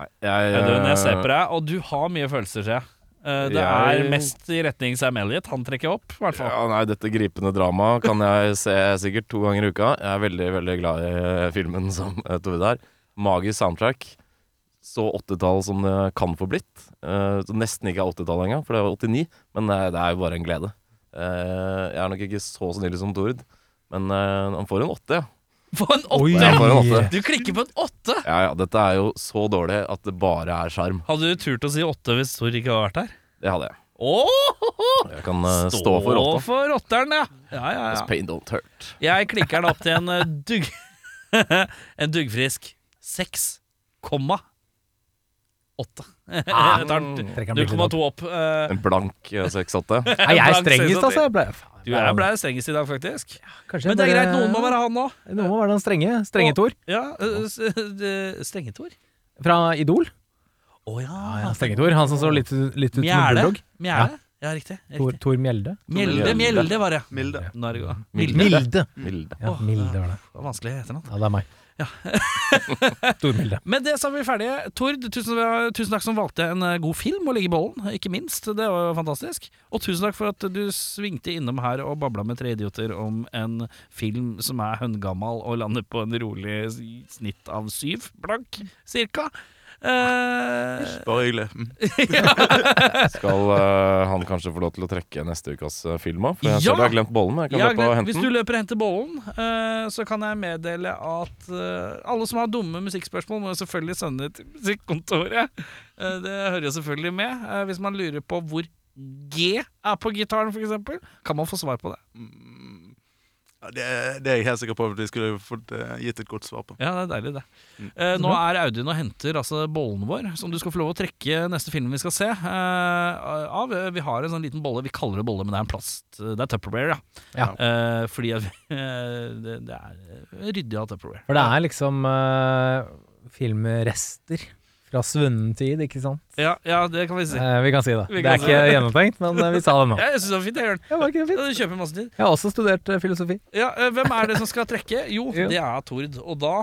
Speaker 3: jeg, eh,
Speaker 1: Audun, jeg ser på deg, og du har mye følelser, ser jeg. Eh, Det
Speaker 3: Jeg-
Speaker 1: er mest i retning Sam Elliot. Han trekker opp, i hvert fall.
Speaker 3: Ja, nei, dette gripende dramaet kan jeg se sikkert to ganger i uka. Jeg er veldig veldig glad i eh, filmen som eh, Tove der. Magisk soundtrack. Så 80-tall som det kan få blitt. Eh, så nesten ikke er 80-tall engang, for det var 89. Men eh, det er jo bare en glede. Eh, jeg er nok ikke så snill som Tord, men eh, han får en åtte, ja.
Speaker 1: Få en
Speaker 2: Oi.
Speaker 1: åtte!
Speaker 3: Jeg får en åtte.
Speaker 1: Du klikker på en åtte!
Speaker 3: Ja, ja, dette er jo så dårlig at det bare er sjarm.
Speaker 1: Hadde du turt å si åtte hvis Tor ikke hadde vært her?
Speaker 3: Det hadde jeg.
Speaker 1: Åh!
Speaker 3: Jeg kan eh, stå for
Speaker 1: Stå
Speaker 3: åtta.
Speaker 1: for åtteren, ja. Ja, ja,
Speaker 3: As
Speaker 1: ja.
Speaker 3: pain don't hurt.
Speaker 1: Jeg klikker den opp til en eh, dugg... en duggfrisk seks komma åtte. Jeg tar den
Speaker 2: Trekker han bildet opp.
Speaker 1: 0,2 opp. eh,
Speaker 3: En blank eh, 6-8.
Speaker 2: Nei, jeg er strengest, altså. Jeg ble, faen,
Speaker 1: Du er ble strengest i dag, faktisk.
Speaker 2: Kanskje
Speaker 1: Men
Speaker 2: jeg
Speaker 1: det er
Speaker 2: bare-
Speaker 1: greit, noen må være han nå.
Speaker 2: Noen må være den strenge. Strenge Tor.
Speaker 1: Ja, eh, s- eh, Stengetor?
Speaker 2: Fra Idol.
Speaker 1: Å
Speaker 2: Ja,
Speaker 1: Ah, ja.
Speaker 2: Ah, strenge Tor. Han som så litt, litt ut som en
Speaker 1: Mjelde.
Speaker 2: bulldog.
Speaker 1: Mjelde. Ja, riktig.
Speaker 2: Tor,
Speaker 1: riktig.
Speaker 2: Tor Mjelde.
Speaker 1: Mjelde, Mjelde var det.
Speaker 5: Milde.
Speaker 1: Nå er det godt.
Speaker 3: Milde.
Speaker 2: Milde.
Speaker 3: Milde.
Speaker 2: Ja,
Speaker 1: Åh,
Speaker 2: Milde var det.
Speaker 1: Det var vanskelig etternavn.
Speaker 2: Ja, det er meg.
Speaker 1: Ja.
Speaker 2: Tor Milde.
Speaker 1: Med det så er vi ferdige. Tord, tusen, eh, tusen takk som valgte en eh, god film å ligge i bollen, ikke minst. Det var jo fantastisk. Og tusen takk for at du svingte innom her og babla med tre idioter om en film som er høngammal og lander på en rolig s- snitt av syv blank, cirka. Eh,
Speaker 5: Bare hyggelig. Mm.
Speaker 3: Skal eh, han kanskje få lov til å trekke neste ukas eh, film òg? For jeg
Speaker 1: Ja!
Speaker 3: ser du har glemt bollen. men Jeg kan
Speaker 1: Ja,
Speaker 3: løpe og
Speaker 1: Hvis
Speaker 3: hente
Speaker 1: du
Speaker 3: den.
Speaker 1: løper og henter bollen, eh, så kan jeg meddele at eh, alle som har dumme musikkspørsmål, må jo selvfølgelig sende det til musikkontoret. Eh, det hører jo selvfølgelig med. Eh, hvis man lurer på hvor G er på gitaren, f.eks., kan man få svar på det.
Speaker 5: Mm. Ja, det, det er jeg helt sikker på at vi skulle fått eh, gitt et godt svar på.
Speaker 1: Ja, det er deilig, det. Eh,
Speaker 3: Mm.
Speaker 1: nå er Audun og henter altså bollen vår, som du skal få lov å trekke neste film vi skal se. eh, av. Vi har en sånn liten bolle. Vi kaller det bolle, men det er en plast. Det er Tupperware, ja.
Speaker 2: Ja.
Speaker 1: Eh, fordi at vi, eh, det, det er ryddig av Tupperware.
Speaker 2: For det er liksom eh, filmrester fra svunnen tid, ikke sant?
Speaker 1: Ja, ja, det kan vi si.
Speaker 2: Eh, vi kan si det.
Speaker 1: Vi
Speaker 2: Det
Speaker 1: kan
Speaker 2: er
Speaker 1: si
Speaker 2: ikke gjennomtenkt, men eh, vi sa det nå.
Speaker 1: Ja, jeg syns det var fint. Jeg gjør den.
Speaker 2: Ja, var ikke det
Speaker 1: Ja,
Speaker 2: fint?
Speaker 1: Du kjøper masse tid.
Speaker 2: Jeg har også studert eh, filosofi.
Speaker 1: Ja, eh, Hvem er det som skal trekke? Jo,
Speaker 2: Ja.
Speaker 1: det er Tord. Og da,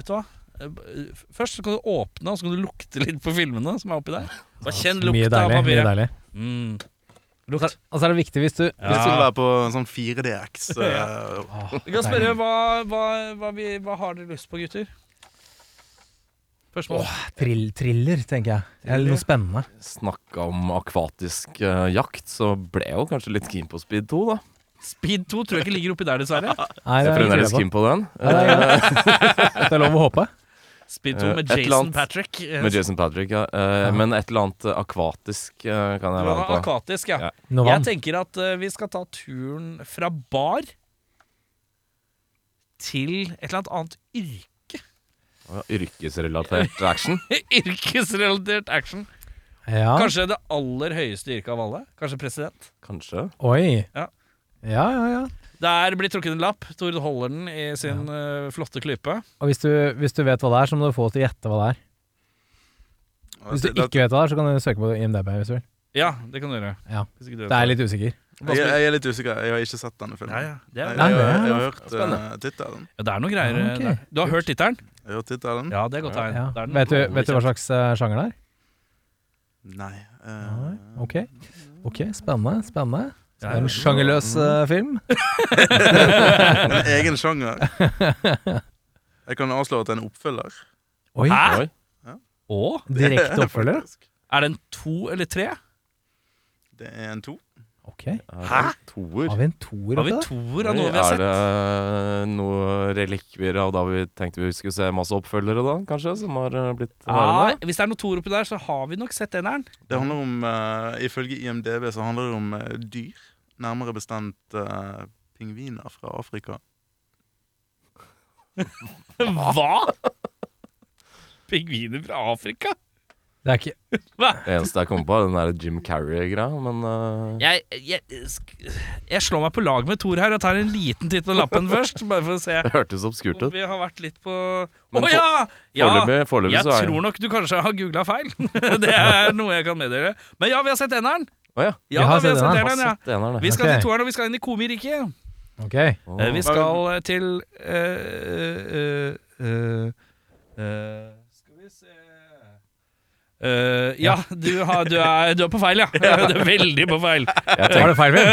Speaker 1: vet du hva Eh, b- Først så kan du åpne, og så kan du lukte litt på filmene som er oppi der. Bare kjenn
Speaker 2: Mye
Speaker 1: lukta av
Speaker 2: deilig. Mye
Speaker 1: papiret.
Speaker 2: deilig.
Speaker 1: Mm.
Speaker 2: Og så- Og så er det viktig hvis du
Speaker 5: Vi skulle være på sånn 4DX. eh,
Speaker 2: Åh,
Speaker 1: Vi kan
Speaker 2: deilig.
Speaker 1: spørre hva, hva, hva, vi, hva har dere lyst på, gutter? Spørsmål.
Speaker 2: Trill, Thriller, tenker jeg. Eller noe spennende.
Speaker 3: Snakka om akvatisk eh, jakt, så ble jeg jo kanskje litt keen på Speed 2, da.
Speaker 1: Speed 2 tror jeg ikke ligger oppi der, dessverre.
Speaker 2: Nei,
Speaker 3: Jeg er
Speaker 2: det er
Speaker 3: fremdeles
Speaker 2: ikke det
Speaker 3: keen på den.
Speaker 2: på. Nei, det er greit. Det er lov å håpe.
Speaker 1: Speed 2 med
Speaker 3: Eh, et eller
Speaker 1: Jason
Speaker 3: annet
Speaker 1: Patrick. eh,
Speaker 3: Med Jason Patrick, ja. Eh, Men et eller annet eh, akvatisk eh, kan jeg
Speaker 1: som
Speaker 3: være
Speaker 1: er
Speaker 3: med på.
Speaker 1: Akvatisk, ja.
Speaker 3: Ja.
Speaker 2: Noe
Speaker 1: Jeg
Speaker 2: vann.
Speaker 1: tenker at eh, vi skal ta turen fra bar til et eller annet annet yr
Speaker 3: Ja, Yrkesrelatert action.
Speaker 1: yrkesrelatert action.
Speaker 2: Ja.
Speaker 1: Kanskje det aller høyeste yrket av alle. Kanskje president.
Speaker 3: Kanskje.
Speaker 2: Oi.
Speaker 1: Ja.
Speaker 2: Ja, ja, ja.
Speaker 1: Der blir trukket en lapp. Tord holder den i sin eh, flotte klype.
Speaker 2: Og hvis du, hvis du vet hva det er, så må du få til å gjette hva det er. Hvis du
Speaker 5: det- det-
Speaker 2: ikke vet hva det er, så kan du søke på IMDb hvis du vil.
Speaker 1: Ja, det kan du gjøre.
Speaker 2: Ja.
Speaker 1: Hvis ikke du vet
Speaker 2: Det er litt usikker.
Speaker 5: jeg, jeg er litt usikker. Jeg har ikke sett denne filmen.
Speaker 1: ja, ja. Det,
Speaker 5: Jeg,
Speaker 1: er,
Speaker 2: Nei,
Speaker 5: jeg,
Speaker 2: det er
Speaker 5: jeg, har hørt uh, tittelen.
Speaker 1: ja, det er noe greier
Speaker 2: Ja, ok.
Speaker 1: der. Du har hørt tittelen?
Speaker 5: Jeg har hørt tittelen.
Speaker 1: Ja, det er godt tegn.
Speaker 2: Ja.
Speaker 1: Det er den
Speaker 2: Vet, du,
Speaker 1: aller
Speaker 2: vet du hva slags eh, sjanger det er?
Speaker 5: Nei.
Speaker 2: Nei.
Speaker 5: eh,
Speaker 2: Ok. Ok, Spennende. spennende. Det
Speaker 1: kjente.
Speaker 2: er en sjangerløs eh, film.
Speaker 5: En egen sjanger. Jeg kan avslå at det er en oppfølger.
Speaker 2: Oi,
Speaker 1: Hæ?
Speaker 3: Oi.
Speaker 1: Og
Speaker 2: Direkte oppfølger?
Speaker 5: faktisk.
Speaker 1: er den to eller tre?
Speaker 5: Det er en to.
Speaker 2: Ok.
Speaker 3: Hæ? Toer.
Speaker 2: Har vi en toer
Speaker 1: Har vi
Speaker 2: oppi der?
Speaker 1: toer av
Speaker 3: Oi,
Speaker 1: noe vi har
Speaker 3: er
Speaker 1: sett?
Speaker 3: det noen relikvier av da vi tenkte vi skulle se masse oppfølgere, da, kanskje? Som har eh, blitt
Speaker 1: Ja,
Speaker 3: værende?
Speaker 1: Ah, hvis det er noe toer oppi der, så har vi nok sett eneren.
Speaker 5: Det handler om, eh, Ifølge IMDb så handler det om eh, dyr. Nærmere bestemt eh, pingviner fra Afrika.
Speaker 1: Hva?! Pingviner fra Afrika?
Speaker 2: Det er ikke
Speaker 3: Det eneste jeg kom på, er den der Jim Carrey-greia, men eh,
Speaker 1: Jeg, jeg, sk- jeg slår meg på lag med Tor her og tar en liten titt på lappen først. Bare for å se
Speaker 3: det hørtes obskurt
Speaker 1: om
Speaker 3: ut.
Speaker 1: vi har vært litt på Å
Speaker 3: Men for-
Speaker 1: ja! ja!
Speaker 3: Foreløpig foreløpig
Speaker 1: Jeg
Speaker 3: så er
Speaker 1: tror nok du kanskje har googla feil. Det er noe jeg kan meddele. Men ja, vi har sett eneren!
Speaker 3: Å ja.
Speaker 1: Ja,
Speaker 2: Vi
Speaker 1: da,
Speaker 2: har
Speaker 1: vi
Speaker 2: sett
Speaker 1: har sett
Speaker 2: eneren.
Speaker 1: eneren, ja.
Speaker 3: Det ene er det.
Speaker 1: Vi skal
Speaker 2: Ok.
Speaker 1: til toeren, og vi skal inn i komiriket.
Speaker 2: Ok.
Speaker 3: Å.
Speaker 1: Eh, Vi skal eh, til eh, eh, eh, eh, Skal vi se Eh, Ja, du, har, du, er, du er på feil, ja. Du er veldig på feil.
Speaker 3: Jeg
Speaker 2: Var
Speaker 3: tenker,
Speaker 2: det feil film?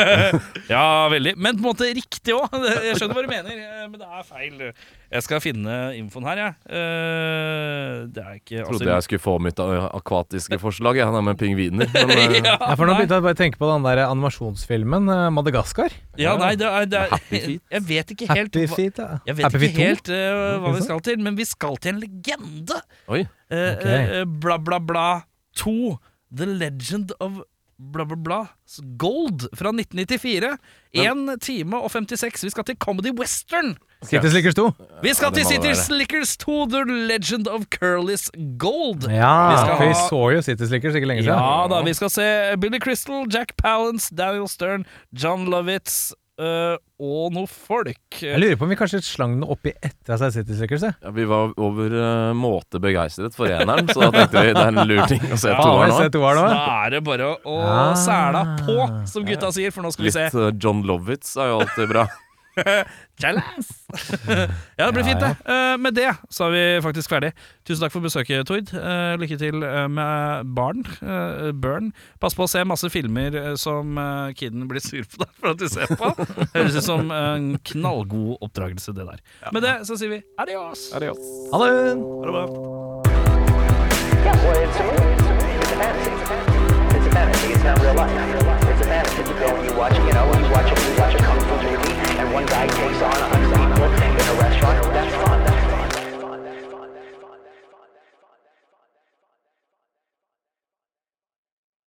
Speaker 1: Ja, veldig. Men på en måte riktig òg. Jeg skjønner hva du mener, eh, men det er feil. Jeg skal finne infoen her, jeg. Eh, det er ikke
Speaker 3: Trodde jeg skulle få mitt uh, akvatiske forslag, jeg, han er med pingviner. Men uh,
Speaker 1: ja,
Speaker 2: Ja, for nå
Speaker 1: nei.
Speaker 2: begynte jeg bare å tenke på den der animasjonsfilmen eh, Madagaskar.
Speaker 1: ja, nei, det er, det er
Speaker 3: Happy Feet.
Speaker 1: Jeg vet ikke helt
Speaker 2: Happy
Speaker 1: hva-
Speaker 2: Feet. ja.
Speaker 1: Jeg vet
Speaker 2: Happy Feet
Speaker 1: ikke
Speaker 2: 2.
Speaker 1: helt eh, hva vi
Speaker 2: Ikke sant?
Speaker 1: skal til, men vi skal til en legende.
Speaker 3: oi.
Speaker 1: Eh,
Speaker 2: Ok.
Speaker 1: eh, bla, bla, bla 2. The Legend of bla, bla, bla Gold fra 1994. 1 time og 56. Vi skal til Comedy Western.
Speaker 2: City Slickers 2.
Speaker 1: Vi skal
Speaker 3: Ja, det
Speaker 1: til
Speaker 3: må det
Speaker 1: City
Speaker 3: være.
Speaker 1: Slickers 2, The Legend of Curly's Gold.
Speaker 2: Ja,
Speaker 1: altså. skal
Speaker 2: for vi
Speaker 1: ha-
Speaker 2: så jo City Slickers ikke lenge siden.
Speaker 1: Ja da, vi skal se Billy Crystal, Jack Palance, Daniel Stern, John Lovitz eh, og noe folk. Eh,
Speaker 2: Jeg lurer på om vi kanskje slang den oppi etter seg City Slickers. jeg.
Speaker 3: Ja, vi var over uh, måte begeistret for eneren, så da tenkte vi det er en lur ting å se
Speaker 2: Faen,
Speaker 3: toeren
Speaker 2: jeg
Speaker 3: nå.
Speaker 2: ser toeren
Speaker 1: Så
Speaker 2: nå.
Speaker 1: da er det bare å, å
Speaker 2: Ah.
Speaker 1: sæla på, som gutta sier, for nå skal vi
Speaker 3: Litt
Speaker 1: se.
Speaker 3: uh, John Lovitz er jo alltid bra.
Speaker 1: Challenge! ja, det blir fint, det. Eh, med det så er vi faktisk ferdig. Tusen takk for besøket, Tord. Eh, lykke til eh, med barn. eh, burn. Pass på å se masse filmer eh, som eh, kiden blir sur på deg for at du ser på. Høres ut som en knallgod oppdragelse, det der. Med det så sier vi adios!
Speaker 2: Ha det!
Speaker 4: Yeah, well, it's a movie. It's a movie. It's a fantasy. It's a fantasy. It's not real life. It's a fantasy. You go and you watch, you know, you watch, you watch a kung fu movie, and one guy takes on a hundred people in a restaurant. That's fun.